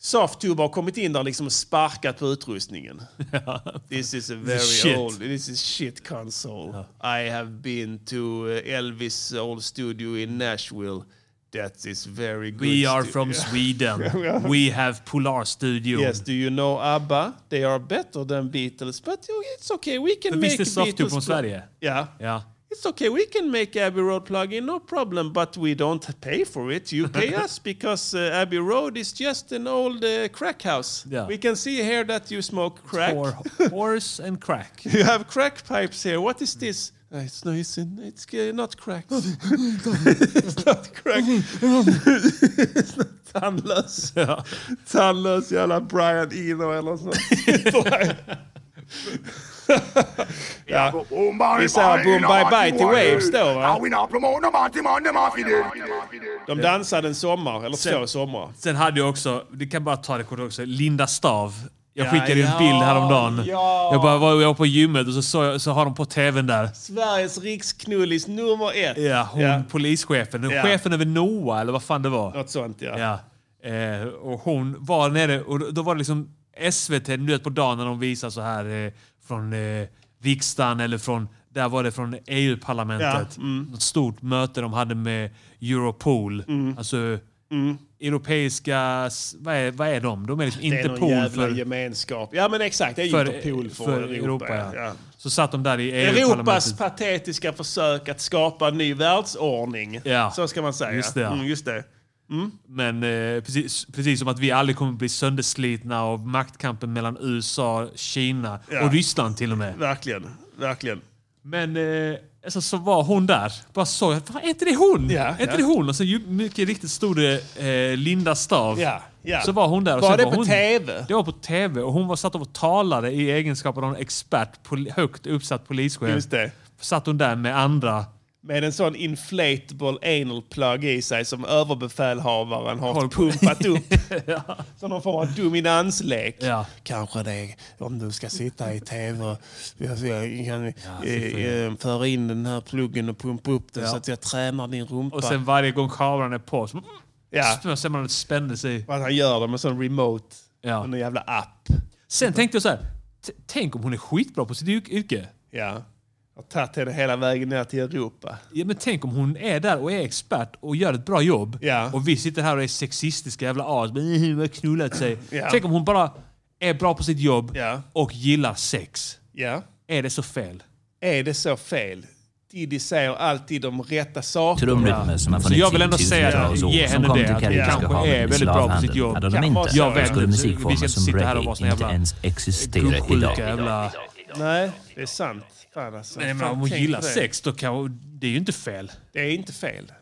Speaker 5: Softtube har kommit in där liksom och sparkat på utrustningen. This is a very
Speaker 1: shit.
Speaker 5: old, this is shit console. I have been to uh, Elvis old studio in Nashville. That is very good.
Speaker 1: We are
Speaker 5: stu-
Speaker 1: from Sweden. We have Polar Studio.
Speaker 5: Yes, do you know ABBA? They are better than Beatles, but you- it's okay, we can
Speaker 1: Men
Speaker 5: make
Speaker 1: visst är Softtube
Speaker 5: Beatles
Speaker 1: från
Speaker 5: pl-
Speaker 1: Sverige?
Speaker 5: Ja.
Speaker 1: Ja.
Speaker 5: It's okay, we can make Abbey Road plugin, no problem, but we don't pay for it. You pay us because uh, Abbey Road is just an old uh, crack house.
Speaker 1: Yeah.
Speaker 5: We can see here that you smoke crack.
Speaker 1: Or horse and crack.
Speaker 5: You have crack pipes here. What is this? Uh, it's no, it's, in- it's uh, not crack. it's not crack. it's not tandlös. Tandlös jävla Brian Eno eller så. ja. Vi säger boom bye bye till Waves då va? De dansade en sommar, eller två sommar.
Speaker 1: Sen hade jag också, det kan bara ta det kort också, Linda Stav. Jag
Speaker 5: Ja,
Speaker 1: skickade ju
Speaker 5: ja,
Speaker 1: en bild häromdagen.
Speaker 5: ja.
Speaker 1: Jag, bara, var, jag var på gymmet och så, såg jag- så har de på tvn där.
Speaker 5: Sveriges riksknullis nummer ett.
Speaker 1: Ja, hon
Speaker 5: Ja.
Speaker 1: polischefen.
Speaker 5: Ja.
Speaker 1: Chefen över NOA eller vad fan det var.
Speaker 5: Något sånt ja.
Speaker 1: Ja. Eh, och hon var nere och då- då var det liksom SVT, du vet på dagen när de visar så här eh, från eh, riksdagen eller från, där var det från EU-parlamentet.
Speaker 5: Ja, mm.
Speaker 1: Något stort möte de hade med Europol.
Speaker 5: Mm.
Speaker 1: Alltså europeiska, s- vad är, vad är de? De är liksom
Speaker 5: Det är någon
Speaker 1: Interpol
Speaker 5: jävla
Speaker 1: för,
Speaker 5: gemenskap. Ja men exakt, det är
Speaker 1: för,
Speaker 5: Interpol för, Europa. ja. Ja.
Speaker 1: Så satt de där i E EU-parlamentet.
Speaker 5: Europas patetiska försök att skapa en ny världsordning.
Speaker 1: Ja.
Speaker 5: Så ska man säga.
Speaker 1: Just det, ja.
Speaker 5: Mm, just det.
Speaker 1: Men eh, precis, precis som att vi aldrig kommer bli sönderslitna av maktkampen mellan USA, Kina
Speaker 5: Ja.
Speaker 1: och Ryssland till och med.
Speaker 5: Verkligen. Verkligen.
Speaker 1: Men eh, alltså, så var hon där. Bara såg jag, fan är inte det hon?
Speaker 5: Ja,
Speaker 1: är inte
Speaker 5: ja.
Speaker 1: det hon? Och så ju, mycket riktigt stod det eh, Linda Stav.
Speaker 5: Ja, ja.
Speaker 1: Så var hon där. Och
Speaker 5: Var
Speaker 1: sen
Speaker 5: det på
Speaker 1: hon,
Speaker 5: TV?
Speaker 1: Det var på TV. Och hon var satt och talade i egenskap av någon expert, poli, högt uppsatt polischef.
Speaker 5: Just det.
Speaker 1: Satt hon där med andra
Speaker 5: Med en sån inflatable anal plug i sig som överbefälhavaren har
Speaker 1: Håll på.
Speaker 5: pumpat upp. Som någon form av dominanslek.
Speaker 1: Ja.
Speaker 5: Kanske det, om du ska sitta i tv, jag, jag kan eh, eh, föra in den här pluggen och pumpa upp den
Speaker 1: Ja.
Speaker 5: så att jag tränar din rumpa.
Speaker 1: och sen varje gång kameran är på så
Speaker 5: ja.
Speaker 1: ja. ser man att det spänner sig.
Speaker 5: Och att han gör det med sån remote.
Speaker 1: Ja.
Speaker 5: Och en jävla app.
Speaker 1: Sen tänkte jag så här. t- Tänk om hon är skitbra på sitt yr- yrke.
Speaker 5: Ja. Jag har tagit henne hela vägen ner till Europa.
Speaker 1: Ja, men tänk om hon är där och är expert och gör ett bra jobb.
Speaker 5: Ja.
Speaker 1: Och vi sitter här och är sexistiska jävla as. Men "Eh, hon har knullat sig.
Speaker 5: Ja.
Speaker 1: Tänk om hon bara är bra på sitt jobb
Speaker 5: Ja.
Speaker 1: och gillar sex.
Speaker 5: Ja.
Speaker 1: Är det så fel?
Speaker 5: Är det så fel? Diddy säger alltid de rätta sakerna.
Speaker 8: Trumrytmer som har
Speaker 1: Så
Speaker 8: funnits
Speaker 1: jag vill ändå
Speaker 8: i
Speaker 1: säga
Speaker 8: tusentals
Speaker 1: det.
Speaker 8: år,
Speaker 1: Ge
Speaker 8: som
Speaker 1: henne
Speaker 8: kom
Speaker 1: det,
Speaker 8: till
Speaker 1: att
Speaker 8: Karibiska
Speaker 1: kanske
Speaker 8: havet
Speaker 1: är
Speaker 8: med
Speaker 1: väldigt bra på sitt
Speaker 8: slavhandel.
Speaker 1: jobb.
Speaker 8: Hade de
Speaker 5: Kanske
Speaker 8: inte,
Speaker 5: var så. Jag
Speaker 8: då
Speaker 5: vet
Speaker 8: skulle
Speaker 1: inte. Vi
Speaker 8: musikformer
Speaker 1: ska
Speaker 8: som
Speaker 1: inte sitta här och
Speaker 8: break
Speaker 1: vara
Speaker 8: inte
Speaker 1: såna jävla
Speaker 8: ens existera
Speaker 1: Gubbsjuka
Speaker 8: idag.
Speaker 1: jävla...
Speaker 5: Nej, det är sant. Fan alltså.
Speaker 1: Nej, men
Speaker 5: Fan,
Speaker 1: om hon
Speaker 5: tänk
Speaker 1: gillar
Speaker 5: på det.
Speaker 1: sex, då kan hon... Det är ju inte fel.
Speaker 5: Det är inte fel.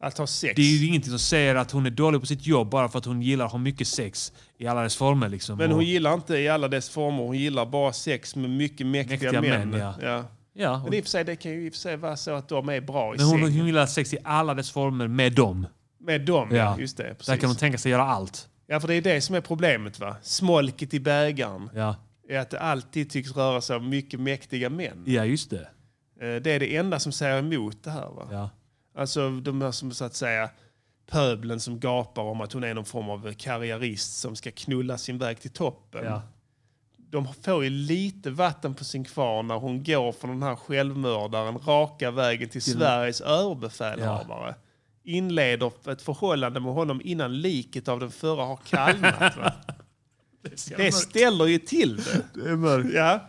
Speaker 5: Att ha sex.
Speaker 1: Det är ju ingenting som säger att hon är dålig på sitt jobb bara för att hon gillar att ha mycket sex i alla dess former. Liksom.
Speaker 5: Men hon
Speaker 1: Och-
Speaker 5: gillar inte i alla dess former. Hon gillar bara sex med mycket mäktiga,
Speaker 1: Mäktiga
Speaker 5: män.
Speaker 1: män, ja. ja,
Speaker 5: Men i och för sig, det kan ju i och för sig vara så att de är bra i
Speaker 1: Men hon,
Speaker 5: säng.
Speaker 1: hon gillar sex i alla dess former med dem.
Speaker 5: Med dem, ja.
Speaker 1: Ja.
Speaker 5: Just det,
Speaker 1: Där
Speaker 5: precis.
Speaker 1: kan hon tänka sig göra allt.
Speaker 5: Ja, för det är det som är problemet va? Smolket i bägaren
Speaker 1: Ja,
Speaker 5: är att det alltid tycks röra sig om mycket mäktiga män.
Speaker 1: ja just det.
Speaker 5: Eh, Det är det enda som säger emot det här va?
Speaker 1: Ja.
Speaker 5: Alltså de här som så att säga pöblen som gapar om att hon är någon form av karriärist som ska knulla sin väg till toppen.
Speaker 1: Ja.
Speaker 5: De får ju lite vatten på sin kvarn när hon går från den här självmördaren raka vägen till Sveriges överbefälhavare. Inleder ett förhållande med honom innan liket av den förra har kallnat. Va? det ställer ju till det. Det, ja.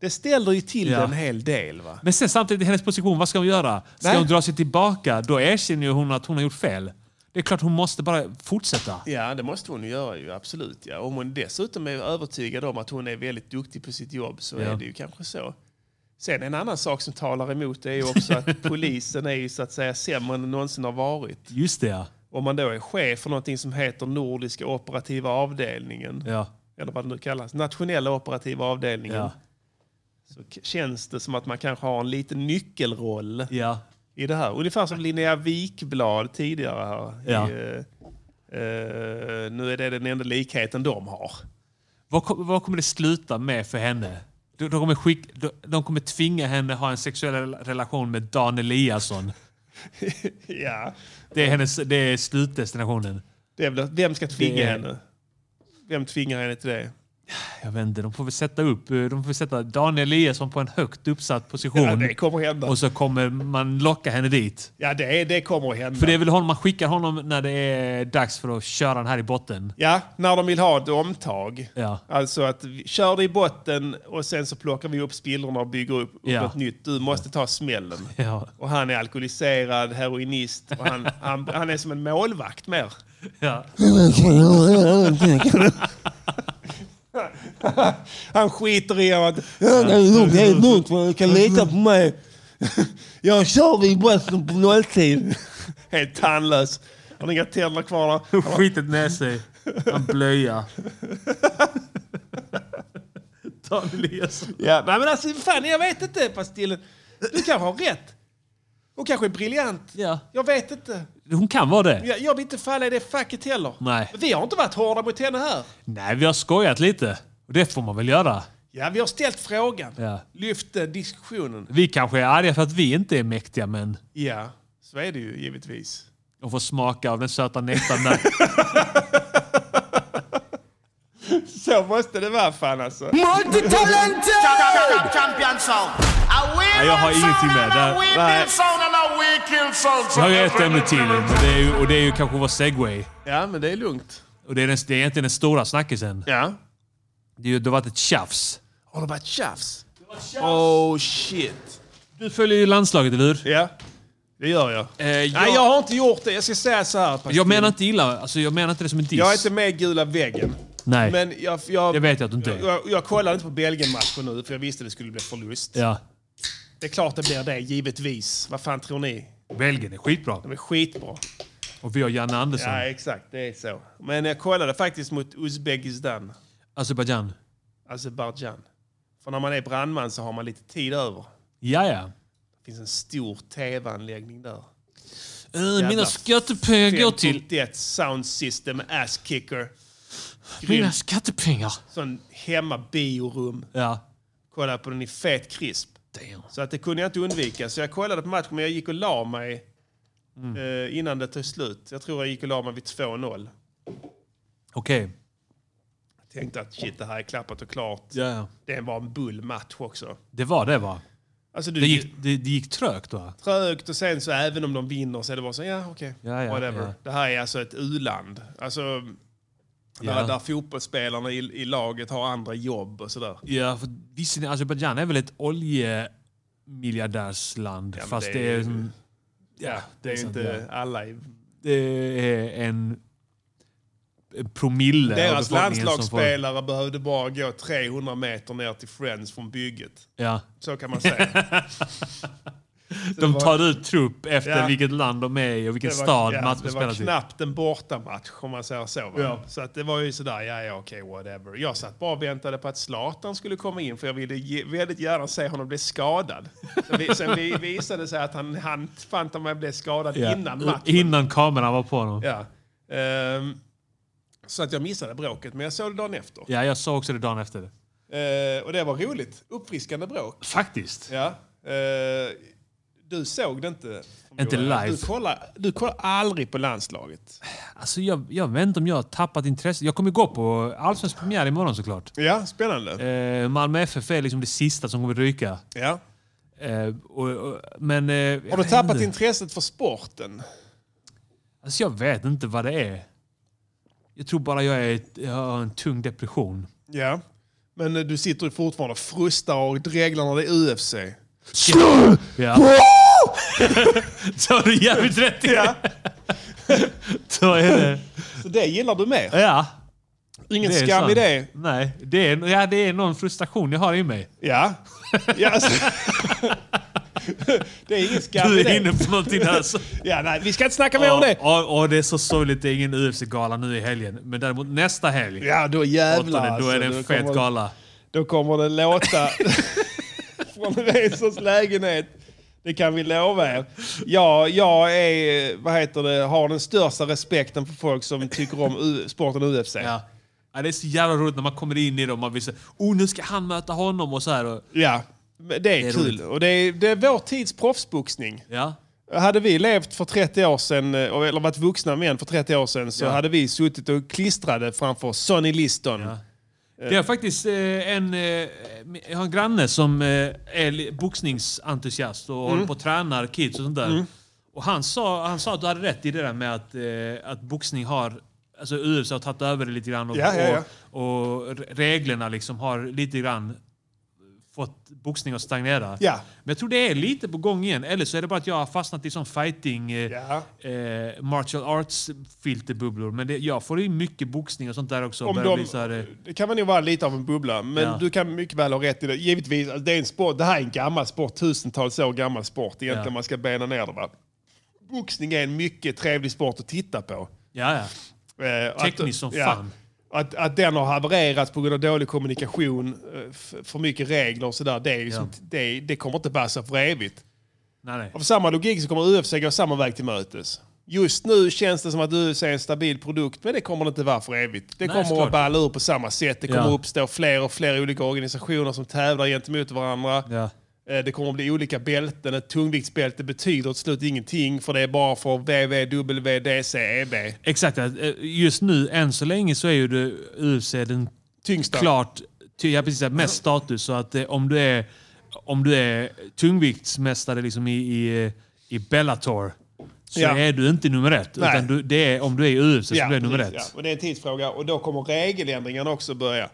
Speaker 5: det ställer ju till
Speaker 1: Ja.
Speaker 5: det en hel del. va?
Speaker 1: Men sen samtidigt, i hennes position, vad ska hon göra? Ska
Speaker 5: Nej.
Speaker 1: hon dra sig tillbaka? Då erkänner ju hon att hon har gjort fel. Det är klart hon måste bara fortsätta.
Speaker 5: Ja, det måste hon ju göra ju, absolut. Ja. Om hon dessutom är övertygad om att hon är väldigt duktig på sitt jobb så
Speaker 1: Ja.
Speaker 5: är det ju kanske så. Sen en annan sak som talar emot det är ju också att polisen är ju så att säga sämre än någonsin har varit.
Speaker 1: Just det ja.
Speaker 5: Om man då är chef för någonting som heter Nordiska operativa avdelningen,
Speaker 1: ja.
Speaker 5: eller vad det nu kallas, Nationella operativa avdelningen,
Speaker 1: Ja.
Speaker 5: så k- känns det som att man kanske har en liten nyckelroll
Speaker 1: ja.
Speaker 5: i det här. Ungefär som Linnea Wikblad tidigare här.
Speaker 1: Ja.
Speaker 5: I, eh, eh, nu är det den enda likheten de har.
Speaker 1: Vad, kom, vad kommer det sluta med för henne? De, de, kommer skick, de, de kommer tvinga henne ha en sexuell rela- relation med Dan Eliasson.
Speaker 5: Ja.
Speaker 1: Det är, hennes, det är slutdestinationen.
Speaker 5: Det är väl, vem ska tvinga
Speaker 1: Det är-
Speaker 5: henne? Vem tvingar henne till det?
Speaker 1: Jag vet inte, de får väl sätta upp eh, de får väl sätta Dan Eliasson på en högt uppsatt position.
Speaker 5: Ja, det kommer att hända.
Speaker 1: Och så kommer man locka henne dit.
Speaker 5: Ja, det, är- det kommer att hända.
Speaker 1: För det är väl honom man skickar honom när det är dags för att köra den här i botten.
Speaker 5: Ja, när de vill ha ett omtag.
Speaker 1: Ja.
Speaker 5: Alltså att vi kör det i botten och sen så plockar vi upp spillrorna och bygger upp, upp
Speaker 1: Ja.
Speaker 5: något nytt. Du måste ta smällen.
Speaker 1: Ja.
Speaker 5: Och han är alkoholiserad, heroinist och han, han, han är som en målvakt mer.
Speaker 1: Ja.
Speaker 5: Han skiter i att... Ja, det är lugnt, det är lugnt. Du kan lita på mig. Jag kör vid bussen på nolltid. Helt tandlös. Har ni inga tänder kvar där?
Speaker 1: Skitet med sig. Han blöja. Dan Eliasson.
Speaker 5: Ja, nej men alltså fan, jag vet inte Pastillen. Du kanske har rätt. Hon kanske är briljant.
Speaker 1: Ja.
Speaker 5: Jag vet inte.
Speaker 1: Hon kan vara det.
Speaker 5: Jag, jag vill inte falla i det facket heller.
Speaker 1: Nej.
Speaker 5: Men Vi har inte varit hårda mot henne här.
Speaker 1: Nej, vi har skojat lite. Och det får man väl göra.
Speaker 5: Ja, vi har ställt frågan.
Speaker 1: Ja.
Speaker 5: Lyft eh, diskussionen.
Speaker 1: Vi kanske är arga för att vi inte är mäktiga, men...
Speaker 5: Ja, så är det ju givetvis.
Speaker 1: De får smaka av den söta nästan där.
Speaker 5: Så måste det vara fan alltså.
Speaker 1: Nej, jag har ingenting med. Där,
Speaker 5: Nej.
Speaker 1: jag har ju ett ämne till men det är ju, och det är ju kanske vår segway.
Speaker 5: Ja, men det är lugnt.
Speaker 1: Och det är, den, det är egentligen den stora snackisen.
Speaker 5: Ja.
Speaker 1: Det, är ju- det har varit ett tjafs.
Speaker 5: Har det varit tjafs? Oh shit.
Speaker 1: Du följer ju landslaget, eller hur?
Speaker 5: Ja, det gör jag.
Speaker 1: Eh, jag,
Speaker 5: Nej, jag har inte gjort det. Jag ska säga så här. Pascal.
Speaker 1: jag menar inte illa. Alltså, jag menar inte det som en diss.
Speaker 5: Jag är inte med i gula väggen.
Speaker 1: Nej,
Speaker 5: Men jag, jag,
Speaker 1: det vet jag att du inte är.
Speaker 5: jag, jag kollade inte på Belgien-matchen nu för jag visste det skulle bli förlust.
Speaker 1: Ja.
Speaker 5: Det är klart det blir det, givetvis. Vad fan tror ni?
Speaker 1: Belgien är skitbra.
Speaker 5: De är skitbra.
Speaker 1: Och vi har Janne Andersson.
Speaker 5: Ja, exakt. Det är så. Men jag kollade faktiskt mot Uzbekistan,
Speaker 1: Azerbajdzjan.
Speaker 5: Azerbajdzjan. För när man är brandman så har man lite tid över.
Speaker 1: Ja, ja.
Speaker 5: Det finns en stor tv-anläggning där.
Speaker 1: Eh, mina skattepengar går till...
Speaker 5: 5.1 Sound System Ass Kicker. Grym.
Speaker 1: Mina skattepengar.
Speaker 5: Sån hemmabiorum.
Speaker 1: Ja.
Speaker 5: Kollade på den i fet krisp.
Speaker 1: Damn.
Speaker 5: Så att det kunde jag inte undvika. Så jag kollade på matchen men jag gick och la mig
Speaker 1: Mm.
Speaker 5: eh, innan det tog slut. Jag tror jag gick och la mig vid 2-0.
Speaker 1: Okej.
Speaker 5: Tänkte att shit, det här är klappat och klart.
Speaker 1: Ja, ja.
Speaker 5: Det var en bull match också.
Speaker 1: Det var det, va?
Speaker 5: Alltså du
Speaker 1: Det gick, det, det gick trögt, va?
Speaker 5: trögt och sen så även om de vinner så är det bara så ja okej,
Speaker 1: Ja, ja,
Speaker 5: whatever.
Speaker 1: ja.
Speaker 5: Det här är alltså ett u-land. Alltså, där, där fotbollsspelarna i, i laget har andra jobb och sådär.
Speaker 1: Ja, för visst är det- Azerbajdzjan är väl ett oljemiljardärsland?
Speaker 5: men
Speaker 1: fast
Speaker 5: det
Speaker 1: det
Speaker 5: är
Speaker 1: är,
Speaker 5: ju-
Speaker 1: som-
Speaker 5: Ja, det är ju
Speaker 1: sant,
Speaker 5: inte alla i...
Speaker 1: det är en en promille av
Speaker 5: Deras
Speaker 1: befolkningen som får-
Speaker 5: landslagsspelare behövde bara gå 300 meter ner till Friends från bygget.
Speaker 1: Ja.
Speaker 5: Så kan man säga.
Speaker 1: De
Speaker 5: var-
Speaker 1: tar ut trupp efter
Speaker 5: Ja.
Speaker 1: vilket land de är i och vilken
Speaker 5: Det var-
Speaker 1: stad
Speaker 5: ja, alltså,
Speaker 1: matchen
Speaker 5: Det var
Speaker 1: spelas i.
Speaker 5: knappt en bortamatch om man säger så. Va? Så att det var ju sådär, ja ja okej whatever. Jag satt bara och väntade på att Zlatan skulle komma in för jag ville ge, väldigt gärna se honom bli skadad. Sen, vi, sen vi visade sig att han, han fan ta mig blev skadad
Speaker 1: Ja.
Speaker 5: innan matchen.
Speaker 1: Innan kameran var på honom. Ja,
Speaker 5: Ja. Ehm, så att jag missade bråket, men jag såg det dagen efter.
Speaker 1: jag såg också det dagen efter. det.
Speaker 5: Eh, och det var roligt. Uppfriskande bråk.
Speaker 1: Faktiskt.
Speaker 5: Ja. Eh, du såg det inte?
Speaker 1: Inte
Speaker 5: Johan.
Speaker 1: live.
Speaker 5: Du kollar, du kollar aldrig på landslaget.
Speaker 1: Alltså, jag, jag vet inte om jag har tappat intresse. Jag kommer gå på Allsvensk premiär imorgon såklart.
Speaker 5: Ja, spännande.
Speaker 1: Eh, Malmö FF är liksom det sista som kommer ryka.
Speaker 5: Ja.
Speaker 1: Eh, och, och, men... Eh, jag
Speaker 5: Har du
Speaker 1: vet
Speaker 5: tappat
Speaker 1: inte.
Speaker 5: intresset för sporten?
Speaker 1: Alltså jag vet inte vad det är. Jag tror bara jag, är, jag har en tung depression.
Speaker 5: Ja. Men eh, du sitter ju fortfarande och frustar och dreglar när det är UFC.
Speaker 1: Ja. Så har du jävligt rätt i.
Speaker 5: Ja.
Speaker 1: Så är det.
Speaker 5: Så det gillar du mer?
Speaker 1: Ja.
Speaker 5: Ingen
Speaker 1: det är
Speaker 5: skam i
Speaker 1: sant.
Speaker 5: det?
Speaker 1: Nej, det är, ja, det är någon frustration jag har i mig.
Speaker 5: Ja. ja alltså. det är ingen skam
Speaker 1: Du
Speaker 5: i
Speaker 1: är
Speaker 5: det.
Speaker 1: inne på någonting där. Alltså.
Speaker 5: Ja, nej, vi ska inte snacka mer om det.
Speaker 1: Och, och det är så sorgligt. Det är ingen UFC-gala nu i helgen. Men däremot nästa helg,
Speaker 5: Ja, då jävlar
Speaker 1: åttonde, då är det en
Speaker 5: alltså.
Speaker 1: fet
Speaker 5: kommer,
Speaker 1: gala.
Speaker 5: Då kommer det låta från Resors lägenhet. Det kan vi lova er. Ja, jag är, vad heter det, har den största respekten för folk som tycker om U- sporten UFC.
Speaker 1: Ja. Ja, det är så jävla roligt när man kommer in i det och man vill säga oh, nu ska han möta honom och så här. Och,
Speaker 5: Ja, men det är,
Speaker 1: är
Speaker 5: kul.
Speaker 1: roligt.
Speaker 5: Och det är, det är vår tids proffsboxning.
Speaker 1: ja.
Speaker 5: Hade vi levt för 30 år sedan, eh, eller varit vuxna män för 30 år sedan, så
Speaker 1: Ja.
Speaker 5: hade vi suttit och klistrade framför Sonny Liston. Ja.
Speaker 1: Det är faktiskt eh, en, eh, jag har en granne som eh, är li- boxningsentusiast och
Speaker 5: Mm.
Speaker 1: håller på och tränar kids och sånt där. Och han sa, han sa att du hade rätt i det där med att, eh, att boxning har, alltså UFC har tagit över det lite grann och,
Speaker 5: Ja, ja, ja.
Speaker 1: och, och re- reglerna liksom har lite grann fått boxning att stagnera.
Speaker 5: Ja.
Speaker 1: Men jag tror det är lite på gång igen. Eller så är det bara att jag har fastnat i sån fighting, eh, eh, martial arts filterbubblor. Men det, jag får in mycket boxning och sånt där också.
Speaker 5: Om
Speaker 1: Börjar
Speaker 5: de-
Speaker 1: bli så här, eh,
Speaker 5: Det kan man ju vara lite av en bubbla, men
Speaker 1: Ja.
Speaker 5: du kan mycket väl ha rätt i det. Givetvis, alltså, det, är en sport, det här är en gammal sport, tusentals år gammal sport egentligen,
Speaker 1: Ja.
Speaker 5: man ska bena ner det. Va? Boxning är en mycket trevlig sport att titta på.
Speaker 1: ja, ja.
Speaker 5: Eh,
Speaker 1: Tekniskt som fan.
Speaker 5: Att, att den har havererat på grund av dålig kommunikation, eh, f- för mycket regler och sådär, det, är liksom,
Speaker 1: Ja.
Speaker 5: det, det kommer inte passa för evigt.
Speaker 1: Nej, nej.
Speaker 5: Och för samma logik så kommer UFC gå samma väg till mötes. Just nu känns det som att UFC är en stabil produkt, men det kommer det inte vara för evigt. Det
Speaker 1: Nej,
Speaker 5: kommer
Speaker 1: såklart.
Speaker 5: att balla ur på samma sätt. Det
Speaker 1: Ja.
Speaker 5: kommer uppstå fler och fler olika organisationer som tävlar gentemot varandra.
Speaker 1: Ja.
Speaker 5: Eh, Det kommer att bli olika bälten. Ett tungviktsbälte betyder till slut ingenting för det är bara för WWWDCEB.
Speaker 1: Exakt. eh, Just nu, än så länge, så är ju det UFC den
Speaker 5: Tyngsta.
Speaker 1: klart ty, ja, precis, mest status. Så att eh, om du är, om du är tungviktsmästare liksom i, i, eh, i Bellator så
Speaker 5: Ja.
Speaker 1: är du inte nummer ett.
Speaker 5: Nej.
Speaker 1: Utan du, det är, om du är i UFC så blir du nummer
Speaker 5: precis,
Speaker 1: ett.
Speaker 5: Ja. Och det är en tidsfråga. Och då kommer regeländringarna också börja.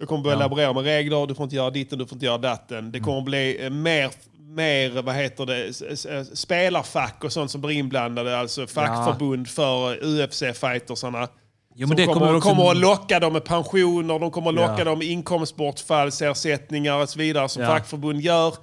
Speaker 5: Du kommer börja laborera med regler. Du får inte göra ditten, du får inte göra datten.
Speaker 1: Mm.
Speaker 5: Det kommer bli eh, mer, mer vad heter det, s- s- eh, spelarfack och sånt som blir inblandade. Alltså fackförbund för UFC-fightersarna.
Speaker 1: Jo,
Speaker 5: Som
Speaker 1: men det kommer,
Speaker 5: kommer,
Speaker 1: också...
Speaker 5: kommer att locka dem med pensioner, de kommer att locka
Speaker 1: Ja.
Speaker 5: dem med inkomstbortfallsersättningar och så vidare som
Speaker 1: Ja.
Speaker 5: fackförbund gör.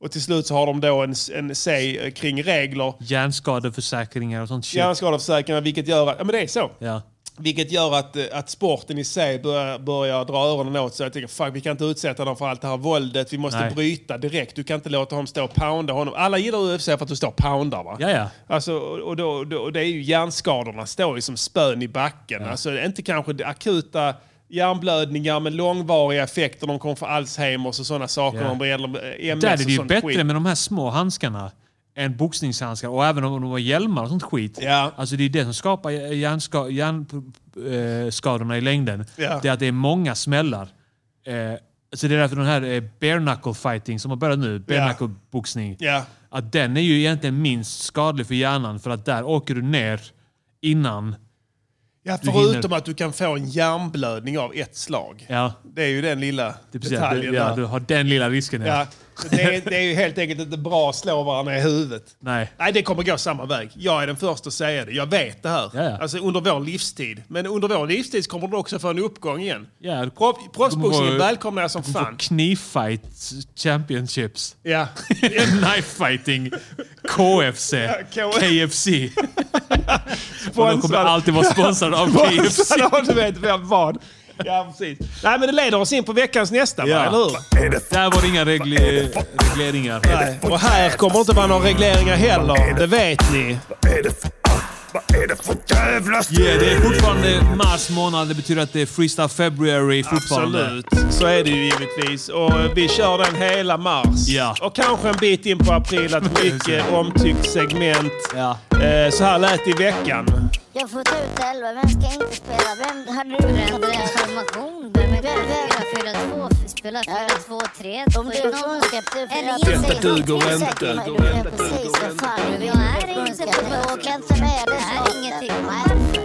Speaker 5: Och till slut så har de då en, en säg eh, kring regler.
Speaker 1: Typ. Hjärnskadeförsäkringar och sånt shit. Ja.
Speaker 5: Hjärnskadeförsäkringar, vilket gör att... Ja, men det är så.
Speaker 1: Ja.
Speaker 5: Vilket gör att, eh, att sporten i sig börjar, börjar dra öronen åt sig. Jag tänker, fuck, vi kan inte utsätta dem för allt det här våldet. Vi måste
Speaker 1: Nej.
Speaker 5: bryta direkt. Du kan inte låta honom stå och pounda honom. Alla gillar UFC för att du står och poundar, va?
Speaker 1: ja,
Speaker 5: Alltså, och, och då, då, och det är ju hjärnskadorna står ju som spön i backen. Alltså, inte kanske det akuta hjärnblödningar men långvariga effekter. De kommer få Alzheimers och sådana saker.
Speaker 1: Ja.
Speaker 5: De blir äldre, eh, MS
Speaker 1: Där är
Speaker 5: och
Speaker 1: det ju
Speaker 5: sånt
Speaker 1: bättre
Speaker 5: skit.
Speaker 1: med de här små handskarna än boxningshandskar. Och även om de har hjälmar och sånt skit.
Speaker 5: Ja.
Speaker 1: Alltså det är det som skapar hjärnska, hjärnskadorna i längden.
Speaker 5: Ja.
Speaker 1: Det är att det är många smällar. Eh, så det är därför den här eh, bare knuckle fighting som har börjat nu, bare
Speaker 5: Ja.
Speaker 1: knuckle boxning.
Speaker 5: Ja.
Speaker 1: Att den är ju egentligen minst skadlig för hjärnan för att där åker du ner innan.
Speaker 5: Ja,
Speaker 1: Du
Speaker 5: förutom
Speaker 1: hinner-
Speaker 5: att du kan få en hjärnblödning av ett slag.
Speaker 1: Ja,
Speaker 5: Det är ju den lilla
Speaker 1: det är precis, att
Speaker 5: detaljen.
Speaker 1: du, ja,
Speaker 5: där.
Speaker 1: du har den lilla risken. Ja.
Speaker 5: Ja, så det, är, det är ju helt enkelt inte bra att slå varandra i huvudet.
Speaker 1: Nej.
Speaker 5: Nej, det kommer gå samma väg. Jag är den första att säga det. Jag vet det här.
Speaker 1: Ja, ja.
Speaker 5: Alltså under vår livstid. Men under vår livstid så kommer du också få en uppgång igen.
Speaker 1: Ja, du-
Speaker 5: Pro-
Speaker 1: du
Speaker 5: Proffsboxningen
Speaker 1: kommer-
Speaker 5: välkomnar jag som
Speaker 1: Du får
Speaker 5: fan.
Speaker 1: knivfight championships.
Speaker 5: Ja.
Speaker 1: Knife fighting, KFC,
Speaker 5: K-
Speaker 1: KFC. Och de kommer alltid vara sponsrade av KFC.
Speaker 5: Ja, du vet vem vad. Ja, precis. Nej, men det leder oss in på veckans nästa,
Speaker 1: Ja.
Speaker 5: va? eller hur?
Speaker 7: Är det
Speaker 1: Där var det inga regl- regleringar.
Speaker 5: Nej. Och här kommer inte vara några regleringar heller. Det vet ni.
Speaker 7: Vad är det för...
Speaker 2: ah,
Speaker 7: Vad är det för jävla stil?
Speaker 1: Yeah, det är fortfarande mars månad. Det betyder att det är freestyle february fortfarande.
Speaker 5: Absolut, så är det ju givetvis. Och eh, vi kör den hela mars.
Speaker 1: Ja.
Speaker 5: Och kanske en bit in på april, ett mycket omtyckt segment.
Speaker 1: Ja.
Speaker 5: Eh, så här lät det i veckan.
Speaker 8: Jag får ta ut elva, vem ska inte spela? Vem hade du rätt information? Vem är det? 4-2, spela 4-2-3. Om det är någon som släppte 4-2.
Speaker 5: Detta duger inte.
Speaker 8: Precis, vad fan du vill. Jag är inte på åka inte med det är ingenting.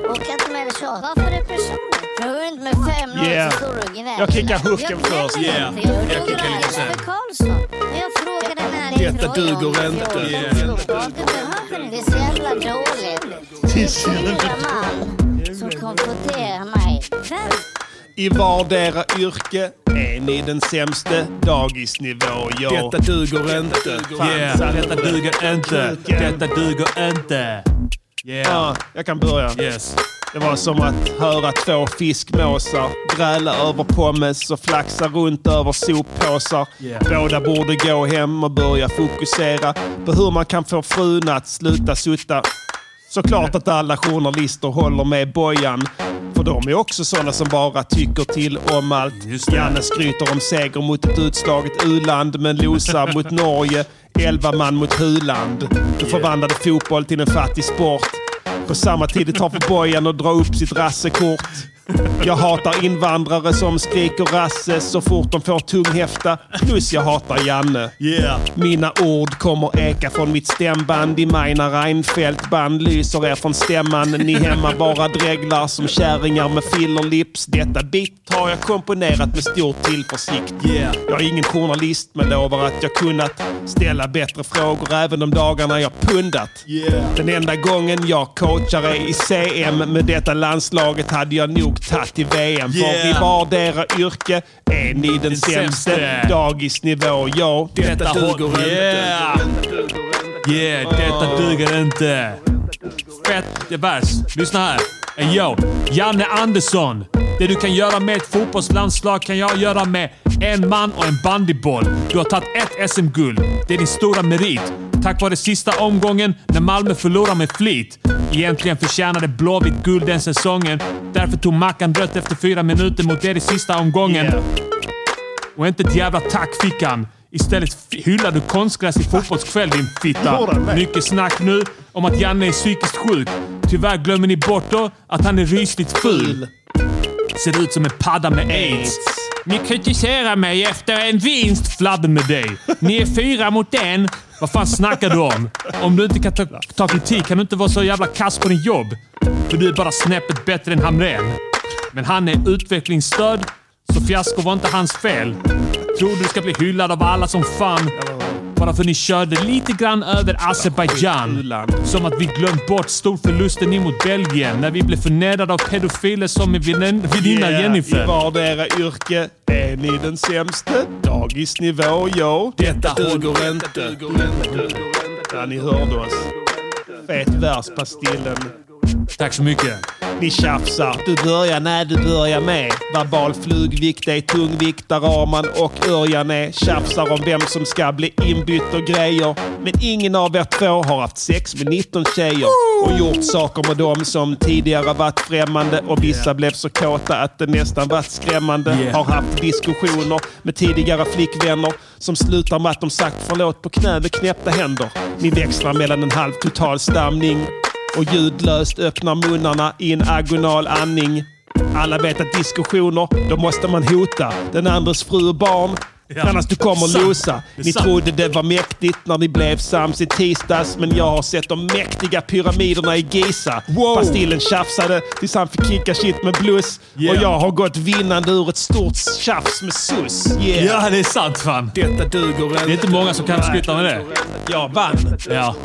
Speaker 8: Åka inte med det så. Varför är det personligt? Jag går inte med fem
Speaker 5: Yeah.
Speaker 8: någon som står och gnäller.
Speaker 5: Jag kickar hooken först.
Speaker 8: Yeah. Jag kickar lite sen. Jag frågade när det
Speaker 5: Detta duger inte.
Speaker 8: Du behöver inte. Det är så jävla dåligt. Det är så jävla man som konfronterar mig. Vem
Speaker 5: I vardera yrke är ni den sämste dagisnivå, ja. Detta duger inte.
Speaker 1: Yeah, detta duger inte. Detta duger inte. Yeah.
Speaker 5: Ja, jag kan börja.
Speaker 1: Yes.
Speaker 5: Det var som att höra två fiskmåsar gräla över pommes och flaxa runt över soppåsar.
Speaker 1: Yeah.
Speaker 5: Båda borde gå hem och börja fokusera på hur man kan få frun att sluta sutta. Såklart att alla journalister håller med Bojan. För de är också sådana som bara tycker till om allt.
Speaker 1: Just det.
Speaker 5: Janne skryter om seger mot ett utslaget u-land men losar mot Norge. Elva man mot Huland. Du förvandlade fotboll till en fattig sport. På samma tid det tar för bojan att dra upp sitt rassekort. Jag hatar invandrare som skriker rasse så fort de får tunghäfta. Plus jag hatar Janne.
Speaker 1: Yeah.
Speaker 5: Mina ord kommer eka från mitt stämband i maj när Reinfeldt-band lyser er från stämman. Ni hemma bara dreglar som kärringar med fillerlips. Detta bit har jag komponerat med stor tillförsikt.
Speaker 1: Yeah.
Speaker 5: Jag är ingen journalist men lovar att jag kunnat ställa bättre frågor även de dagarna jag pundat. Den enda gången jag coachar är i CM. Med detta landslaget hade jag nog tagit i VM. För
Speaker 1: Yeah.
Speaker 5: i vardera yrke är ni den, sämste.
Speaker 1: sämste.
Speaker 5: Dagisnivå, ja.
Speaker 1: Detta duger inte. Yeah. Yeah, detta duger inte. Fett vers. Lyssna här. Hey, Yo, Janne Andersson. Det du kan göra med ett fotbollslandslag kan jag göra med en man och en bandyboll. Du har tagit ett SM-guld. Det är din stora merit. Tack vare sista omgången när Malmö förlorade med flit. Egentligen förtjänade Blåvitt guld den säsongen. Därför tog Mackan rött efter fyra minuter mot er i sista omgången.
Speaker 5: Yeah.
Speaker 1: Och inte ett jävla tack fick han. Istället f- hyllar du konstgräs i fotbollskväll din fitta. Mycket snack nu om att Janne är psykiskt sjuk. Tyvärr glömmer ni bort då att han är rysligt ful. Ser ut som en padda med aids. Ni kritiserar mig efter en vinst, fladder med dig. Ni är fyra mot en. Vad fan snackar du om? Om du inte kan ta, ta kritik kan du inte vara så jävla kass på din jobb. För du är bara snäppet bättre än Hamrén. Men han är utvecklingsstörd, så fiasko var inte hans fel. Tror du ska bli hyllad av alla som fan bara för ni körde lite grann över Azerbaijan. Som att vi glömt bort storförlusten in mot Belgien när vi blev förnedrade av pedofiler som min vän- väninna
Speaker 5: I
Speaker 1: Jennifer.
Speaker 5: vardera yrke är ni den sämste. Dagisnivå, ja. Detta duger inte. Ja, ni hörde oss. Fet vers, Pastillen.
Speaker 1: Tack så mycket.
Speaker 5: Ni tjafsar. Du börjar när du börjar med. Verbal flugvikt är tungvikt där Arman och Örjan är. Tjafsar om vem som ska bli inbytt och grejer. Men ingen av er två har haft sex med 19 tjejer. Och gjort saker med dem som tidigare varit främmande. Och vissa blev så kåta att det nästan varit skrämmande. Har haft diskussioner med tidigare flickvänner. Som slutar med att de sagt förlåt på knä med knäppta händer. Ni växlar mellan en halv total stamning och ljudlöst öppnar munnarna i en agonal andning. Alla vet att diskussioner, då måste man hota den andres fru och barn. Annars du kommer losa. Ni trodde det var mäktigt när ni blev sams i tisdags, men jag har sett de mäktiga pyramiderna i Giza. Pastillen tjafsade tills han fick kicka shit med blues. Och jag har gått vinnande ur ett stort tjafs med sus. Yeah.
Speaker 1: Ja, det är sant fan.
Speaker 5: Detta duger inte.
Speaker 1: Det är inte många som kan skryta med det.
Speaker 5: Jag vann.
Speaker 1: Ja,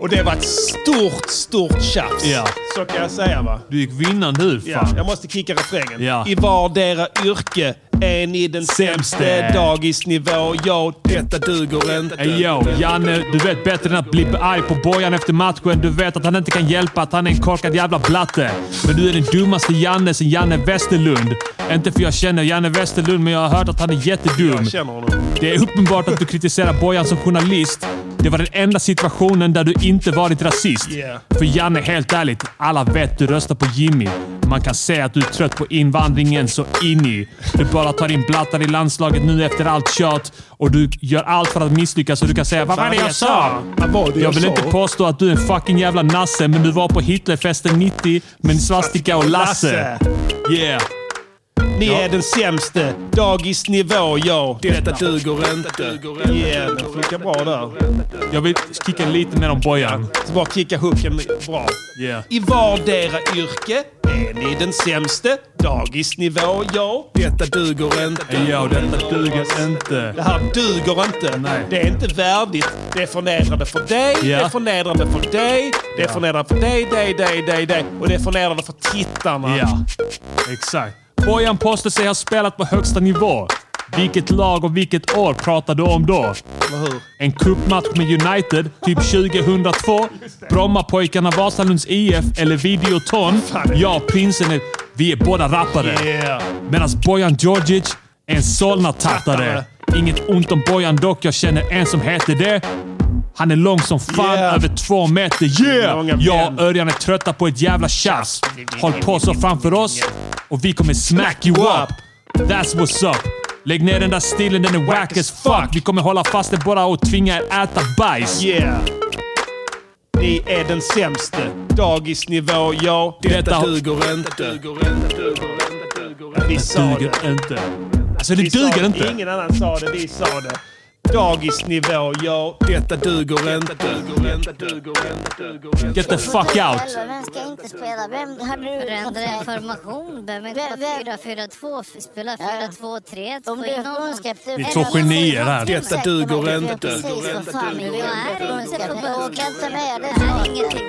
Speaker 5: Och det var ett stort, stort tjafs.
Speaker 1: Ja.
Speaker 5: Så kan jag säga va.
Speaker 1: du gick vinnande ur
Speaker 5: Ja,
Speaker 1: fan.
Speaker 5: jag måste kicka refrängen.
Speaker 1: Ja.
Speaker 5: I vardera yrke är ni den
Speaker 1: Sämste.
Speaker 5: sämste dagisnivå. Ja, detta duger inte.
Speaker 1: Ey yo, Janne, du vet bättre än att bli arg på Bojan efter matchen. Du vet att han inte kan hjälpa att han är en korkad jävla blatte. Men du är den dummaste Janne sen Janne Westerlund. Inte för jag känner Janne Westerlund, men jag har hört att han är jättedum.
Speaker 5: Jag känner honom.
Speaker 1: Det är uppenbart att du kritiserar Bojan som journalist. Det var den enda situationen där du inte varit rasist.
Speaker 5: Yeah.
Speaker 1: För Janne, helt ärligt, alla vet du röstar på Jimmy. Man kan säga att du är trött på invandringen så in i. Du bara tar in blattar i landslaget nu efter allt tjat och du gör allt för att misslyckas så du kan säga “Vad var det jag sa?”
Speaker 5: Vad var det jag,
Speaker 1: Jag vill
Speaker 5: sa?
Speaker 1: inte påstå att du är en fucking jävla nasse, men du var på Hitlerfesten 90 med Svastika och Lasse. Yeah.
Speaker 5: Ni är den sämste dagisnivå. Ja, detta duger inte. Yeah, den funkar bra där.
Speaker 1: Jag vill kicka lite mer om Bojan.
Speaker 5: Så bara kicka hooken bra.
Speaker 1: Yeah.
Speaker 5: I vardera yrke är ni den sämste dagisnivå. Ja, detta duger inte.
Speaker 1: Ey yo, detta duger
Speaker 5: Det
Speaker 1: inte.
Speaker 5: här duger inte.
Speaker 1: Nej.
Speaker 5: Det är inte värdigt. Det är förnedrande för dig,
Speaker 1: Ja.
Speaker 5: det är förnedrande för dig, det är förnedrande för dig, dig, dig, dig, dig. Och det är förnedrande för tittarna.
Speaker 1: Ja, exakt. Bojan påstår sig ha spelat på högsta nivå. Vilket lag och vilket år pratar du om då?
Speaker 5: Eller hur?
Speaker 1: En cupmatch med United, typ 2002. Brommapojkarna, Vasalunds IF eller Videoton. Jag och prinsen är... Vi är båda rappare.
Speaker 5: Yeah.
Speaker 1: Medan Bojan Djordjic är en Solna-tattare. Inget ont om Bojan dock, jag känner en som heter det. Han är lång som fan,
Speaker 5: Yeah.
Speaker 1: över två meter.
Speaker 5: Långa
Speaker 1: Yeah! Jag
Speaker 5: ben.
Speaker 1: och Örjan är trötta på ett jävla tjafs. Håll på så framför oss och vi kommer smack you up. That's what's up. Lägg ner den där stilen, den är whack as fuck. Vi kommer hålla fast er bara och tvinga er äta bajs.
Speaker 5: Yeah. Ni är den sämste. Dagisnivå, ja.
Speaker 1: Detta
Speaker 5: duger inte. Vi sa
Speaker 1: duger
Speaker 5: det.
Speaker 1: inte. Alltså det
Speaker 5: Vi sa
Speaker 1: duger
Speaker 5: det.
Speaker 1: inte.
Speaker 5: Ingen annan sa det, vi sa det. Dagisnivå, ja. Detta duger inte.
Speaker 1: Get the fuck out.
Speaker 8: Elva, vem ska inte spela? Vem har du ändrat formation? Vem är 4-4-2? F- Spela 4-2-3? Om du någon ska...
Speaker 1: Ni är två genier här.
Speaker 8: Detta duger inte. Åka inte med det. här är ingenting.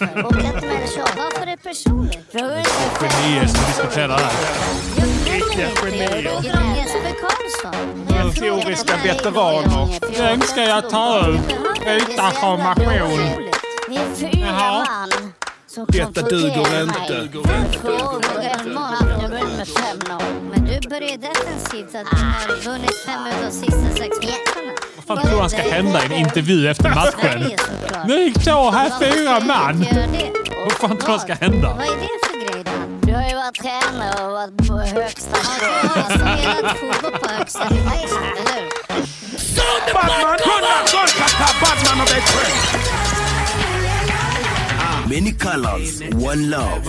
Speaker 8: Åka inte med det så. Varför är personligt? Fråga inte för
Speaker 1: Genier som diskuterar här.
Speaker 8: Jesper Karlsson.
Speaker 5: Teoriska veteraner.
Speaker 1: Vem ska jag ta ut utan formation?
Speaker 8: Ni är fyra
Speaker 1: Jaha.
Speaker 8: man. som
Speaker 5: Detta duger
Speaker 8: konfronterar
Speaker 5: inte.
Speaker 8: mig. Fem frågor, en match, jag vann med 5-0. Men du börjar defensivt så att du har vunnit fem utav sista sex matcherna.
Speaker 1: Vad fan tror han ska hända i en intervju efter matchen?
Speaker 8: Sverige såklart.
Speaker 1: Nu står här
Speaker 8: Varför
Speaker 1: fyra
Speaker 8: ska jag
Speaker 1: man.
Speaker 8: inte göra det?
Speaker 1: Vad fan tror jag ska hända?
Speaker 8: Vad är det för grej då? Du har ju varit tränare och alltså, varit på högsta nivå. Jag har spelat fotboll på högsta nivå, eller hur?
Speaker 9: Batman, run that gun, Kata Batman of Express.
Speaker 7: Many colors, one love.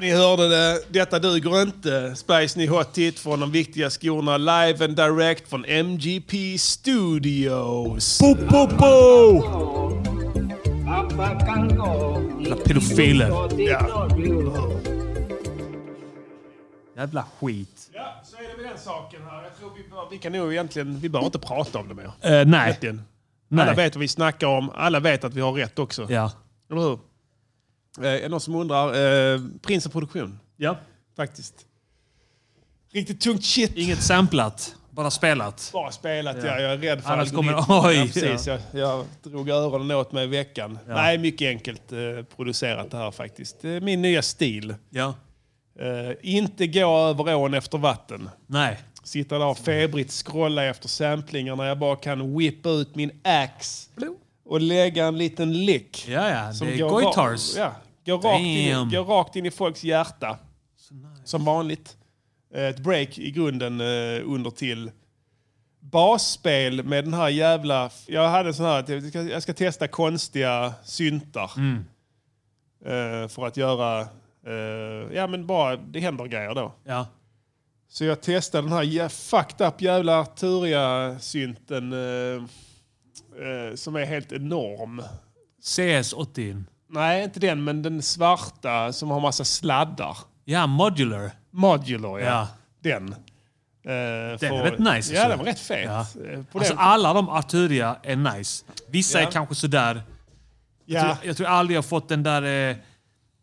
Speaker 5: Ni hörde det. Detta duger inte. Spice Ni Hot Hit från de viktiga skorna live and direct från MGP Studios.
Speaker 1: Jävla pedofiler.
Speaker 5: Ja.
Speaker 1: Jävla skit.
Speaker 5: ja, så är det med den saken här. Jag tror vi, bör, vi kan nog egentligen... Vi behöver inte prata om det mer.
Speaker 1: Eh, nej.
Speaker 5: Egentligen. Alla
Speaker 1: nej.
Speaker 5: vet vad vi snackar om. Alla vet att vi har rätt också.
Speaker 1: Ja.
Speaker 5: Eller hur? Eh, är det någon som undrar? Eh, Prinsen Produktion.
Speaker 1: ja.
Speaker 5: Faktiskt. Riktigt tungt shit.
Speaker 1: Inget samplat, bara spelat.
Speaker 5: Bara spelat, ja. Jag är rädd för
Speaker 1: Annars
Speaker 5: att...
Speaker 1: kommer-
Speaker 5: mitt-
Speaker 1: oj,
Speaker 5: ja, precis, Jag, jag drog öronen åt mig i veckan. Nej, mycket enkelt eh, producerat det här faktiskt. Det är min nya stil.
Speaker 1: Ja.
Speaker 5: Eh, inte gå över ån efter vatten.
Speaker 1: Nej.
Speaker 5: Sitta där och febrigt scrolla efter samplingar när jag bara kan whippa ut min ax och lägga en liten lick.
Speaker 1: Ja, ja.
Speaker 5: Som
Speaker 1: det är
Speaker 5: går ra-
Speaker 1: goitars.
Speaker 5: Ja, går rakt, in,
Speaker 1: Damn.
Speaker 5: går rakt in i folks hjärta. Som vanligt. Eh, Ett break i grunden eh, under till basspel med den här jävla... Jag hade en sån här att jag ska, jag ska testa konstiga syntar.
Speaker 1: Mm.
Speaker 5: Eh, för att göra... eh, ja men bara, det händer grejer då.
Speaker 1: Ja.
Speaker 5: Så jag testade den här jä- fucked up jävla Arturia-synten. Eh, eh, som är helt enorm.
Speaker 1: CS80.
Speaker 5: Nej, inte den, men den svarta som har massa sladdar.
Speaker 1: Ja, modular.
Speaker 5: Modular, ja.
Speaker 1: Ja.
Speaker 5: Den. Eh, den
Speaker 1: är rätt nice,
Speaker 5: Ja,
Speaker 1: alltså.
Speaker 5: den var rätt fet.
Speaker 1: Ja.
Speaker 5: Eh, På
Speaker 1: Alltså
Speaker 5: den.
Speaker 1: alla de Arturia är nice. Vissa
Speaker 5: Ja.
Speaker 1: är kanske sådär. Jag,
Speaker 5: ja. eh,
Speaker 1: tror, jag tror aldrig jag fått den där eh,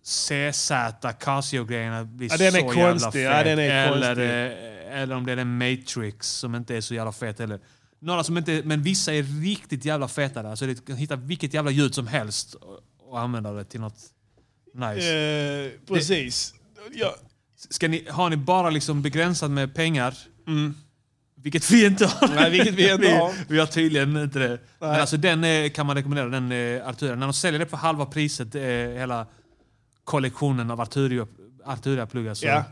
Speaker 1: CZ Casio-grejen att bli
Speaker 5: Ja, den
Speaker 1: så
Speaker 5: är
Speaker 1: jävla
Speaker 5: konstig.
Speaker 1: fet.
Speaker 5: Ja, den är
Speaker 1: eller,
Speaker 5: konstig.
Speaker 1: eh, eller om det är den Matrix som inte är så jävla fet heller. Några som inte, men vissa är riktigt jävla feta där. Så du kan hitta vilket jävla ljud som helst och, och använda det till något nice.
Speaker 5: Eh, precis. Ja.
Speaker 1: Ska ni, har ni bara liksom begränsat med pengar? Vilket vi inte har.
Speaker 5: Mm. Nej, vilket vi inte har.
Speaker 1: Vi, vi har tydligen inte det. Men alltså den eh, kan man rekommendera, den eh, Arturia. När de säljer det för halva priset, eh, hela kollektionen av Arturia- Arturia-pluggar. så
Speaker 5: Ja.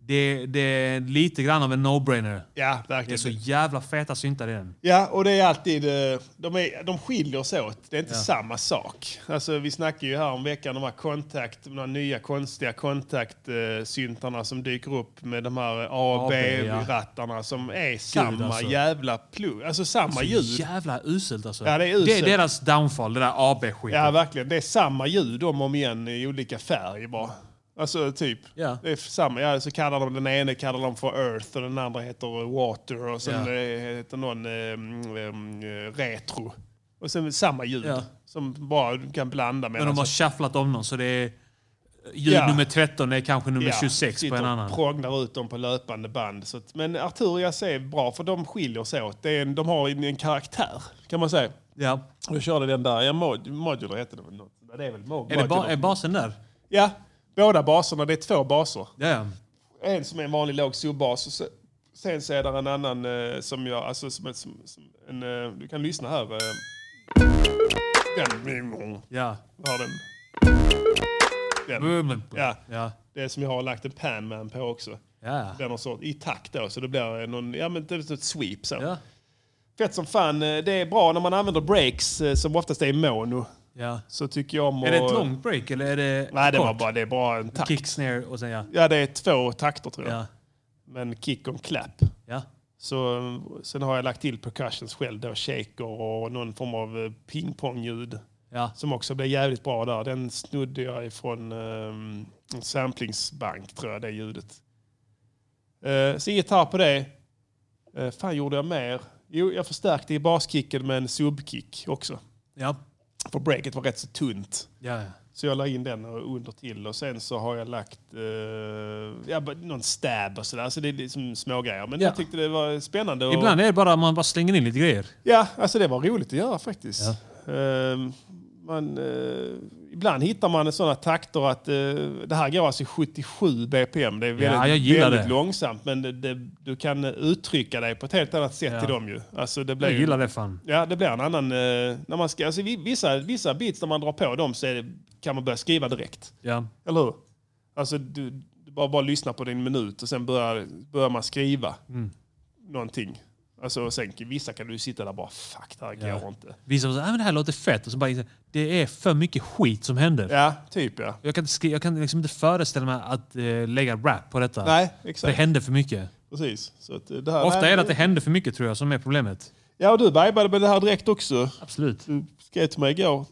Speaker 1: det, det är lite grann av en no-brainer.
Speaker 5: ja,
Speaker 1: Det är
Speaker 5: verkligen.
Speaker 1: så jävla feta syntar i den.
Speaker 5: Ja, och det är alltid... eh, De, är, de skiljer sig åt. Det är inte samma sak. Alltså, vi snackade ju här om veckan de här kontakt, de här nya konstiga kontaktsyntarna som dyker upp med de här A och
Speaker 1: AB, ja.
Speaker 5: B-rattarna som är samma
Speaker 1: alltså.
Speaker 5: jävla plugg. Alltså samma ljud.
Speaker 1: Jävla uselt alltså.
Speaker 5: Ja, det är uselt.
Speaker 1: det är deras downfall, det där AB-skiten.
Speaker 5: Ja, verkligen. Det är samma ljud om och om igen i olika färg bara. Alltså typ.
Speaker 1: Ja.
Speaker 5: Det är samma. Ja, så kallar de den ene kallar de för Earth och den andra heter Water och sen
Speaker 1: Ja.
Speaker 5: eh, heter någon eh, mm, mm, eh, Retro. Och sen samma ljud
Speaker 1: Ja.
Speaker 5: som bara du kan blanda med.
Speaker 1: Men de har shufflat om dem så det är... Ljud
Speaker 5: alltså. Ja.
Speaker 1: nummer 13 är kanske nummer 26 på
Speaker 5: sitter
Speaker 1: en
Speaker 5: och
Speaker 1: annan.
Speaker 5: prognar ut dem på löpande band. Så att, men Arturias är bra för de skiljer sig åt. Det är en, de har en, en karaktär kan man säga.
Speaker 1: Ja.
Speaker 5: Jag körde den där, ja, mod, Modular heter det väl något. Det är väl mod,
Speaker 1: Är, det ba-
Speaker 5: modular.
Speaker 1: är basen där?
Speaker 5: Ja, båda baserna. Det är två baser.
Speaker 1: Ja, ja.
Speaker 5: En som är en vanlig låg subbas och se- sen så är det en annan eh, som jag... Alltså, som, som, som, en, eh, du kan lyssna här. Eh. Den.
Speaker 1: ja.
Speaker 5: Hör den. den.
Speaker 1: Boom.
Speaker 5: Ja.
Speaker 1: Ja.
Speaker 5: Det är som jag har lagt en panman på också.
Speaker 1: Ja.
Speaker 5: Den har så, I takt då, så det blir eh, någon, ja, men det är ett sweep. Så.
Speaker 1: Ja.
Speaker 5: Fett som fan. eh, Det är bra när man använder breaks eh, som oftast är i mono.
Speaker 1: ja.
Speaker 5: Så tycker jag om
Speaker 1: Är det ett
Speaker 5: att-
Speaker 1: långt break eller är det
Speaker 5: Nej, det
Speaker 1: kort?
Speaker 5: var bara, det är bara en takt.
Speaker 1: Kick, snare och sen ja.
Speaker 5: Ja, det är två takter tror jag.
Speaker 1: Ja.
Speaker 5: Men kick och clap.
Speaker 1: ja.
Speaker 5: Så, eh, sen har jag lagt till percussions själv då, shaker och någon form av eh, pingpongljud.
Speaker 1: ja.
Speaker 5: Som också blev jävligt bra där. Den snodde jag ifrån um, en samplingsbank tror jag, det ljudet. Uh, så gitarr på det. Uh, fan gjorde jag mer? Jo, jag förstärkte i baskicken med en subkick också.
Speaker 1: Ja.
Speaker 5: För breaket var rätt så tunt.
Speaker 1: Ja. ja.
Speaker 5: Så jag la in den och under till och sen så har jag lagt eh, ja, bara någon stab och sådär. Så det är liksom smågrejer. Men
Speaker 1: Ja.
Speaker 5: jag tyckte det var spännande. Och,
Speaker 1: Ibland är det bara man bara slänger in lite grejer.
Speaker 5: Ja, alltså det var roligt att göra faktiskt. Ehm, man, eh, ibland hittar man sådana takter att eh, det här går alltså i 77 bpm. Det är väldigt,
Speaker 1: jag gillar
Speaker 5: väldigt
Speaker 1: det.
Speaker 5: långsamt men det, det, du kan uttrycka dig på ett helt annat sätt
Speaker 1: Ja.
Speaker 5: i dem ju. Alltså, det blir
Speaker 1: Jag
Speaker 5: ju-
Speaker 1: gillar det fan.
Speaker 5: Ja, det blir en annan... eh, när man ska, alltså, vi- vissa, vissa beats när man drar på dem så är det, kan man börja skriva direkt.
Speaker 1: Ja.
Speaker 5: Eller hur?
Speaker 1: Mm.
Speaker 5: Alltså, du, du bara, bara lyssna på din minut och sen börjar, börjar man skriva. någonting. Alltså, sen, vissa kan du sitta där och bara fuck, det här går inte.
Speaker 1: Vissa var så här, "Ah, men det här låter fett. Och så bara, inser, det är för mycket skit som händer.
Speaker 5: Ja, typ ja.
Speaker 1: Jag kan, inte skri- jag kan liksom inte föreställa mig att eh, lägga rap på detta.
Speaker 5: Nej,
Speaker 1: Det
Speaker 5: exakt.
Speaker 1: hände för mycket.
Speaker 5: Precis. Så att eh, det här,
Speaker 1: Ofta
Speaker 5: nej,
Speaker 1: är det att det händer för mycket tror jag som är problemet.
Speaker 5: Ja, och du vibade med det här direkt också.
Speaker 1: Absolut.
Speaker 5: Du skrev till mig igår.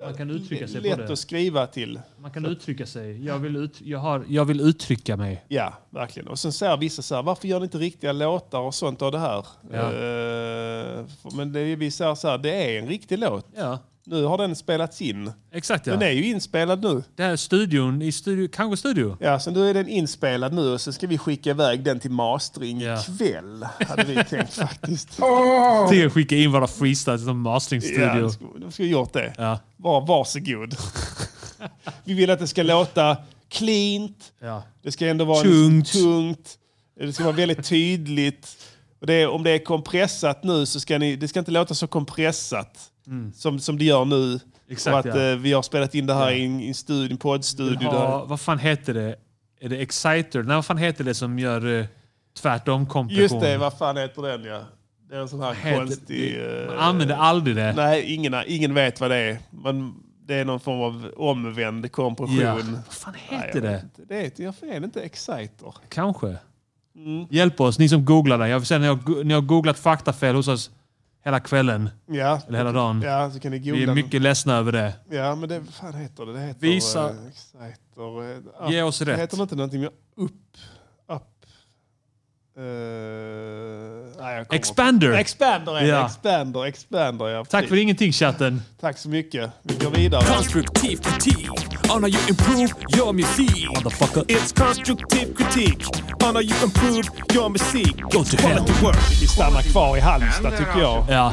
Speaker 1: Man kan uttrycka sig på
Speaker 5: Lätt
Speaker 1: det.
Speaker 5: att skriva till.
Speaker 1: Man kan uttrycka sig. Jag vill, ut, jag har, jag vill uttrycka mig.
Speaker 5: Ja, verkligen. Och sen säger vissa så här, varför gör ni inte riktiga låtar och sånt av det här?
Speaker 1: Ja.
Speaker 5: Eh, för- men det, är- vi säger så här, det är en riktig låt.
Speaker 1: Ja,
Speaker 5: Nu har den spelats in.
Speaker 1: exakt ja.
Speaker 5: Den är ju inspelad nu.
Speaker 1: Det här är studion, i studio, kanske studio.
Speaker 5: Ja, så nu är den inspelad nu och så ska vi skicka iväg den till mastering
Speaker 1: Ja.
Speaker 5: ikväll. Hade vi tänkt faktiskt.
Speaker 1: Tänk att skicka in våra freestyles till en
Speaker 5: Ja,
Speaker 1: masteringsstudio.
Speaker 5: då skulle- då skulle vi gjort det.
Speaker 1: Ja.
Speaker 5: Var, varsågod. vi vill att det ska låta cleant.
Speaker 1: Ja.
Speaker 5: Det ska ändå vara
Speaker 1: Tungt.
Speaker 5: tungt. Det ska vara väldigt tydligt. Och det, är- om det är kompressat nu så ska ni, det ska inte låta så kompressat som, som det gör nu.
Speaker 1: Mm. Exakt,
Speaker 5: och att
Speaker 1: ja.
Speaker 5: eh, vi har spelat in det här i en, i en studio, en poddstudio.
Speaker 1: Ja, vad fan heter det? Är det Exciter? Nej, vad fan heter det som gör eh, tvärtom kompression?
Speaker 5: Just det, vad fan heter den ja. Det är en sån här
Speaker 1: Heter-
Speaker 5: konstig... eh,
Speaker 1: Man använder aldrig det.
Speaker 5: Nej, ingen, ingen vet vad det är. Men det är någon form av omvänd kompression.
Speaker 1: Ja. Vad fan heter
Speaker 5: Nej, jag vet
Speaker 1: det?
Speaker 5: inte. Det heter, jag är det inte Exciter.
Speaker 1: Kanske.
Speaker 5: Mm.
Speaker 1: Hjälp oss, ni som googlar det. Jag vill säga, ni, har, go- ni har googlat faktafel hos oss hela kvällen.
Speaker 5: Ja,
Speaker 1: Eller hela dagen.
Speaker 5: ja så kan ni
Speaker 1: Vi
Speaker 5: googla.
Speaker 1: är mycket ledsna över det.
Speaker 5: Ja, men det, vad fan heter det? Det heter
Speaker 1: Visa-
Speaker 5: eh, Exciter. eh, app.
Speaker 1: Ge oss
Speaker 5: Det
Speaker 1: rätt.
Speaker 5: heter inte någonting med upp. upp. Eh, nej, jag kommer
Speaker 1: Expander!
Speaker 5: inte- Expander är det.
Speaker 1: Ja.
Speaker 5: Expander, expander. Ja,
Speaker 1: Tack för
Speaker 5: precis.
Speaker 1: ingenting chatten.
Speaker 5: Tack så mycket. Vi går vidare.
Speaker 4: Constructive critique on how you improve your music.
Speaker 1: Motherfucker.
Speaker 9: It's constructive critique on how you improve your music.
Speaker 1: Go to hell.
Speaker 9: Quality work.
Speaker 5: Vi stannar kvar i Halmstad tycker jag.
Speaker 1: Ja.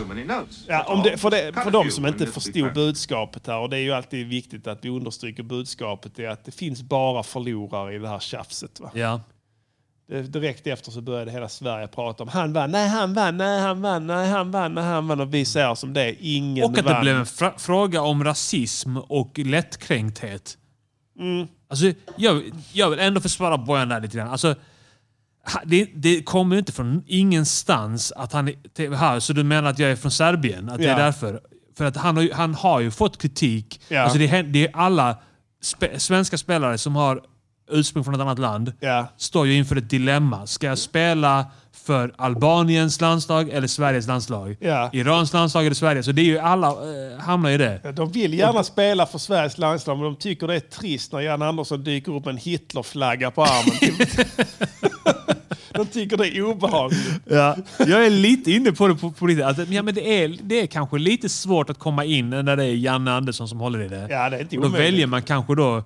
Speaker 5: Ja, om det, för, det, för de som inte förstod budskapet här, och det är ju alltid viktigt att vi understryker budskapet, är att det finns bara förlorare i det här tjafset. Va?
Speaker 1: Ja.
Speaker 5: Det- Direkt efter så började hela Sverige prata om han vann, nej han vann, nej han vann, nej han vann, nej han vann. Och vi säger som det är, ingen
Speaker 1: Och att
Speaker 5: vann.
Speaker 1: det blev en fra- fråga om rasism och lättkränkthet. Alltså, jag, jag vill ändå försvara Bojan där lite grann. Alltså, ha- det, det kommer ju inte från ingenstans att han är till- här. Så du menar att jag är från Serbien? Att det
Speaker 5: Ja.
Speaker 1: är därför? För att han har, ju- han har ju fått kritik.
Speaker 5: Ja.
Speaker 1: Alltså det, hän- det är alla spe, svenska spelare som har ursprung från ett annat land
Speaker 5: Ja.
Speaker 1: står ju inför ett dilemma. Ska jag spela för Albaniens landslag eller Sveriges landslag?
Speaker 5: Ja.
Speaker 1: Irans landslag eller Sverige? Så det är ju alla eh, hamnar i det.
Speaker 5: De vill gärna spela för Sveriges landslag, men de tycker det är trist när Jan Andersson dyker upp med en Hitlerflagga på armen. de tycker det är obehagligt.
Speaker 1: Ja. Jag är lite inne på det på, på lite. Att, ja, men det, är, det är kanske lite svårt att komma in när det är Janne Andersson som håller i det.
Speaker 5: Ja, det är inte
Speaker 1: och då
Speaker 5: omöjligt.
Speaker 1: väljer man kanske då,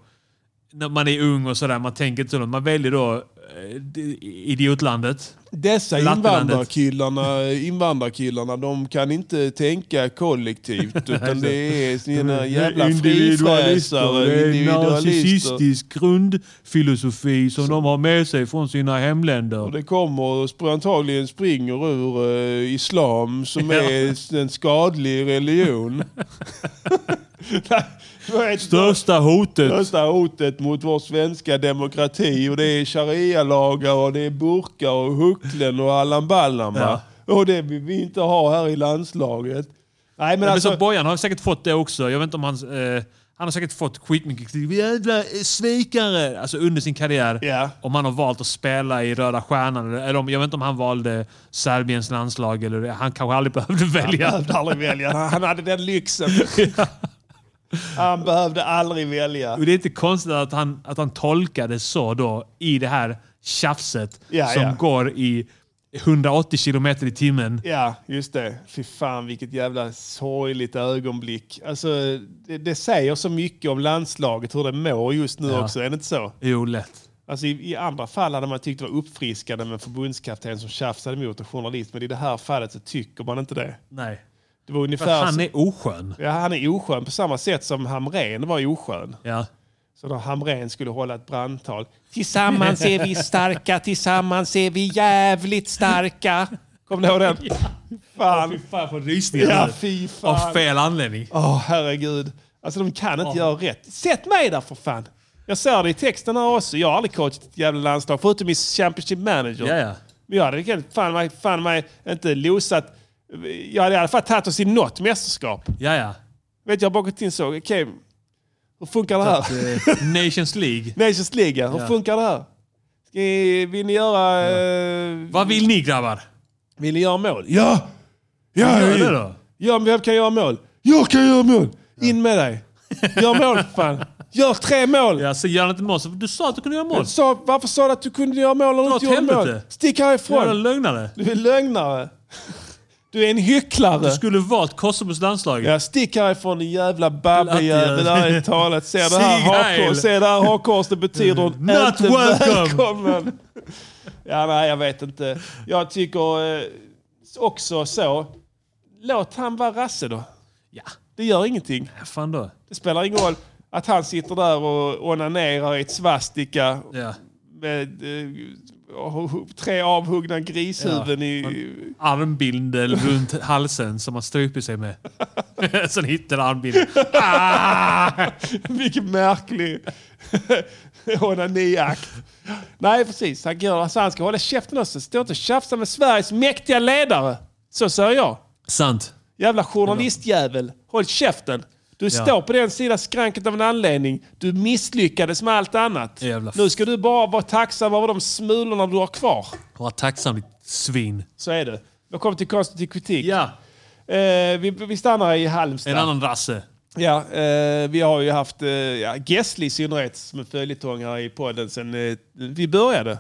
Speaker 1: när man är ung och sådär, man tänker inte så långt. Man väljer då eh, det- idiotlandet.
Speaker 5: Dessa
Speaker 1: Lattelandet.
Speaker 5: invandrarkillarna, invandrarkillarna, de kan inte tänka kollektivt utan det är sina jävla
Speaker 1: det
Speaker 5: frifräsare,
Speaker 1: Mm. är en
Speaker 5: individualister.
Speaker 1: narcissistisk grundfilosofi som de har med sig från sina hemländer.
Speaker 5: Och det kommer och sp- antagligen springer ur eh, islam som
Speaker 1: Ja.
Speaker 5: är en skadlig religion. Nej, vad är det
Speaker 1: Största hotet.
Speaker 5: Största hotet mot vår svenska demokrati och det är sharia-lagar och det är burkar och hucklen och Allan Ballama. Och det vill vi inte ha här i landslaget. Nej men
Speaker 1: Men
Speaker 5: alltså...
Speaker 1: så Bojan har säkert fått det också. Jag vet inte om han... Eh, han har säkert fått skitmycket kritik. Jävla eh, svikare! Alltså under sin karriär.
Speaker 5: Ja.
Speaker 1: Om han har valt att spela i Röda Stjärnan. Eller, eller om, jag vet inte om han valde Serbiens landslag. Eller, det. han kanske aldrig behövde välja.
Speaker 5: behövde aldrig välja. Han han hade den lyxen. Han behövde aldrig välja.
Speaker 1: Och det är inte konstigt att han, att han tolkades så då i det här tjafset
Speaker 5: Ja,
Speaker 1: som
Speaker 5: ja.
Speaker 1: går i 180 kilometer i timmen.
Speaker 5: Ja, just det. Fy fan vilket jävla sorgligt ögonblick. Alltså, det, det säger så mycket om landslaget, hur det mår just nu
Speaker 1: Ja.
Speaker 5: också. Är det inte så?
Speaker 1: Jo, lätt.
Speaker 5: Alltså i, I andra fall hade man tyckt det var uppfriskande med en förbundskapten som tjafsade mot en journalist, men i det här fallet så tycker man inte det.
Speaker 1: Nej.
Speaker 5: Det var ungefär
Speaker 1: För att han
Speaker 5: som-
Speaker 1: är oskön.
Speaker 5: ja, han är oskön på samma sätt som Hamrén var oskön.
Speaker 1: Ja.
Speaker 5: Så då Hamrén skulle hålla ett brandtal. Tillsammans är vi starka, tillsammans är vi jävligt starka. Kommer ni ihåg den? Fan.
Speaker 1: fan, jag får rysningar
Speaker 5: Ja,
Speaker 1: nu.
Speaker 5: fy fan.
Speaker 1: Av fel anledning.
Speaker 5: Åh, herregud. Alltså de kan inte göra rätt. Sätt mig där för fan! Jag ser det i texten här också. Jag har aldrig coachat ett jävla landslag, förutom i Championship Manager.
Speaker 1: Ja, ja.
Speaker 5: Men jag hade lika- fan mig, fan mig inte losat. Jag hade i alla fall tagit oss i något mästerskap.
Speaker 1: Ja, ja.
Speaker 5: Vet jag har bara gått in och såg, okej, hur funkar det här?
Speaker 1: Nations League.
Speaker 5: Nations League, ja. hur
Speaker 1: eh, Ja.
Speaker 5: funkar det här? Ska ni, vill ni göra... eh,
Speaker 1: Vad vill ni grabbar?
Speaker 5: Vill ni göra mål? Ja! Ja,
Speaker 1: Gör
Speaker 5: jag
Speaker 1: det
Speaker 5: vill.
Speaker 1: då.
Speaker 5: ja men vem kan göra mål? Jag kan göra mål! In med dig! Gör mål för fan! Gör tre mål!
Speaker 1: Ja, så gör han inte mål. så- Du sa att du kunde göra mål.
Speaker 5: Så, varför sa du att du kunde göra mål när du
Speaker 1: Dra
Speaker 5: inte
Speaker 1: åt
Speaker 5: gjorde mål?
Speaker 1: helvete.
Speaker 5: Stick
Speaker 1: Jävla
Speaker 5: härifrån!
Speaker 1: lögnare.
Speaker 5: Du är lögnare! Du är en hycklare!
Speaker 1: Du skulle valt Kosovos landslag.
Speaker 5: Ja, stick härifrån din jävla babbejävel. Det här är talet. Se det här
Speaker 1: Sig
Speaker 5: hakkors.
Speaker 1: heil.
Speaker 5: Se det här hakkors. Det betyder hon
Speaker 1: Not
Speaker 5: inte
Speaker 1: welcome.
Speaker 5: välkommen. Ja, nej, jag vet inte. Jag tycker eh, också så. Låt han vara rasse då.
Speaker 1: Ja,
Speaker 5: Det gör ingenting.
Speaker 1: fan då.
Speaker 5: Det spelar ingen roll att han sitter där och onanerar i ett svastika
Speaker 1: Ja.
Speaker 5: med eh, och- tre avhuggna grishuvuden i...
Speaker 1: Armbindel runt halsen som han stryper sig med. Sen hittar han armbilden. Ah!
Speaker 5: Vilken märklig onaniakt. Nej, precis. Han, gör, alltså, han ska hålla käften också. Stå inte och tjafsa med Sveriges mäktiga ledare. Så säger jag.
Speaker 1: Sant.
Speaker 5: Jävla journalistjävel. Håll käften. Du står på den sidan skranket av en anledning. Du misslyckades med allt annat.
Speaker 1: Jävla f-
Speaker 5: nu ska du bara vara tacksam över de smulorna du har kvar.
Speaker 1: Var tacksam ditt svin.
Speaker 5: Så är det. Välkommen till konstruktiv kritik.
Speaker 1: Ja,
Speaker 5: Eh, vi, vi stannar i Halmstad.
Speaker 1: en annan rasse.
Speaker 5: Ja, eh, vi har ju haft eh, ja, Gessle i synnerhet som en följetong här i podden sen eh, vi började.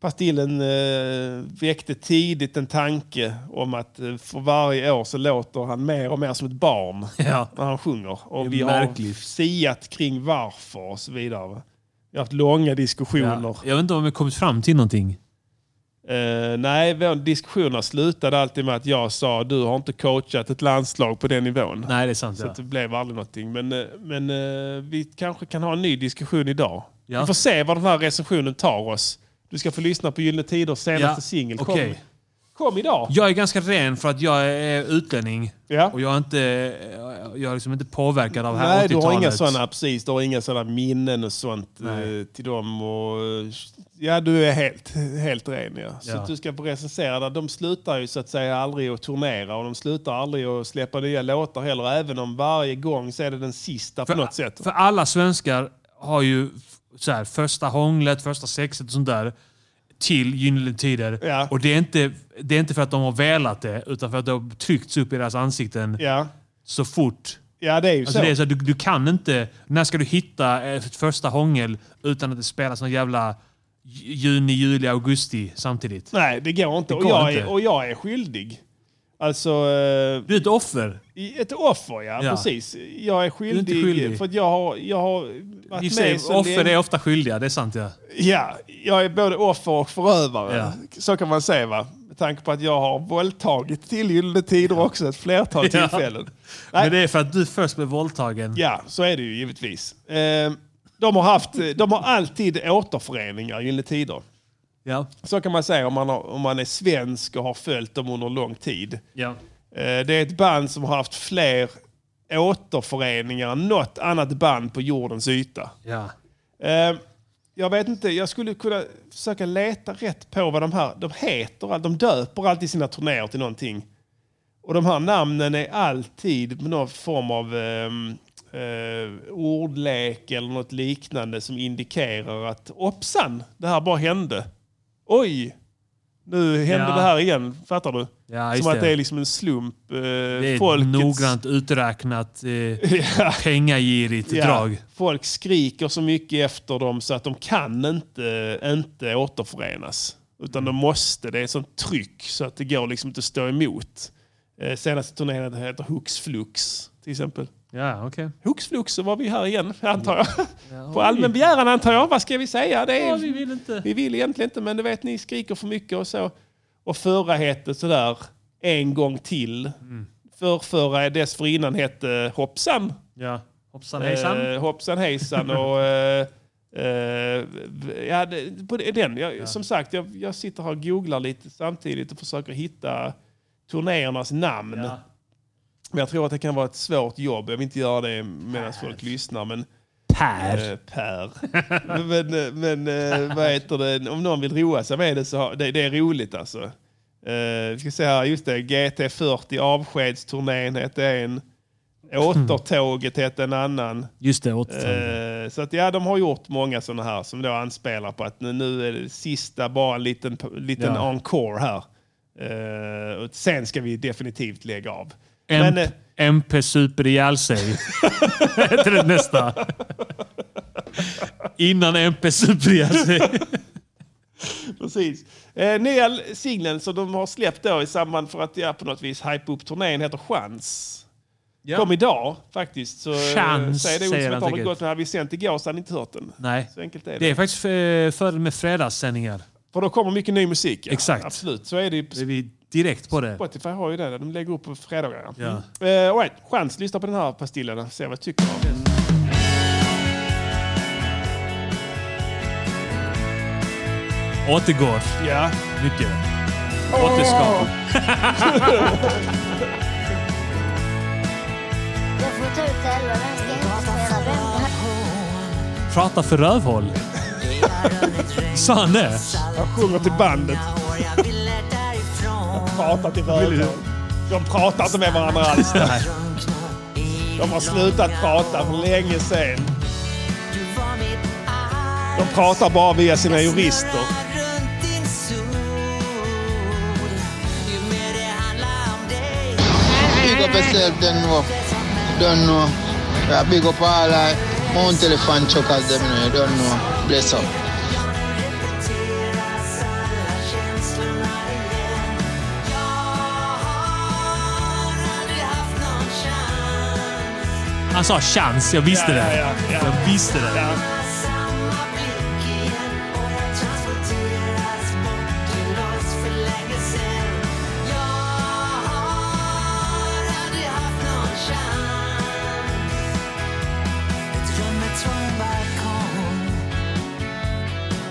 Speaker 5: Pastillen eh, väckte tidigt en tanke om att eh, för varje år så låter han mer och mer som ett barn
Speaker 1: Ja.
Speaker 5: när han sjunger. Och
Speaker 1: Det är
Speaker 5: vi har
Speaker 1: märkligt.
Speaker 5: siat kring varför och så vidare. va. Vi har haft långa diskussioner.
Speaker 1: Ja. Jag vet inte om vi kommit fram till någonting.
Speaker 5: Eh, nej, vår diskussioner slutade alltid med att jag sa du har inte coachat ett landslag på den nivån.
Speaker 1: Nej, det är sant.
Speaker 5: Så
Speaker 1: Ja.
Speaker 5: att det blev aldrig någonting. Men, eh, men eh, vi kanske kan ha en ny diskussion idag.
Speaker 1: Ja.
Speaker 5: Vi får se var den här recensionen tar oss. Du ska få lyssna på Gyllene Tiders senaste
Speaker 1: Ja,
Speaker 5: singel. Kom,
Speaker 1: okej.
Speaker 5: kom idag!
Speaker 1: Jag är ganska ren för att jag är utlänning.
Speaker 5: Ja.
Speaker 1: Och jag är inte, jag är liksom inte påverkad av det här
Speaker 5: Nej, du har
Speaker 1: 80-talet.
Speaker 5: inga sådana precis. Du har inga sådana minnen och sånt eh,
Speaker 1: Nej.
Speaker 5: till dem. Och, eh, ja, du är helt, helt ren. Ja. Så
Speaker 1: Ja.
Speaker 5: att du ska få recensera. där. De slutar ju så att säga aldrig att turnera och de slutar aldrig att släppa nya låtar heller. Även om varje gång så är det den sista på något sätt.
Speaker 1: För alla svenskar har ju f- så här, första hånglet, första sexet och sånt där till Gyllene Tider.
Speaker 5: Ja.
Speaker 1: Och det är, inte, det är inte för att de har velat det, utan för att det har tryckts upp i deras ansikten
Speaker 5: Ja.
Speaker 1: så fort.
Speaker 5: ja, det är ju
Speaker 1: Alltså
Speaker 5: så.
Speaker 1: det är så att du, du kan inte... När ska du hitta eh, ett första hångel utan att det spelas någon jävla ju- juni, juli, augusti samtidigt?
Speaker 5: Nej, det går inte.
Speaker 1: går
Speaker 5: och, jag Är,
Speaker 1: inte.
Speaker 5: och jag är skyldig. Alltså, eh,
Speaker 1: Du är ett offer.
Speaker 5: i- ett offer ja,
Speaker 1: Ja.
Speaker 5: precis. Jag är skyldig,
Speaker 1: skyldig.
Speaker 5: för att jag har, jag har varit
Speaker 1: I och för
Speaker 5: med
Speaker 1: sig,
Speaker 5: så
Speaker 1: offer
Speaker 5: länge.
Speaker 1: är ofta skyldiga, det är sant ja.
Speaker 5: Ja, jag är både offer och förövare.
Speaker 1: Ja.
Speaker 5: Så kan man säga va? Med tanke på att jag har våldtagit till Gyllene Tider också ett flertal
Speaker 1: Ja.
Speaker 5: tillfällen. Nej.
Speaker 1: Men det är för att du först blev våldtagen.
Speaker 5: Ja, så är det ju givetvis. Eh, de, har haft, de har alltid återföreningar, Gyllene Tider.
Speaker 1: Ja.
Speaker 5: Så kan man säga om man, har, om man är svensk och har följt dem under lång tid.
Speaker 1: ja.
Speaker 5: Eh, Det är ett band som har haft fler återföreningar än något annat band på jordens yta.
Speaker 1: ja.
Speaker 5: Eh, Jag vet inte, jag skulle kunna försöka leta rätt på vad de här de heter. De döper alltid sina turnéer till någonting. Och de här namnen är alltid med någon form av ehm, eh, ordlek eller något liknande som indikerar att hoppsan, det här bara hände. Oj, nu hände
Speaker 1: Ja.
Speaker 5: det här igen. Fattar du?
Speaker 1: Ja, just
Speaker 5: Som att
Speaker 1: det.
Speaker 5: det är liksom en slump. Eh,
Speaker 1: Det är
Speaker 5: folkets-
Speaker 1: ett noggrant uträknat, eh,
Speaker 5: Ja,
Speaker 1: pengagirigt
Speaker 5: ja.
Speaker 1: drag.
Speaker 5: Folk skriker så mycket efter dem så att de kan inte, inte återförenas. Utan
Speaker 1: Mm.
Speaker 5: de måste. Det är ett sånt tryck så att det går liksom inte att stå emot. Eh, senaste turnén heter Hux Flux till exempel.
Speaker 1: Ja, okej.
Speaker 5: Hux Flux så var vi här igen antar jag. På allmän begäran antar jag. Vad ska vi säga? Det är,
Speaker 1: Ja, vi vill inte.
Speaker 5: vi vill egentligen inte, men du vet, ni skriker för mycket och så. Och förra hette sådär en gång till.
Speaker 1: Mm.
Speaker 5: Förrförra dessförinnan hette Hoppsan.
Speaker 1: Ja. Hoppsan hejsan.
Speaker 5: Eh, hoppsan hejsan och... Eh, eh, v- ja, det, på det- den. Jag, Som sagt, jag, jag sitter här och googlar lite samtidigt och försöker hitta turnéernas namn.
Speaker 1: Ja.
Speaker 5: Men jag tror att det kan vara ett svårt jobb. Jag vill inte göra det medan folk lyssnar. Men
Speaker 1: Per.
Speaker 5: Eh, Per. men eh, men eh, vad heter det? Om någon vill roa sig med det så har, det, det är roligt alltså. Eh, vi ska se här, just det. GT40 avskedsturnén hette en. Återtåget hette en annan.
Speaker 1: Just det, återtagande.
Speaker 5: Eh, så att ja, de har gjort många sådana här som då anspelar på att nu, nu är det sista, bara en liten, liten
Speaker 1: Ja.
Speaker 5: encore här. Eh, och sen ska vi definitivt lägga av.
Speaker 1: MP,
Speaker 5: Men, eh,
Speaker 1: MP super ihjäl sig. Heter det nästa. Innan MP super ihjäl sig.
Speaker 5: Precis. Eh, nya singeln som de har släppt då i samband för att ja, på något vis hype upp turnén heter Chans. Kom idag faktiskt. Så, eh,
Speaker 1: Chans,
Speaker 5: säger det
Speaker 1: säger
Speaker 5: säger
Speaker 1: han
Speaker 5: som att
Speaker 1: säkert.
Speaker 5: gått men hade vi sänt igår så hade ni inte hört den.
Speaker 1: Nej.
Speaker 5: Så enkelt är det.
Speaker 1: Det är faktiskt eh, fördel med fredagssändningar.
Speaker 5: För då kommer mycket ny musik. Ja.
Speaker 1: Exakt.
Speaker 5: Absolut, så är det ju.
Speaker 1: Då är vi direkt på det.
Speaker 5: Spotify har ju det, de lägger upp på fredagar.
Speaker 1: Ja.
Speaker 5: Mm. Eh, all right. Chans, lyssna på den här pastillen och se vad du tycker om den.
Speaker 1: Återgår
Speaker 5: Ja.
Speaker 1: mycket. Återskap.
Speaker 8: Jag får ta ut elva, vem ska inte spela vem?
Speaker 1: Prata för rövhål. Sa han det?
Speaker 5: Han sjunger till bandet. De pratar till varandra. De pratar inte med varandra alls. De har slutat prata för länge sedan. De pratar bara via sina jurister.
Speaker 10: Big up yourself then no. Don't know. Yeah, big up all I mount elephant chokers them you know, you don't know. Bless up.
Speaker 1: Han sa chans. Jag visste
Speaker 5: Ja,
Speaker 1: det.
Speaker 5: ja, ja, ja.
Speaker 1: Jag visste det.
Speaker 5: Ja.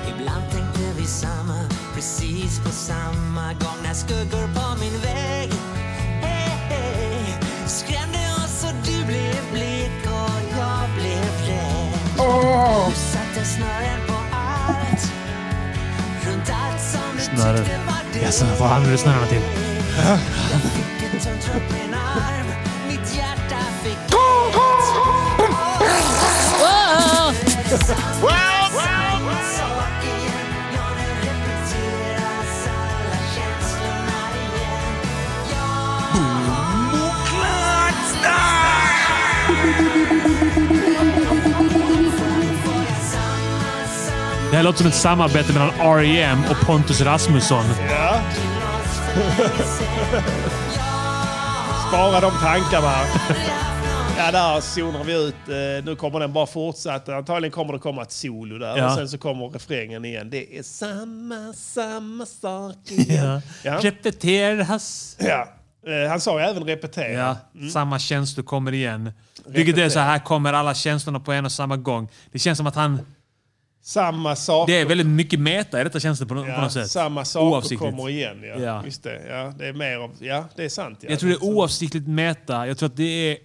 Speaker 11: Ibland tänkte vi samma, precis på samma gång när skuggor på min väg hey, hey, skrämde oss och du blev blek och jag blev rädd. Du satte snören på allt, runt allt som du
Speaker 1: Snören.
Speaker 11: tyckte var ditt.
Speaker 1: Jaså, vad använder du snörena till?
Speaker 11: Fick ett tungt runt min arm, mitt hjärta fick
Speaker 1: Det här låter som ett samarbete mellan R.E.M. och Pontus Rasmusson.
Speaker 5: Ja. Spara de tankarna. Ja, där zonar vi ut. Eh, Nu kommer den bara fortsätta. Antagligen kommer det komma ett solo där
Speaker 1: Ja.
Speaker 5: och sen så kommer refrängen igen. Det är samma, samma sak igen. Ja.
Speaker 1: Repeteras.
Speaker 5: Ja. Eh, Han sa ju även repetera.
Speaker 1: Ja, samma känslor kommer igen. Vilket är så här kommer alla känslorna på en och samma gång. Det känns som att han...
Speaker 5: Samma sak.
Speaker 1: Det är väldigt mycket meta i detta känslor på, på
Speaker 5: ja,
Speaker 1: något sätt.
Speaker 5: Samma saker
Speaker 1: Oavsiktligt.
Speaker 5: kommer igen. Ja.
Speaker 1: Ja.
Speaker 5: Just det. Ja, det är mer av... Ja, det är sant. Ja.
Speaker 1: Jag tror det är oavsiktligt meta. Jag tror att det är...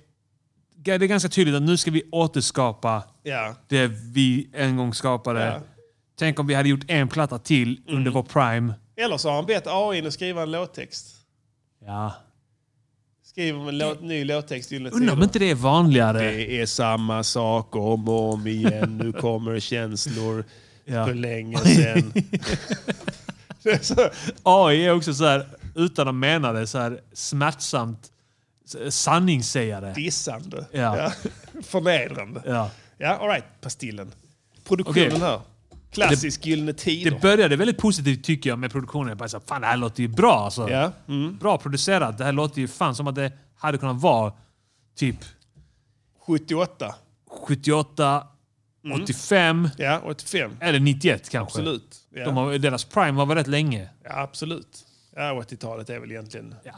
Speaker 1: Det är ganska tydligt att nu ska vi återskapa
Speaker 5: Ja.
Speaker 1: det vi en gång skapade.
Speaker 5: Ja.
Speaker 1: Tänk om vi hade gjort en platta till under vår prime.
Speaker 5: Eller så har han bett AI att skriva en låttext.
Speaker 1: Ja.
Speaker 5: Skriver en låt, ny låttext till
Speaker 1: Undrar om inte det är vanligare.
Speaker 5: Det är samma sak om och om igen. Nu kommer känslor
Speaker 1: Ja.
Speaker 5: för länge sedan. Det är så-
Speaker 1: AI är också så här, utan att mena det, så här smärtsamt s- sanningssägare.
Speaker 5: Dissande.
Speaker 1: Ja.
Speaker 5: Förnedrande. Ja,
Speaker 1: Ja.
Speaker 5: all right. Pastillen. Produktionen
Speaker 1: Okej.
Speaker 5: här. Klassisk Gyllene Tider.
Speaker 1: Det började väldigt positivt tycker jag med produktionen. Jag bara så här, fan det här låter ju bra alltså.
Speaker 5: ja. mm.
Speaker 1: Bra producerat. Det här låter ju fan som att det hade kunnat vara typ
Speaker 5: 78.
Speaker 1: 78, Mm. 85
Speaker 5: Ja, 85.
Speaker 1: eller 91 kanske.
Speaker 5: Absolut. Ja,
Speaker 1: De har, deras prime var väl rätt länge?
Speaker 5: ja absolut. Ja, 80-talet är väl egentligen...
Speaker 1: Ja,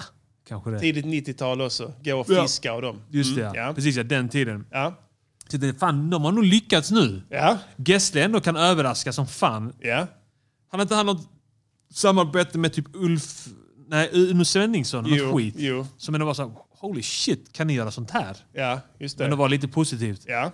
Speaker 1: kanske det.
Speaker 5: Tidigt 90-tal också. Gå och
Speaker 1: Ja.
Speaker 5: fiska och dem.
Speaker 1: Just det
Speaker 5: Mm,
Speaker 1: ja.
Speaker 5: ja.
Speaker 1: Precis ja, den tiden.
Speaker 5: Ja.
Speaker 1: Så det, fan, de har nog lyckats nu.
Speaker 5: Ja.
Speaker 1: Gessle ändå kan överraska som fan.
Speaker 5: ja.
Speaker 1: Han inte han något samarbete med typ Ulf... Nej, Uno Svenningsson. Något
Speaker 5: Jo,
Speaker 1: skit.
Speaker 5: jo.
Speaker 1: Som ändå var så här, holy shit, kan ni göra sånt här?
Speaker 5: Ja, just det.
Speaker 1: Men det var lite positivt.
Speaker 5: Ja.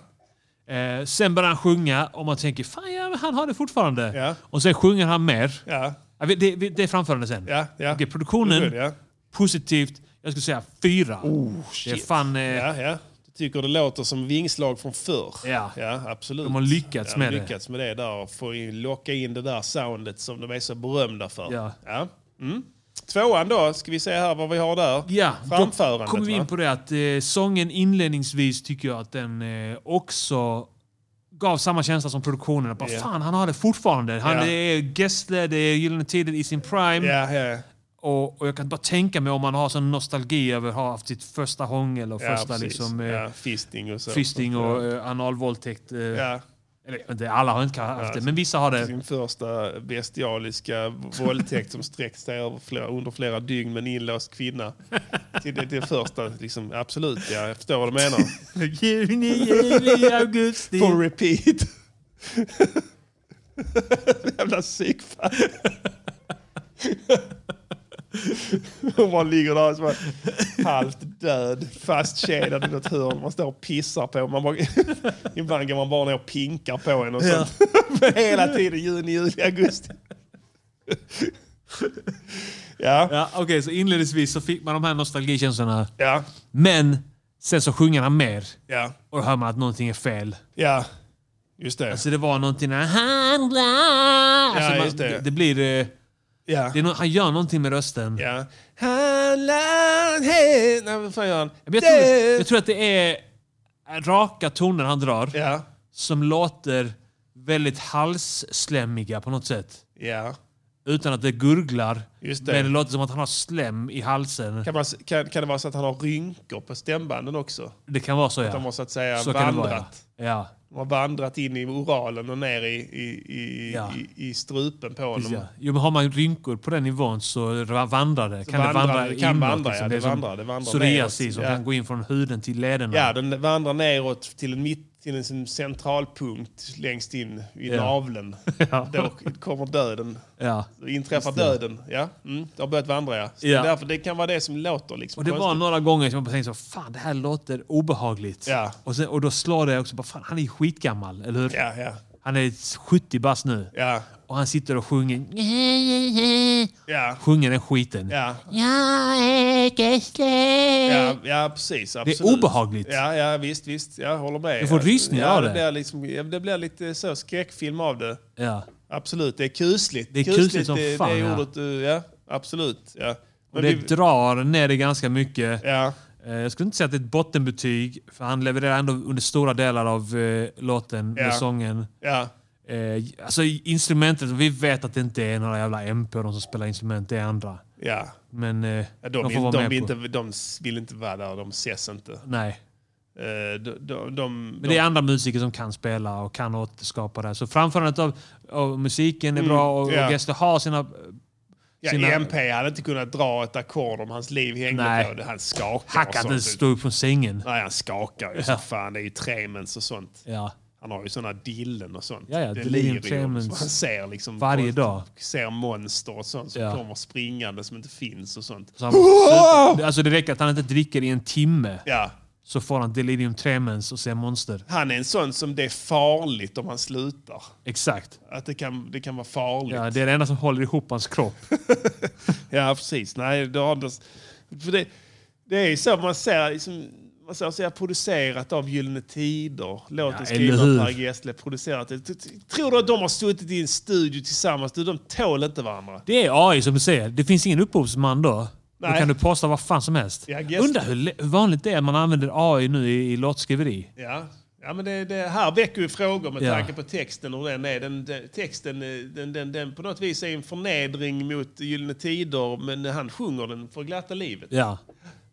Speaker 1: Eh, sen börjar han sjunga och man tänker fan ja, men han har det fortfarande. Och sen sjunger han mer. Ja, vi- Det, vi- det är framförande sen. Okej, produktionen,
Speaker 5: Det är det, ja. Oh,
Speaker 1: positivt. Jag skulle säga fyra. det är
Speaker 5: shit.
Speaker 1: fan... Eh,
Speaker 5: Ja, ja. Du tycker det låter som vingslag från förr.
Speaker 1: Ja.
Speaker 5: ja absolut.
Speaker 1: De har lyckats
Speaker 5: ja,
Speaker 1: med det.
Speaker 5: lyckats med det där och få in, locka in det där soundet som de är så berömda för.
Speaker 1: Ja.
Speaker 5: Mm. Tvåan då, ska vi se här vad vi har där.
Speaker 1: Ja,
Speaker 5: Framförandet
Speaker 1: Då kommer vi
Speaker 5: va?
Speaker 1: in på det att eh, sången inledningsvis tycker jag att den eh, också gav samma känsla som produktionen. Att Bara,
Speaker 5: Ja.
Speaker 1: Fan, han har det fortfarande. Han
Speaker 5: Ja.
Speaker 1: det är Gessle, det är Gyllene Tider i sin prime. Och, och jag kan bara tänka mig om man har sån nostalgi över att ha haft sitt första hångel och
Speaker 5: Ja,
Speaker 1: första
Speaker 5: precis.
Speaker 1: liksom, eh,
Speaker 5: Ja, fisting och så.
Speaker 1: fisting och eh, analvåldtäkt. Eh,
Speaker 5: Ja.
Speaker 1: eller, inte alla har inte haft det, men vissa har det.
Speaker 5: Sin första bestialiska våldtäkt som sträckt sig över flera, under flera dygn med en inlåst kvinna. Till det, det första, liksom, absolut. Ja, jag förstår vad du menar.
Speaker 1: Juni, juli, augusti.
Speaker 5: For repeat. Jävla psykfall. Hon bara ligger där och så bara, halvt död, fastkedjad i något hörn. Man står och pissar på man bara, Ibland går man bara ner och pinkar på henne och
Speaker 7: Ja.
Speaker 5: sånt. Men hela tiden juni, juli, augusti. Ja.
Speaker 1: ja Okej, så inledningsvis så fick man de här nostalgikänslorna.
Speaker 5: Ja.
Speaker 1: Men sen så sjunger han mer.
Speaker 5: Ja.
Speaker 1: Och då hör man att någonting är fel.
Speaker 5: Ja, just det.
Speaker 1: Alltså det var någonting... När, alltså man,
Speaker 5: just det.
Speaker 1: det. blir... eh,
Speaker 5: Ja.
Speaker 1: Det är no, han gör någonting med rösten.
Speaker 5: Ja. Halland, hej... Nej, vad fan gör han?
Speaker 1: Jag, tror, jag tror att det är raka toner han drar. Som låter väldigt halsslämmiga på något sätt.
Speaker 5: Ja.
Speaker 1: Utan att det gurglar.
Speaker 5: Just det.
Speaker 1: Men det låter som att han har slem i halsen.
Speaker 5: Kan, man, kan, kan det vara så att han har rynkor på stämbanden också?
Speaker 1: Det kan vara så ja.
Speaker 5: Att de har så att säga
Speaker 1: Så kan det
Speaker 5: vandrat.
Speaker 1: vara, ja. Ja.
Speaker 5: De har vandrat in i oralen och ner i, i, i, i, i strupen på
Speaker 1: Precis,
Speaker 5: honom.
Speaker 1: ja. Jo, men har man rynkor på den nivån så ra- vandrar det.
Speaker 5: Så
Speaker 1: Kan det
Speaker 5: vandrar
Speaker 1: vandra
Speaker 5: det,
Speaker 1: inåt?
Speaker 5: kan vandra,
Speaker 1: liksom.
Speaker 5: ja,
Speaker 1: det är
Speaker 5: det
Speaker 1: som
Speaker 5: vandrar, det vandrar
Speaker 1: psoriasis
Speaker 5: neråt,
Speaker 1: som
Speaker 5: ja.
Speaker 1: kan gå in från huden till lederna.
Speaker 5: Ja, den vandrar neråt till en, mitt, till en sin centralpunkt längst in i
Speaker 1: Ja.
Speaker 5: naveln.
Speaker 1: Ja.
Speaker 5: Då kommer döden.
Speaker 1: Ja.
Speaker 5: Då inträffar
Speaker 1: Just det.
Speaker 5: döden. Ja. Mm. Det har börjat vandra, ja. Så
Speaker 1: Ja.
Speaker 5: Därför, det kan vara det som låter. Liksom,
Speaker 1: Och det var
Speaker 5: konstigt.
Speaker 1: några gånger som jag bara tänkte så, fan det här låter obehagligt.
Speaker 5: Ja.
Speaker 1: Och, sen, och då slår det också, bara, fan han är ju skitgammal, eller hur?
Speaker 5: Ja, ja.
Speaker 1: Han är 70 bast nu.
Speaker 5: Ja.
Speaker 1: Och han sitter och sjunger,
Speaker 5: Ja.
Speaker 1: sjunger den skiten.
Speaker 5: Ja.
Speaker 11: Jag är Gessle.
Speaker 5: Ja, ja, precis. Absolut.
Speaker 1: obehagligt.
Speaker 5: Ja, ja, visst, visst. Jag håller med.
Speaker 1: Du får rysningar
Speaker 5: ja,
Speaker 1: av
Speaker 5: det.
Speaker 1: det.
Speaker 5: Blir liksom, ja, det blir lite så skräckfilm av det.
Speaker 1: Ja.
Speaker 5: Absolut, det är kusligt.
Speaker 1: Det är kusligt som
Speaker 5: det,
Speaker 1: fan,
Speaker 5: det är
Speaker 1: ja.
Speaker 5: ordet, du- ja. Absolut. Ja.
Speaker 1: Och
Speaker 5: Men
Speaker 1: det
Speaker 5: vi-
Speaker 1: drar ner det ganska mycket. Eh,
Speaker 5: Ja.
Speaker 1: Jag skulle inte säga att det är ett bottenbetyg, för han levererar ändå under stora delar av eh, låten
Speaker 5: Ja.
Speaker 1: med sången.
Speaker 5: Ja.
Speaker 1: Eh, alltså instrumentet, vi vet att det inte är några jävla MP de som spelar instrument, det är andra.
Speaker 5: Ja.
Speaker 1: Men eh,
Speaker 5: Ja,
Speaker 1: de,
Speaker 5: de,
Speaker 1: får
Speaker 5: vill,
Speaker 1: vara
Speaker 5: de,
Speaker 1: med
Speaker 5: vill
Speaker 1: på.
Speaker 5: inte, de vill inte vara där, de ses inte.
Speaker 1: Nej.
Speaker 5: Eh, de, de, de,
Speaker 1: Men det är andra musiker som kan spela och kan återskapa det. här. Så framförandet av, av musiken är
Speaker 5: Mm,
Speaker 1: bra och,
Speaker 5: ja.
Speaker 1: och Gessle har sina...
Speaker 5: Ja,
Speaker 1: sina-
Speaker 5: MP hade inte kunnat dra ett ackord om hans liv hängde
Speaker 1: Nej.
Speaker 5: på det. Han skakar typ.
Speaker 1: Han kan inte ens stå upp från sängen.
Speaker 5: Nej, han skakar ju
Speaker 1: Ja.
Speaker 5: som fan. Det är ju tremens och sånt.
Speaker 1: Ja.
Speaker 5: Han har ju såna dillen och sånt.
Speaker 1: Ja, ja, delirium,
Speaker 5: delirium.
Speaker 1: tremens.
Speaker 5: som han ser liksom
Speaker 1: Varje
Speaker 5: på-
Speaker 1: dag.
Speaker 5: Ser monster och sånt som
Speaker 1: Ja.
Speaker 5: kommer springande som inte finns och sånt.
Speaker 1: Så han super, alltså det räcker att han inte dricker i en timme.
Speaker 5: Ja.
Speaker 1: Så får han delirium tremens och ser monster.
Speaker 5: Han är en sån som det är farligt om han slutar.
Speaker 1: Exakt.
Speaker 5: Att det kan, det kan vara farligt.
Speaker 1: Ja, det är det enda som håller ihop hans kropp.
Speaker 5: Ja, precis. Nej, det, har inte... för det, det är ju så man ser, liksom, man ser så här producerat av Gyllene Tider. Låten
Speaker 1: Ja,
Speaker 5: skriven
Speaker 1: eller hur?
Speaker 5: av Per Gessle. Producerat. T- t- Tror du att de har suttit i en studio tillsammans? Du, de tål inte varandra.
Speaker 1: Det är AI som säger. Det finns ingen upphovsman då. Då
Speaker 5: Nej.
Speaker 1: kan du posta vad fan som helst.
Speaker 5: Ja, Gessle.
Speaker 1: Undrar hur le- hur vanligt det är att man använder AI nu i, i låtskriveri.
Speaker 5: Ja. Ja, men det, det här väcker ju frågor med
Speaker 1: Ja.
Speaker 5: tanke på texten. Hur den är. Den, den, texten eh, den, den, den på något vis är en förnedring mot Gyllene Tider, men han sjunger den för glatta livet.
Speaker 1: Ja,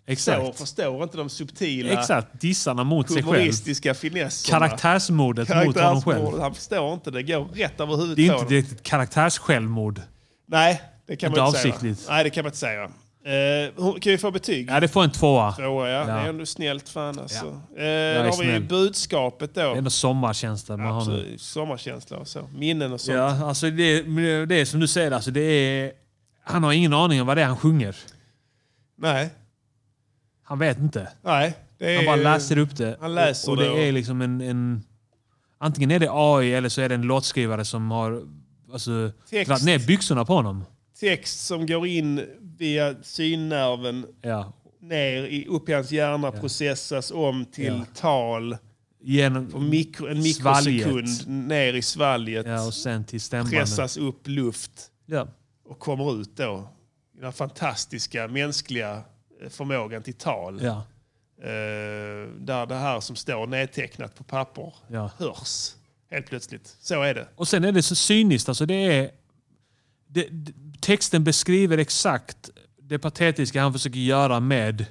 Speaker 5: Så
Speaker 1: exakt.
Speaker 5: förstår inte de subtila
Speaker 1: Exakt, dissarna mot sig själv.
Speaker 5: humoristiska finesserna.
Speaker 1: Karaktärsmordet mot honom
Speaker 5: Karaktärsmordet,
Speaker 1: själv.
Speaker 5: Han förstår inte, det går rätt över huvudet
Speaker 1: Det är inte
Speaker 5: på honom.
Speaker 1: direkt ett karaktärs-självmord.
Speaker 5: Nej, det kan
Speaker 1: Inte
Speaker 5: man inte
Speaker 1: avsiktligt.
Speaker 5: säga. Nej, det kan man inte säga. Eh, hon- kan vi få betyg?
Speaker 1: Ja, det får en tvåa.
Speaker 5: Tvåa, ja.
Speaker 1: Ja.
Speaker 5: Det är ändå snällt fan alltså.
Speaker 1: är
Speaker 5: Eh, då har vi
Speaker 1: snäll.
Speaker 5: budskapet
Speaker 1: Det är
Speaker 5: då.
Speaker 1: ändå sommarkänslan man har nu.
Speaker 5: Absolut. Sommarkänsla och så. Minnen och sånt.
Speaker 1: Ja, alltså det, men det är som du säger, alltså det är, han har ingen aning om vad det är han sjunger.
Speaker 5: Nej.
Speaker 1: Han vet inte.
Speaker 5: Nej. det
Speaker 1: han
Speaker 5: är-
Speaker 1: bara läser upp det.
Speaker 5: Han läser
Speaker 1: och, och det.
Speaker 5: det och-
Speaker 1: är liksom en, en Antingen är det AI eller så är det en låtskrivare som har alltså,
Speaker 5: Text.
Speaker 1: dragit ner byxorna på honom.
Speaker 5: Text som går in via synnerven
Speaker 1: Ja.
Speaker 5: ner i, upp i hans hjärna, processas om till
Speaker 1: Ja.
Speaker 5: tal.
Speaker 1: Genom
Speaker 5: på mikro, en mikrosekund
Speaker 1: svalget.
Speaker 5: ner i svalget.
Speaker 1: Ja, och sen till stämbanden.
Speaker 5: pressas upp luft
Speaker 1: Ja.
Speaker 5: och kommer ut då. i Den här fantastiska mänskliga eh, förmågan till tal.
Speaker 1: Ja.
Speaker 5: Eh, där det här som står nedtecknat på papper
Speaker 1: Ja.
Speaker 5: hörs helt plötsligt. Så är det.
Speaker 1: Och sen är det så cyniskt. Alltså det är, det, d- texten beskriver exakt det patetiska han försöker göra med,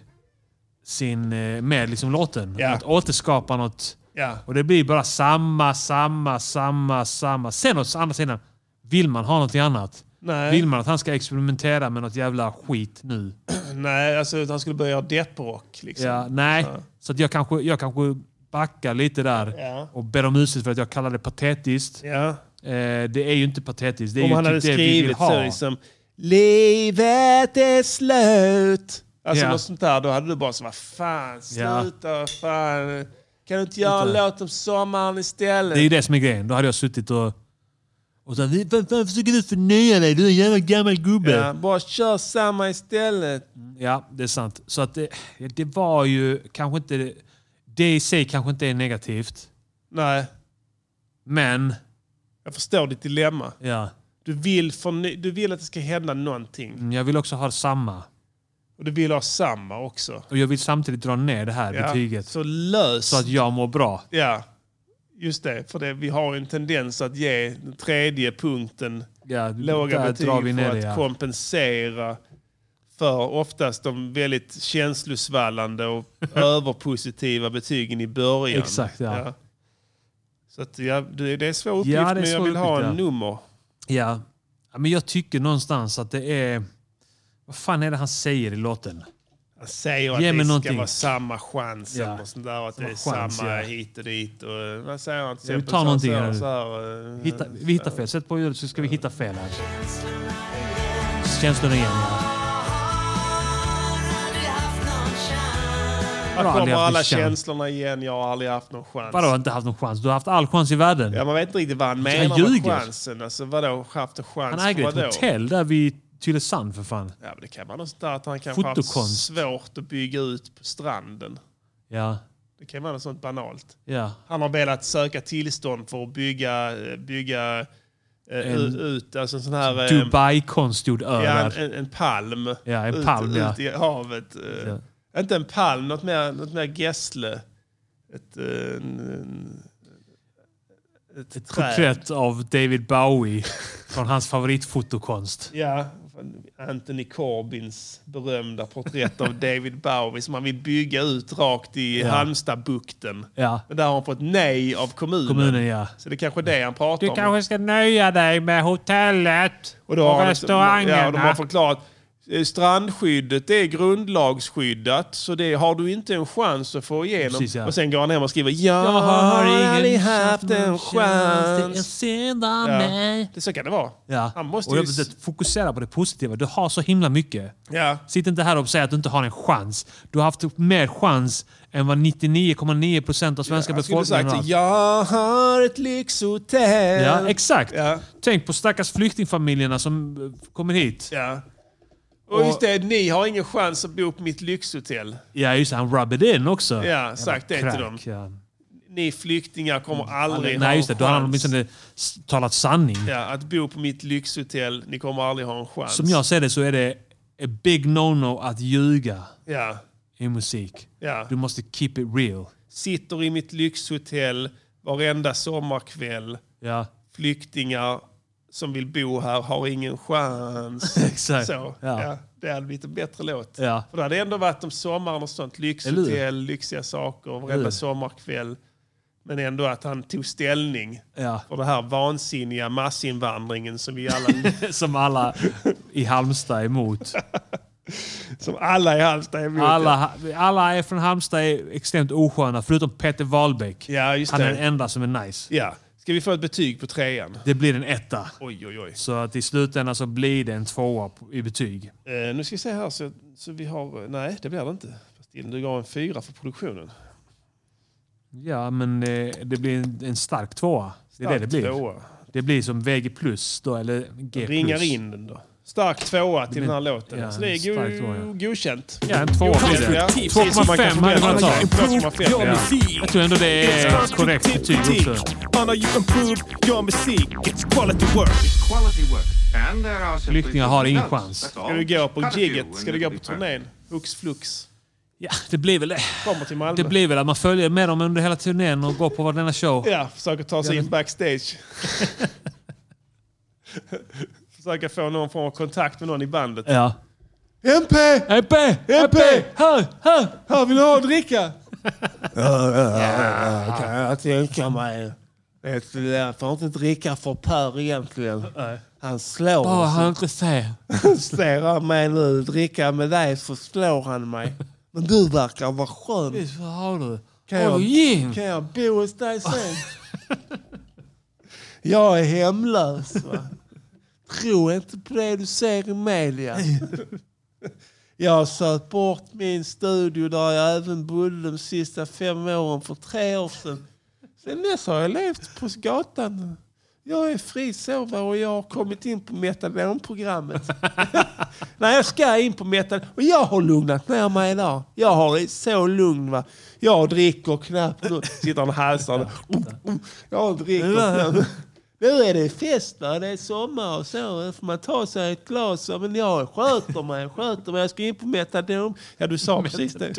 Speaker 1: sin, eh, med liksom låten.
Speaker 5: Ja.
Speaker 1: Att återskapa något.
Speaker 5: Ja.
Speaker 1: Och det blir bara samma, samma, samma, samma. Sen å andra sidan, vill man ha någonting annat?
Speaker 5: Nej.
Speaker 1: Vill man att han ska experimentera med något jävla skit nu?
Speaker 5: Nej, alltså att han skulle börja göra depprock. Liksom.
Speaker 1: Ja, nej, så att jag, kanske, jag kanske backar lite där
Speaker 5: Ja.
Speaker 1: och ber om ursäkt för att jag kallar det patetiskt.
Speaker 5: Ja.
Speaker 1: Eh, det är ju inte patetiskt. Det är
Speaker 5: Om
Speaker 1: ju
Speaker 5: han
Speaker 1: typ
Speaker 5: hade
Speaker 1: det vi vill
Speaker 5: skrivit
Speaker 1: ha.
Speaker 5: så liksom... Livet är slut. Alltså
Speaker 1: Ja.
Speaker 5: något sånt där. Då hade du bara så vad fan,
Speaker 1: Ja.
Speaker 5: sluta, vad fan. Kan du inte göra en
Speaker 1: Inte.
Speaker 5: låt om sommaren istället?
Speaker 1: Det är ju det som är grejen. Då hade jag suttit och... och så, här, vad fan försöker du förnya dig? Du är en jävla gammal gubbe.
Speaker 5: Ja, bara kör samma istället.
Speaker 1: Ja, det är sant. Så att det, det var ju kanske inte... Det i sig kanske inte är negativt.
Speaker 5: Nej.
Speaker 1: Men...
Speaker 5: Jag förstår ditt dilemma.
Speaker 1: Ja.
Speaker 5: Du vill, förny- du vill att det ska hända någonting.
Speaker 1: Mm, Jag vill också ha samma.
Speaker 5: Och du vill ha samma också.
Speaker 1: Och jag vill samtidigt dra ner det här
Speaker 5: Ja,
Speaker 1: betyget.
Speaker 5: Så löst.
Speaker 1: Så att jag mår bra.
Speaker 5: Ja, just det. För det, vi har ju en tendens att ge den tredje punkten
Speaker 1: Ja,
Speaker 5: låga
Speaker 1: där
Speaker 5: betyg
Speaker 1: drar vi ner
Speaker 5: för att
Speaker 1: det, ja.
Speaker 5: kompensera för oftast de väldigt känslosvallande och överpositiva betygen i början.
Speaker 1: Exakt, ja.
Speaker 5: Så att, ja, det det är en svår uppgift,
Speaker 1: Ja, det är
Speaker 5: men jag
Speaker 1: svår
Speaker 5: vill ha
Speaker 1: uppgift,
Speaker 5: en
Speaker 1: ja.
Speaker 5: nummer.
Speaker 1: Ja. ja. Men jag tycker någonstans att det är... Vad fan är det han säger i låten?
Speaker 5: Han säger att
Speaker 1: Ge mig
Speaker 5: det ska
Speaker 1: någonting.
Speaker 5: vara samma chans
Speaker 1: Ja.
Speaker 5: och sånt där, och att det är
Speaker 1: Samma chans,
Speaker 5: samma
Speaker 1: ja.
Speaker 5: hit och dit. Och, vad säger han? till
Speaker 1: Ja, vi
Speaker 5: exempel?
Speaker 1: tar
Speaker 5: Så-
Speaker 1: någonting
Speaker 5: så-
Speaker 1: här.
Speaker 5: så här, eh,
Speaker 1: Hitta, vi hittar fel. Sätt på ljudet så ska vi hitta fel här. Känslorna igen, ja.
Speaker 5: Här
Speaker 1: Bra,
Speaker 5: kommer
Speaker 1: aldrig haft
Speaker 5: alla
Speaker 1: en chans.
Speaker 5: känslorna igen. Jag har aldrig haft någon chans.
Speaker 1: Vadå, inte haft någon chans? Du har haft all chans i världen.
Speaker 5: Ja, man vet inte riktigt vad han
Speaker 1: Han
Speaker 5: menar med
Speaker 1: ljuger.
Speaker 5: chansen. Alltså, vadå, haft en chans
Speaker 1: Han
Speaker 5: för
Speaker 1: äger ett
Speaker 5: vadå?
Speaker 1: hotell där vid Tylösand för fan.
Speaker 5: Ja, men det kan man nog sådär att han kanske har haft
Speaker 1: Fotokonst.
Speaker 5: svårt att bygga ut på stranden.
Speaker 1: Ja.
Speaker 5: Det kan vara något sånt banalt.
Speaker 1: Ja.
Speaker 5: Han har velat söka tillstånd för att bygga, eh, bygga eh,
Speaker 1: En-
Speaker 5: ut alltså en sån här... eh,
Speaker 1: Dubai-konstgjord ö.
Speaker 5: Ja, en,
Speaker 1: där.
Speaker 5: en, en palm.
Speaker 1: Ja, en
Speaker 5: ut,
Speaker 1: palm,
Speaker 5: ut
Speaker 1: ja.
Speaker 5: i havet. eh. Inte en palm, något mer, något mer gässle. Ett, eh, en, en, ett, ett träd.
Speaker 1: Porträtt av David Bowie från hans favoritfotokonst.
Speaker 5: Ja, Anthony Corbins berömda porträtt av David Bowie som han vill bygga ut rakt i
Speaker 1: Ja.
Speaker 5: Halmstadbukten.
Speaker 1: Ja.
Speaker 5: Men där har han fått nej av kommunen.
Speaker 1: Kommunen, ja.
Speaker 5: Så det är kanske är det han pratar
Speaker 1: Du
Speaker 5: om.
Speaker 1: kanske ska nöja dig med hotellet och,
Speaker 5: Och då har
Speaker 1: restaurangerna.
Speaker 5: Ja, de har förklarat. eh, Strandskyddet det är grundlagsskyddat, så det har du inte en chans att få igenom.
Speaker 1: Precis, ja.
Speaker 5: Och sen går han hem och skriver Jag,
Speaker 1: har ingen
Speaker 5: aldrig haft en
Speaker 1: Det är
Speaker 5: chans.
Speaker 1: synd om
Speaker 5: Ja.
Speaker 1: mig.
Speaker 5: Det så kan det vara.
Speaker 1: Ja.
Speaker 5: Han måste
Speaker 1: och
Speaker 5: ju...
Speaker 1: jag vill att fokusera på det positiva. Du har så himla mycket.
Speaker 5: Ja.
Speaker 1: Sitt inte här och säg att du inte har en chans. Du har haft mer chans än vad 99,9% av svenska
Speaker 5: Han alltså,
Speaker 1: befolkningen
Speaker 5: skulle
Speaker 1: har
Speaker 5: sagt
Speaker 1: haft.
Speaker 5: Jag har ett lyxhotell.
Speaker 1: Ja, exakt.
Speaker 5: Eh, Ja.
Speaker 1: Tänk på stackars flyktingfamiljerna som eh, kommer hit.
Speaker 5: Ja. Och just det, ni har ingen chans att bo på mitt lyxhotell.
Speaker 1: Ja, just det. Han rubbed in också.
Speaker 5: Ja, sagt det till dem.
Speaker 1: Ja.
Speaker 5: Ni flyktingar kommer aldrig ha
Speaker 1: Mm. Nej,
Speaker 5: en
Speaker 1: just det. Då har han
Speaker 5: chans.
Speaker 1: åtminstone s- talat sanning.
Speaker 5: Ja, att bo på mitt lyxhotell, ni kommer aldrig ha en chans.
Speaker 1: Som jag ser det så är det a big no-no att ljuga
Speaker 5: Ja,
Speaker 1: i musik.
Speaker 5: ja.
Speaker 1: Du måste keep it real.
Speaker 5: Sitter i mitt lyxhotell varenda sommarkväll.
Speaker 1: Ja,
Speaker 5: Flyktingar som vill bo här har ingen chans.
Speaker 1: Exakt,
Speaker 5: Så, ja.
Speaker 1: ja.
Speaker 5: det hade blivit en bättre låt.
Speaker 1: ja.
Speaker 5: För det hade ändå varit om sommaren och sånt.
Speaker 1: Eller
Speaker 5: Lyxhotell, lyxiga saker, varenda
Speaker 1: Eller hur?
Speaker 5: sommarkväll. Men ändå att han tog ställning
Speaker 1: ja.
Speaker 5: för den här vansinniga massinvandringen som vi alla,
Speaker 1: Som alla i Halmstad är emot.
Speaker 5: som alla i Halmstad är emot.
Speaker 1: Alla, alla är från Halmstad är extremt osköna, förutom Peter Wahlbeck.
Speaker 5: Ja, just
Speaker 1: Han är
Speaker 5: det.
Speaker 1: den enda som är nice.
Speaker 5: Ja. Ska vi få ett betyg på trean?
Speaker 1: Det blir en etta.
Speaker 5: Oj, oj, oj.
Speaker 1: Så att i slutändan så blir det en tvåa på- i betyg.
Speaker 5: Eh, nu ska vi se här, så, eh, så vi har... Nej, det blir det inte. Fast in, Du gav en fyra för produktionen.
Speaker 1: Ja, men eh, det blir en, en stark tvåa. Det är det
Speaker 5: Stark
Speaker 1: det blir.
Speaker 5: tvåa.
Speaker 1: Det blir som VG plus då, eller G
Speaker 5: Ringar in den då. Stark tvåa till den här låten.
Speaker 1: Ja,
Speaker 5: så det är
Speaker 1: stark tvåa, ja.
Speaker 5: go- godkänt.
Speaker 1: Ja, en tvåa blir det.
Speaker 5: Ja, precis som man kan
Speaker 1: 2,5 hade
Speaker 5: förvänta
Speaker 1: man
Speaker 5: sig.
Speaker 1: tagit.
Speaker 5: 2,5, ja.
Speaker 1: Jag tror ändå det är korrekt betyg också.
Speaker 9: Anna, you improved your music. It's quality work.
Speaker 12: Quality work. And there are simply
Speaker 1: Flyktingar har ingen
Speaker 12: notes,
Speaker 1: chans.
Speaker 12: that's all.
Speaker 5: Ska du gå på
Speaker 12: Cut a few
Speaker 5: gigget?
Speaker 12: and
Speaker 5: Ska du
Speaker 12: it'll
Speaker 5: gå
Speaker 12: be
Speaker 5: på
Speaker 12: perfect.
Speaker 5: turnén? Hux flux.
Speaker 1: Ja, det blir väl det.
Speaker 5: Kommer till Malmö.
Speaker 1: Det blir väl att man följer med dem under hela turnén och går på varenda show.
Speaker 5: Ja, försöker ta sig
Speaker 1: Ja,
Speaker 5: in backstage. försöka få någon form av kontakt med någon i bandet.
Speaker 1: Ja.
Speaker 5: MP!
Speaker 1: MP!
Speaker 5: MP!
Speaker 1: Här! Här!
Speaker 5: Här! Vill du ha att dricka?
Speaker 9: Ja, kan jag tänka mig. Vet du, Jag får inte dricka för Per egentligen. Han slår.
Speaker 1: Bara han inte ser.
Speaker 9: Ser han mig nu dricka med dig så slår han mig. Men du verkar vara skön.
Speaker 1: Visst, vad har du?
Speaker 9: Kan
Speaker 1: Har
Speaker 9: jag,
Speaker 1: du gin?
Speaker 9: kan jag bo hos dig sen? jag är hemlös. Va? Tro inte på det du ser i media. Jag har sökt bort min studio där jag även bodde de sista fem åren för tre år sedan. Sen dess har jag levt på gatan. Jag är frisovare och jag har kommit in på metadonprogrammet. Nej, jag ska in på metadon. Och jag har lugnat ner mig idag. Jag har är så lugn. Va? Jag dricker knappt nu. Sitter han och halsar. Jag dricker knappt. Nu är det fest, va? det är sommar och så. Då får man ta sig ett glas. va? Men jag sköter mig, jag sköter mig. Jag ska in på metadon. Ja, du sa precis det.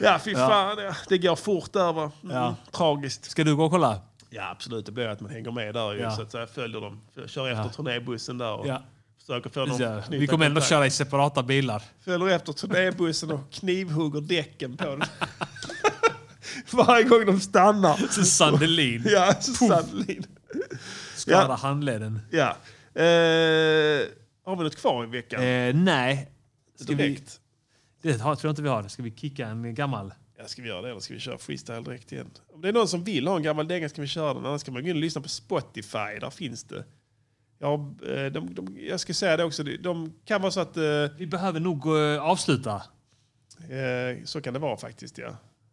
Speaker 5: Ja, fy
Speaker 9: Ja.
Speaker 5: fan. Ja. Det går fort där va. Mm.
Speaker 9: Ja.
Speaker 5: Tragiskt.
Speaker 1: Ska du gå och kolla?
Speaker 5: Ja, absolut. Det blir att man hänger med där ju.
Speaker 1: Ja.
Speaker 5: Så att säga, följer dem. Kör efter
Speaker 1: Ja.
Speaker 5: turnébussen där och
Speaker 1: Ja.
Speaker 5: försöker få dem
Speaker 1: Ja,
Speaker 5: att knyta
Speaker 1: vi kommer ändå
Speaker 5: kontakt.
Speaker 1: köra i separata bilar.
Speaker 5: Följer efter turnébussen och knivhugger däcken på den. Varje gång de stannar.
Speaker 1: Så Sandelin.
Speaker 5: Ja, så Sandelin.
Speaker 1: Skada
Speaker 5: Ja.
Speaker 1: handleden.
Speaker 5: Ja. Eh, har vi något kvar i veckan?
Speaker 1: Eh, nej. Ska vi,
Speaker 5: Direkt.
Speaker 1: det har, tror jag inte vi har. Ska vi kicka en gammal?
Speaker 5: Ja, ska vi göra det eller ska vi köra freestyle direkt igen? Om det är någon som vill ha en gammal dänga ska vi köra den. Annars kan man gå in och lyssna på Spotify. Där finns det. Ja, eh, de, de, jag ska säga det också. De- De kan vara så att... Eh,
Speaker 1: Vi behöver nog eh, avsluta.
Speaker 5: Eh, så kan det vara faktiskt, ja.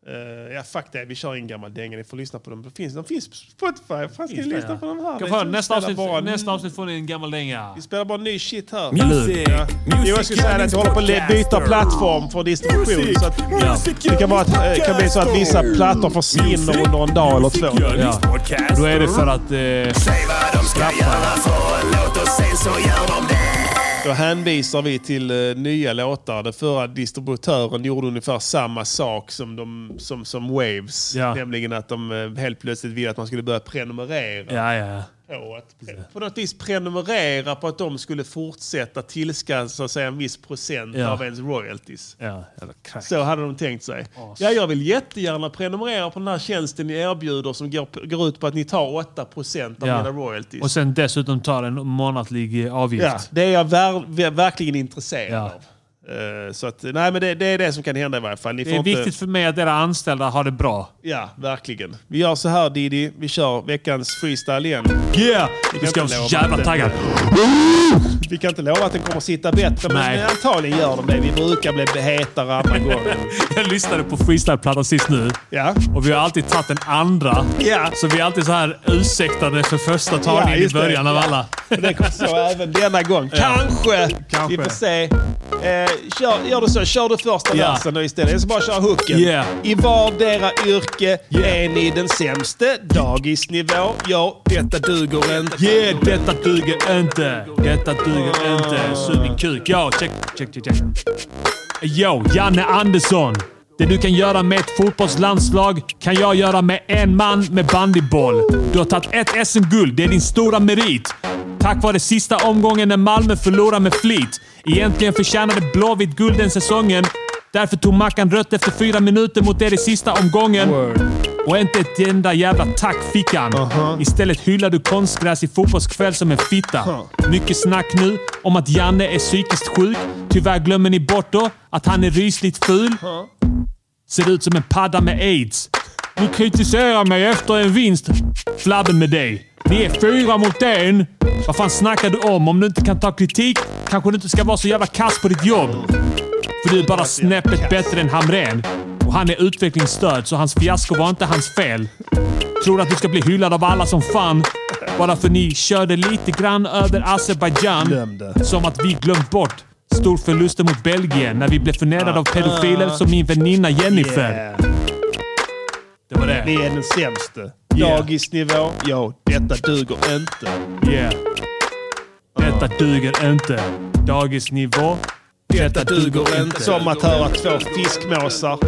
Speaker 5: Eh, ja, fuck det. Vi kör in gammal dänga. Ni får lyssna på dem. De finns, de finns på Spotify. Fan, ska ni
Speaker 1: Finns det,
Speaker 5: lyssna
Speaker 1: ja.
Speaker 5: på dem här?
Speaker 1: Kan
Speaker 5: Det
Speaker 1: få
Speaker 5: är som
Speaker 1: nästa,
Speaker 5: att spela
Speaker 1: avsnitt,
Speaker 5: bara-
Speaker 1: nästa avsnitt får ni en gammal dänga.
Speaker 5: Vi spelar bara ny shit här.
Speaker 1: Music.
Speaker 5: Ja. Jo, jag skulle säga det att vi håller på att le- byta plattform för distribution.
Speaker 1: Music.
Speaker 5: Så att,
Speaker 1: Ja.
Speaker 5: Det kan, vara att, eh, kan bli så att vissa plattor försvinner under en dag eller två.
Speaker 1: Ja. Då är det för att... Eh,
Speaker 7: Säg vad de ska göra för en låt och sen så gör de det.
Speaker 5: Då hänvisar vi till eh, nya låtar. Den förra distributören gjorde ungefär samma sak som, de, som, som Waves. Nämligen att de eh, helt plötsligt ville att man skulle börja prenumerera.
Speaker 1: ja, ja.
Speaker 5: På, att, på något vis prenumerera på att de skulle fortsätta tillskansa sig en viss procent
Speaker 1: Ja.
Speaker 5: av ens royalties.
Speaker 1: ja. Eller crack.
Speaker 5: Så hade de tänkt sig. Ja, jag vill jättegärna prenumerera på den här tjänsten ni erbjuder som går, går ut på att ni tar 8% av
Speaker 1: Ja.
Speaker 5: mina royalties.
Speaker 1: Och sen dessutom tar en månatlig eh, avgift.
Speaker 5: Ja, det är jag ver ver- verkligen intresserad
Speaker 1: Ja.
Speaker 5: av. Eh, så att, nej, men det, det är det som kan hända i varje fall. Ni
Speaker 1: Det
Speaker 5: får
Speaker 1: är
Speaker 5: inte,
Speaker 1: viktigt för mig att era anställda har det bra.
Speaker 5: Ja, verkligen. Vi gör så här Didi, vi kör veckans freestyle igen.
Speaker 1: Yeah!
Speaker 5: Vi
Speaker 1: Vi
Speaker 5: kan
Speaker 1: ska
Speaker 5: inte
Speaker 1: vara
Speaker 5: lova
Speaker 1: så jävla
Speaker 5: att den-
Speaker 1: taggad.
Speaker 5: Vi kan inte lova att den kommer sitta bättre,
Speaker 1: Nej.
Speaker 5: men antagligen gör den det. Vi brukar bli hetare andra gången.
Speaker 1: Jag lyssnade på freestyleplattan sist nu.
Speaker 5: Ja.
Speaker 1: Och vi har alltid tagit den andra.
Speaker 5: Ja.
Speaker 1: Så vi är alltid så här ursäktade för första tagningen i
Speaker 5: just det.
Speaker 1: början av
Speaker 5: Ja.
Speaker 1: alla.
Speaker 5: Och Det kommer så även denna gång.
Speaker 1: Ja.
Speaker 5: Kanske.
Speaker 1: Kanske.
Speaker 5: Vi får se. Eh, kör, gör du så, kör du första
Speaker 1: Ja.
Speaker 5: versen då istället. Jag ska bara köra hooken.
Speaker 1: Yeah.
Speaker 5: I vardera yrke är ni den sämste. Dagisnivå, ja, detta duger inte.
Speaker 1: Yeah, detta duger inte. Detta duger inte. Sug min kuk. Yo, check, check, check, check. Yo, Janne Andersson. Det du kan göra med ett fotbollslandslag kan jag göra med en man med bandyboll. Du har tagit ett SM-guld. Det är din stora merit. Tack vare sista omgången när Malmö förlorade med flit. Egentligen förtjänade Blåvitt guld den säsongen. Därför tog Mackan rött efter fyra minuter mot er i sista omgången. Och inte ett enda jävla tack fick han. Istället hyllar du konstgräs i fotbollskväll som en fitta. Mycket snack nu om att Janne är psykiskt sjuk. Tyvärr glömmer ni bort då att han är rysligt ful. Ser ut som en padda med aids. Du kritiserar mig efter en vinst. Flabben med dig. Ni är fyra mot en. Vad fan snackar du om? Om du inte kan ta kritik kanske du inte ska vara så jävla kass på ditt jobb. För du är bara snäppet bättre än Hamrén. Och han är utvecklingsstörd, så hans fiasko var inte hans fel. Tror att du ska bli hyllad av alla som fan bara för ni körde lite grann över Azerbajdzjan. Som att vi glömt bort stor förluster mot Belgien när vi blev förnedrade av pedofiler som min väninna Jennifer.
Speaker 5: Yeah.
Speaker 1: Det var det.
Speaker 5: Ni är den sämste.
Speaker 1: Yeah.
Speaker 5: Dagisnivå. Ja, detta duger inte.
Speaker 1: Yeah. Detta duger inte. Dagisnivå. Detta duger inte.
Speaker 5: Som att höra två fiskmåsar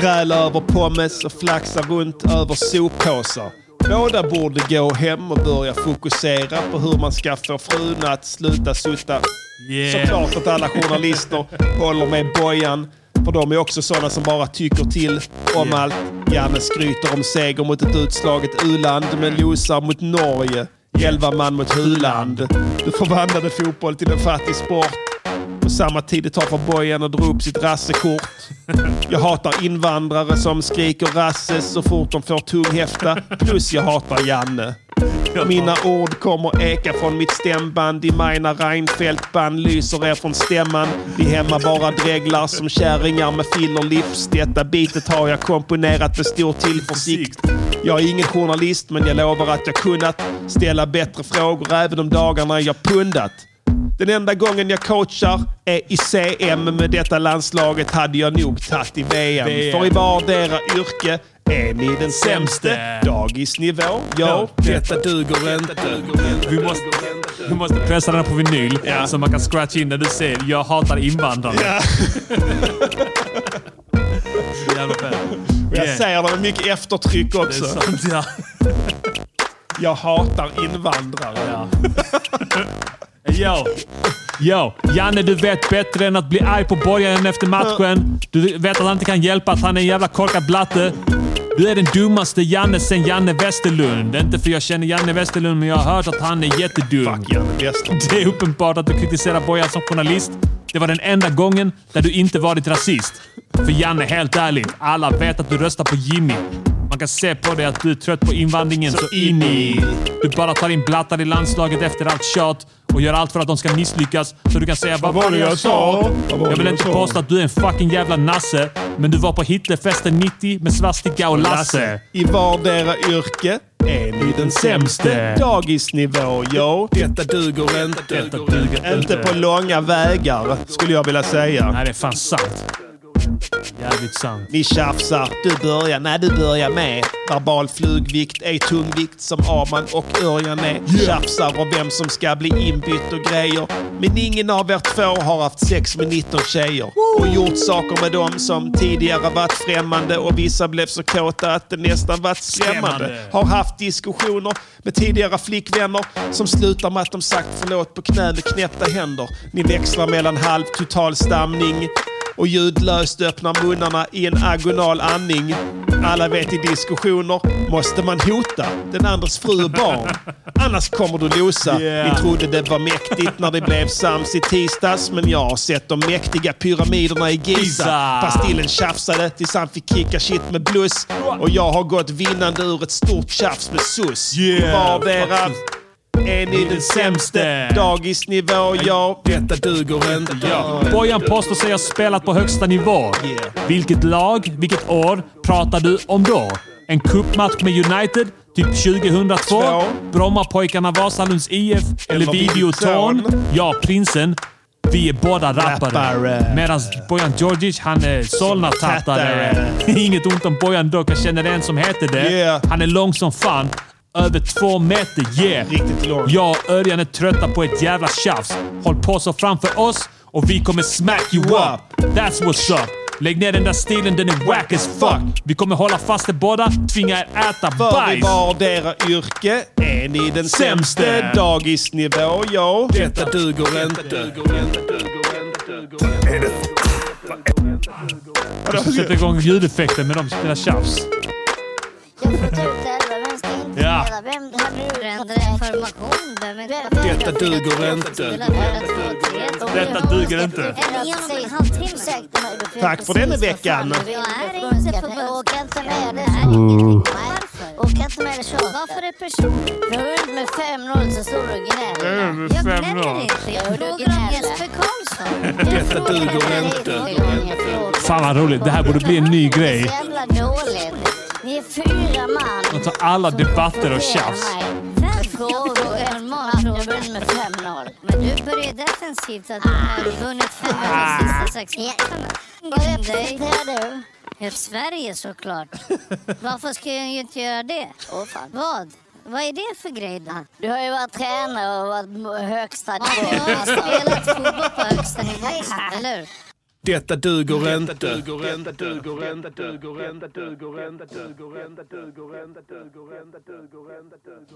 Speaker 5: gräla över pommes och flaxa runt över soppåsar. Båda borde gå hem och börja fokusera på hur man ska få frun att sluta sutta.
Speaker 1: Yeah.
Speaker 5: Såklart att alla journalister håller med Bojan. För de är också sådana som bara tycker till om allt. Janne skryter om seger mot ett utslaget u-land men losar mot Norge. Elva man mot Huland. Du förvandlade fotboll till en fattig sport. På samma tid det tar för Bojan att dra upp sitt rassekort. Jag hatar invandrare som skriker rasse så fort de får tunghäfta. Plus jag hatar Janne. Mina ord kommer eka från mitt stämband. I mina Reinfeldt-band lyser er från stämman. Vi hemma bara dreglar som kärringar med fillerlips. Detta bitet har jag komponerat med stor tillförsikt. Jag är ingen journalist, men jag lovar att jag kunnat ställa bättre frågor även om dagarna jag pundat. Den enda gången jag coachar är i CM. Med detta landslaget hade jag nog tagit i VM.
Speaker 1: VM.
Speaker 5: För i vardera yrke är ni den sämste. Dagisnivå, ja. Detta duger inte.
Speaker 1: Vi måste, vi måste pressa den här på vinyl så man kan scratcha in när du säger “Jag hatar invandrare”. Jävla fett.
Speaker 5: Och jag
Speaker 1: Yeah.
Speaker 5: säger det med mycket eftertryck också.
Speaker 1: Det är sant, ja.
Speaker 5: Jag hatar invandrare.
Speaker 1: Yo. Yo, Janne du vet bättre än att bli arg på borgaren efter matchen. Du vet att han inte kan hjälpa att han är en jävla korkad blatte. Du är den dummaste Janne sen Janne Westerlund. Det är Inte för jag känner Janne Westerlund, men jag har hört att han är jättedum. Fuck
Speaker 5: Janne Westerlund.
Speaker 1: Det är uppenbart att du kritiserar Bojan som journalist. Det var den enda gången där du inte varit rasist. För Janne, helt ärligt. Alla vet att du röstar på Jimmy. Man kan se på dig att du är trött på invandringen så in i. Du bara tar in blattar i landslaget efter allt tjat och gör allt för att de ska misslyckas så du kan säga “Vad var det jag sa?”
Speaker 5: Vad var
Speaker 1: Jag
Speaker 5: det
Speaker 1: vill
Speaker 5: jag
Speaker 1: inte
Speaker 5: sa?
Speaker 1: påstå att du är en fucking jävla nasse, men du var på Hitlerfesten 90 med svastika och Lasse.
Speaker 5: I vardera yrke är ni den sämste. Dagisnivå, jo. Detta duger inte.
Speaker 1: Detta duger
Speaker 5: Inte på långa vägar, skulle jag vilja säga.
Speaker 1: Nej, det är fan sant. Jävligt sant.
Speaker 5: Ni tjafsar. Du börjar. Nej, du börjar med. Verbal flugvikt är tungvikt som Aman och Örjan är. Tjafsar om vem som ska bli inbytt och grejer. Men ingen av er två har haft sex med 19 tjejer. Och gjort saker med dem som tidigare varit främmande och vissa blev så kåta att det nästan varit skrämmande.
Speaker 1: Skrämmande.
Speaker 5: Har haft diskussioner med tidigare flickvänner som slutar med att de sagt förlåt på knä med knäppta händer. Ni växlar mellan halv total stamning och ljudlöst öppnar munnarna i en agonal andning. Alla vet i diskussioner måste man hota den andres fru och barn. Annars kommer du losa.
Speaker 1: Yeah.
Speaker 5: Ni trodde det var mäktigt när det blev sams i tisdags. Men jag har sett de mäktiga pyramiderna i Giza.
Speaker 1: Giza.
Speaker 5: Pastillen tjafsade tills han fick kicka shit med bluss. Och jag har gått vinnande ur ett stort tjafs med sus.
Speaker 1: Yeah.
Speaker 5: Vardera är ni den sämste. Dagisnivå, ja. Detta duger inte. Ja.
Speaker 1: Bojan påstår sig ha spelat på högsta nivå. Vilket lag, vilket år pratar du om då? En cupmatch med United, typ 2002?
Speaker 5: Två.
Speaker 1: Brommapojkarna Vasalunds IF eller
Speaker 5: Eller
Speaker 1: Videoton?
Speaker 5: Videoton.
Speaker 1: Ja, prinsen. Vi är båda rappare.
Speaker 5: Rappare.
Speaker 1: Medan Bojan Djordjic, han är Solna-tattare. Inget ont om Bojan dock. Jag känner en som heter det.
Speaker 5: Yeah.
Speaker 1: Han är lång som fan. Över två meter, yeah!
Speaker 5: Riktigt lång.
Speaker 1: Jag och Örjan är trötta på ett jävla tjafs. Håll på så framför oss och vi kommer smack you up. That's what's up. Lägg ner den där stilen, den är whack as fuck. Vi kommer hålla fast er båda, tvinga er äta
Speaker 5: För i
Speaker 1: bajs.
Speaker 5: vardera yrke är ni den
Speaker 1: Sämste.
Speaker 5: sämste. Dagisnivå, ja. Detta duger inte.
Speaker 1: Du ska sätta igång ljudeffekten med de dina tjafs. Ja.
Speaker 8: Vem hade du ändrat information? Vem är vem?
Speaker 5: Detta duger inte.
Speaker 1: Detta duger inte.
Speaker 5: Tack för denna veckan.
Speaker 8: Jag är inte förbokad för mig. Det här är
Speaker 13: Ooh.
Speaker 8: Åka inte med det så. Varför är person... Hund med 5-0 så står du och gnäller.
Speaker 14: Hund med
Speaker 8: Jag
Speaker 14: 5-0.
Speaker 8: gnäller inte. Jag frågar om Jesper Karlsson.
Speaker 14: Detta duger inte.
Speaker 1: Fan vad roligt, det här borde bli en ny grej.
Speaker 8: Så jävla dåligt. Ni är fyra man.
Speaker 1: Man tar alla debatter och tjafs.
Speaker 8: Fem gåvor och en matproblem med 5-0. Men du börjar defensivt så att du har vunnit 5 av
Speaker 1: Ah.
Speaker 8: de sista sex matcherna. Vad representerar du? Ja, Sverige såklart. Varför ska jag ju inte göra det? Vad? Vad är det för grej då? Du har ju varit tränare och varit på högsta nivå. Du har ju spelat fotboll på högsta nivå, eller hur?
Speaker 14: Detta duger inte.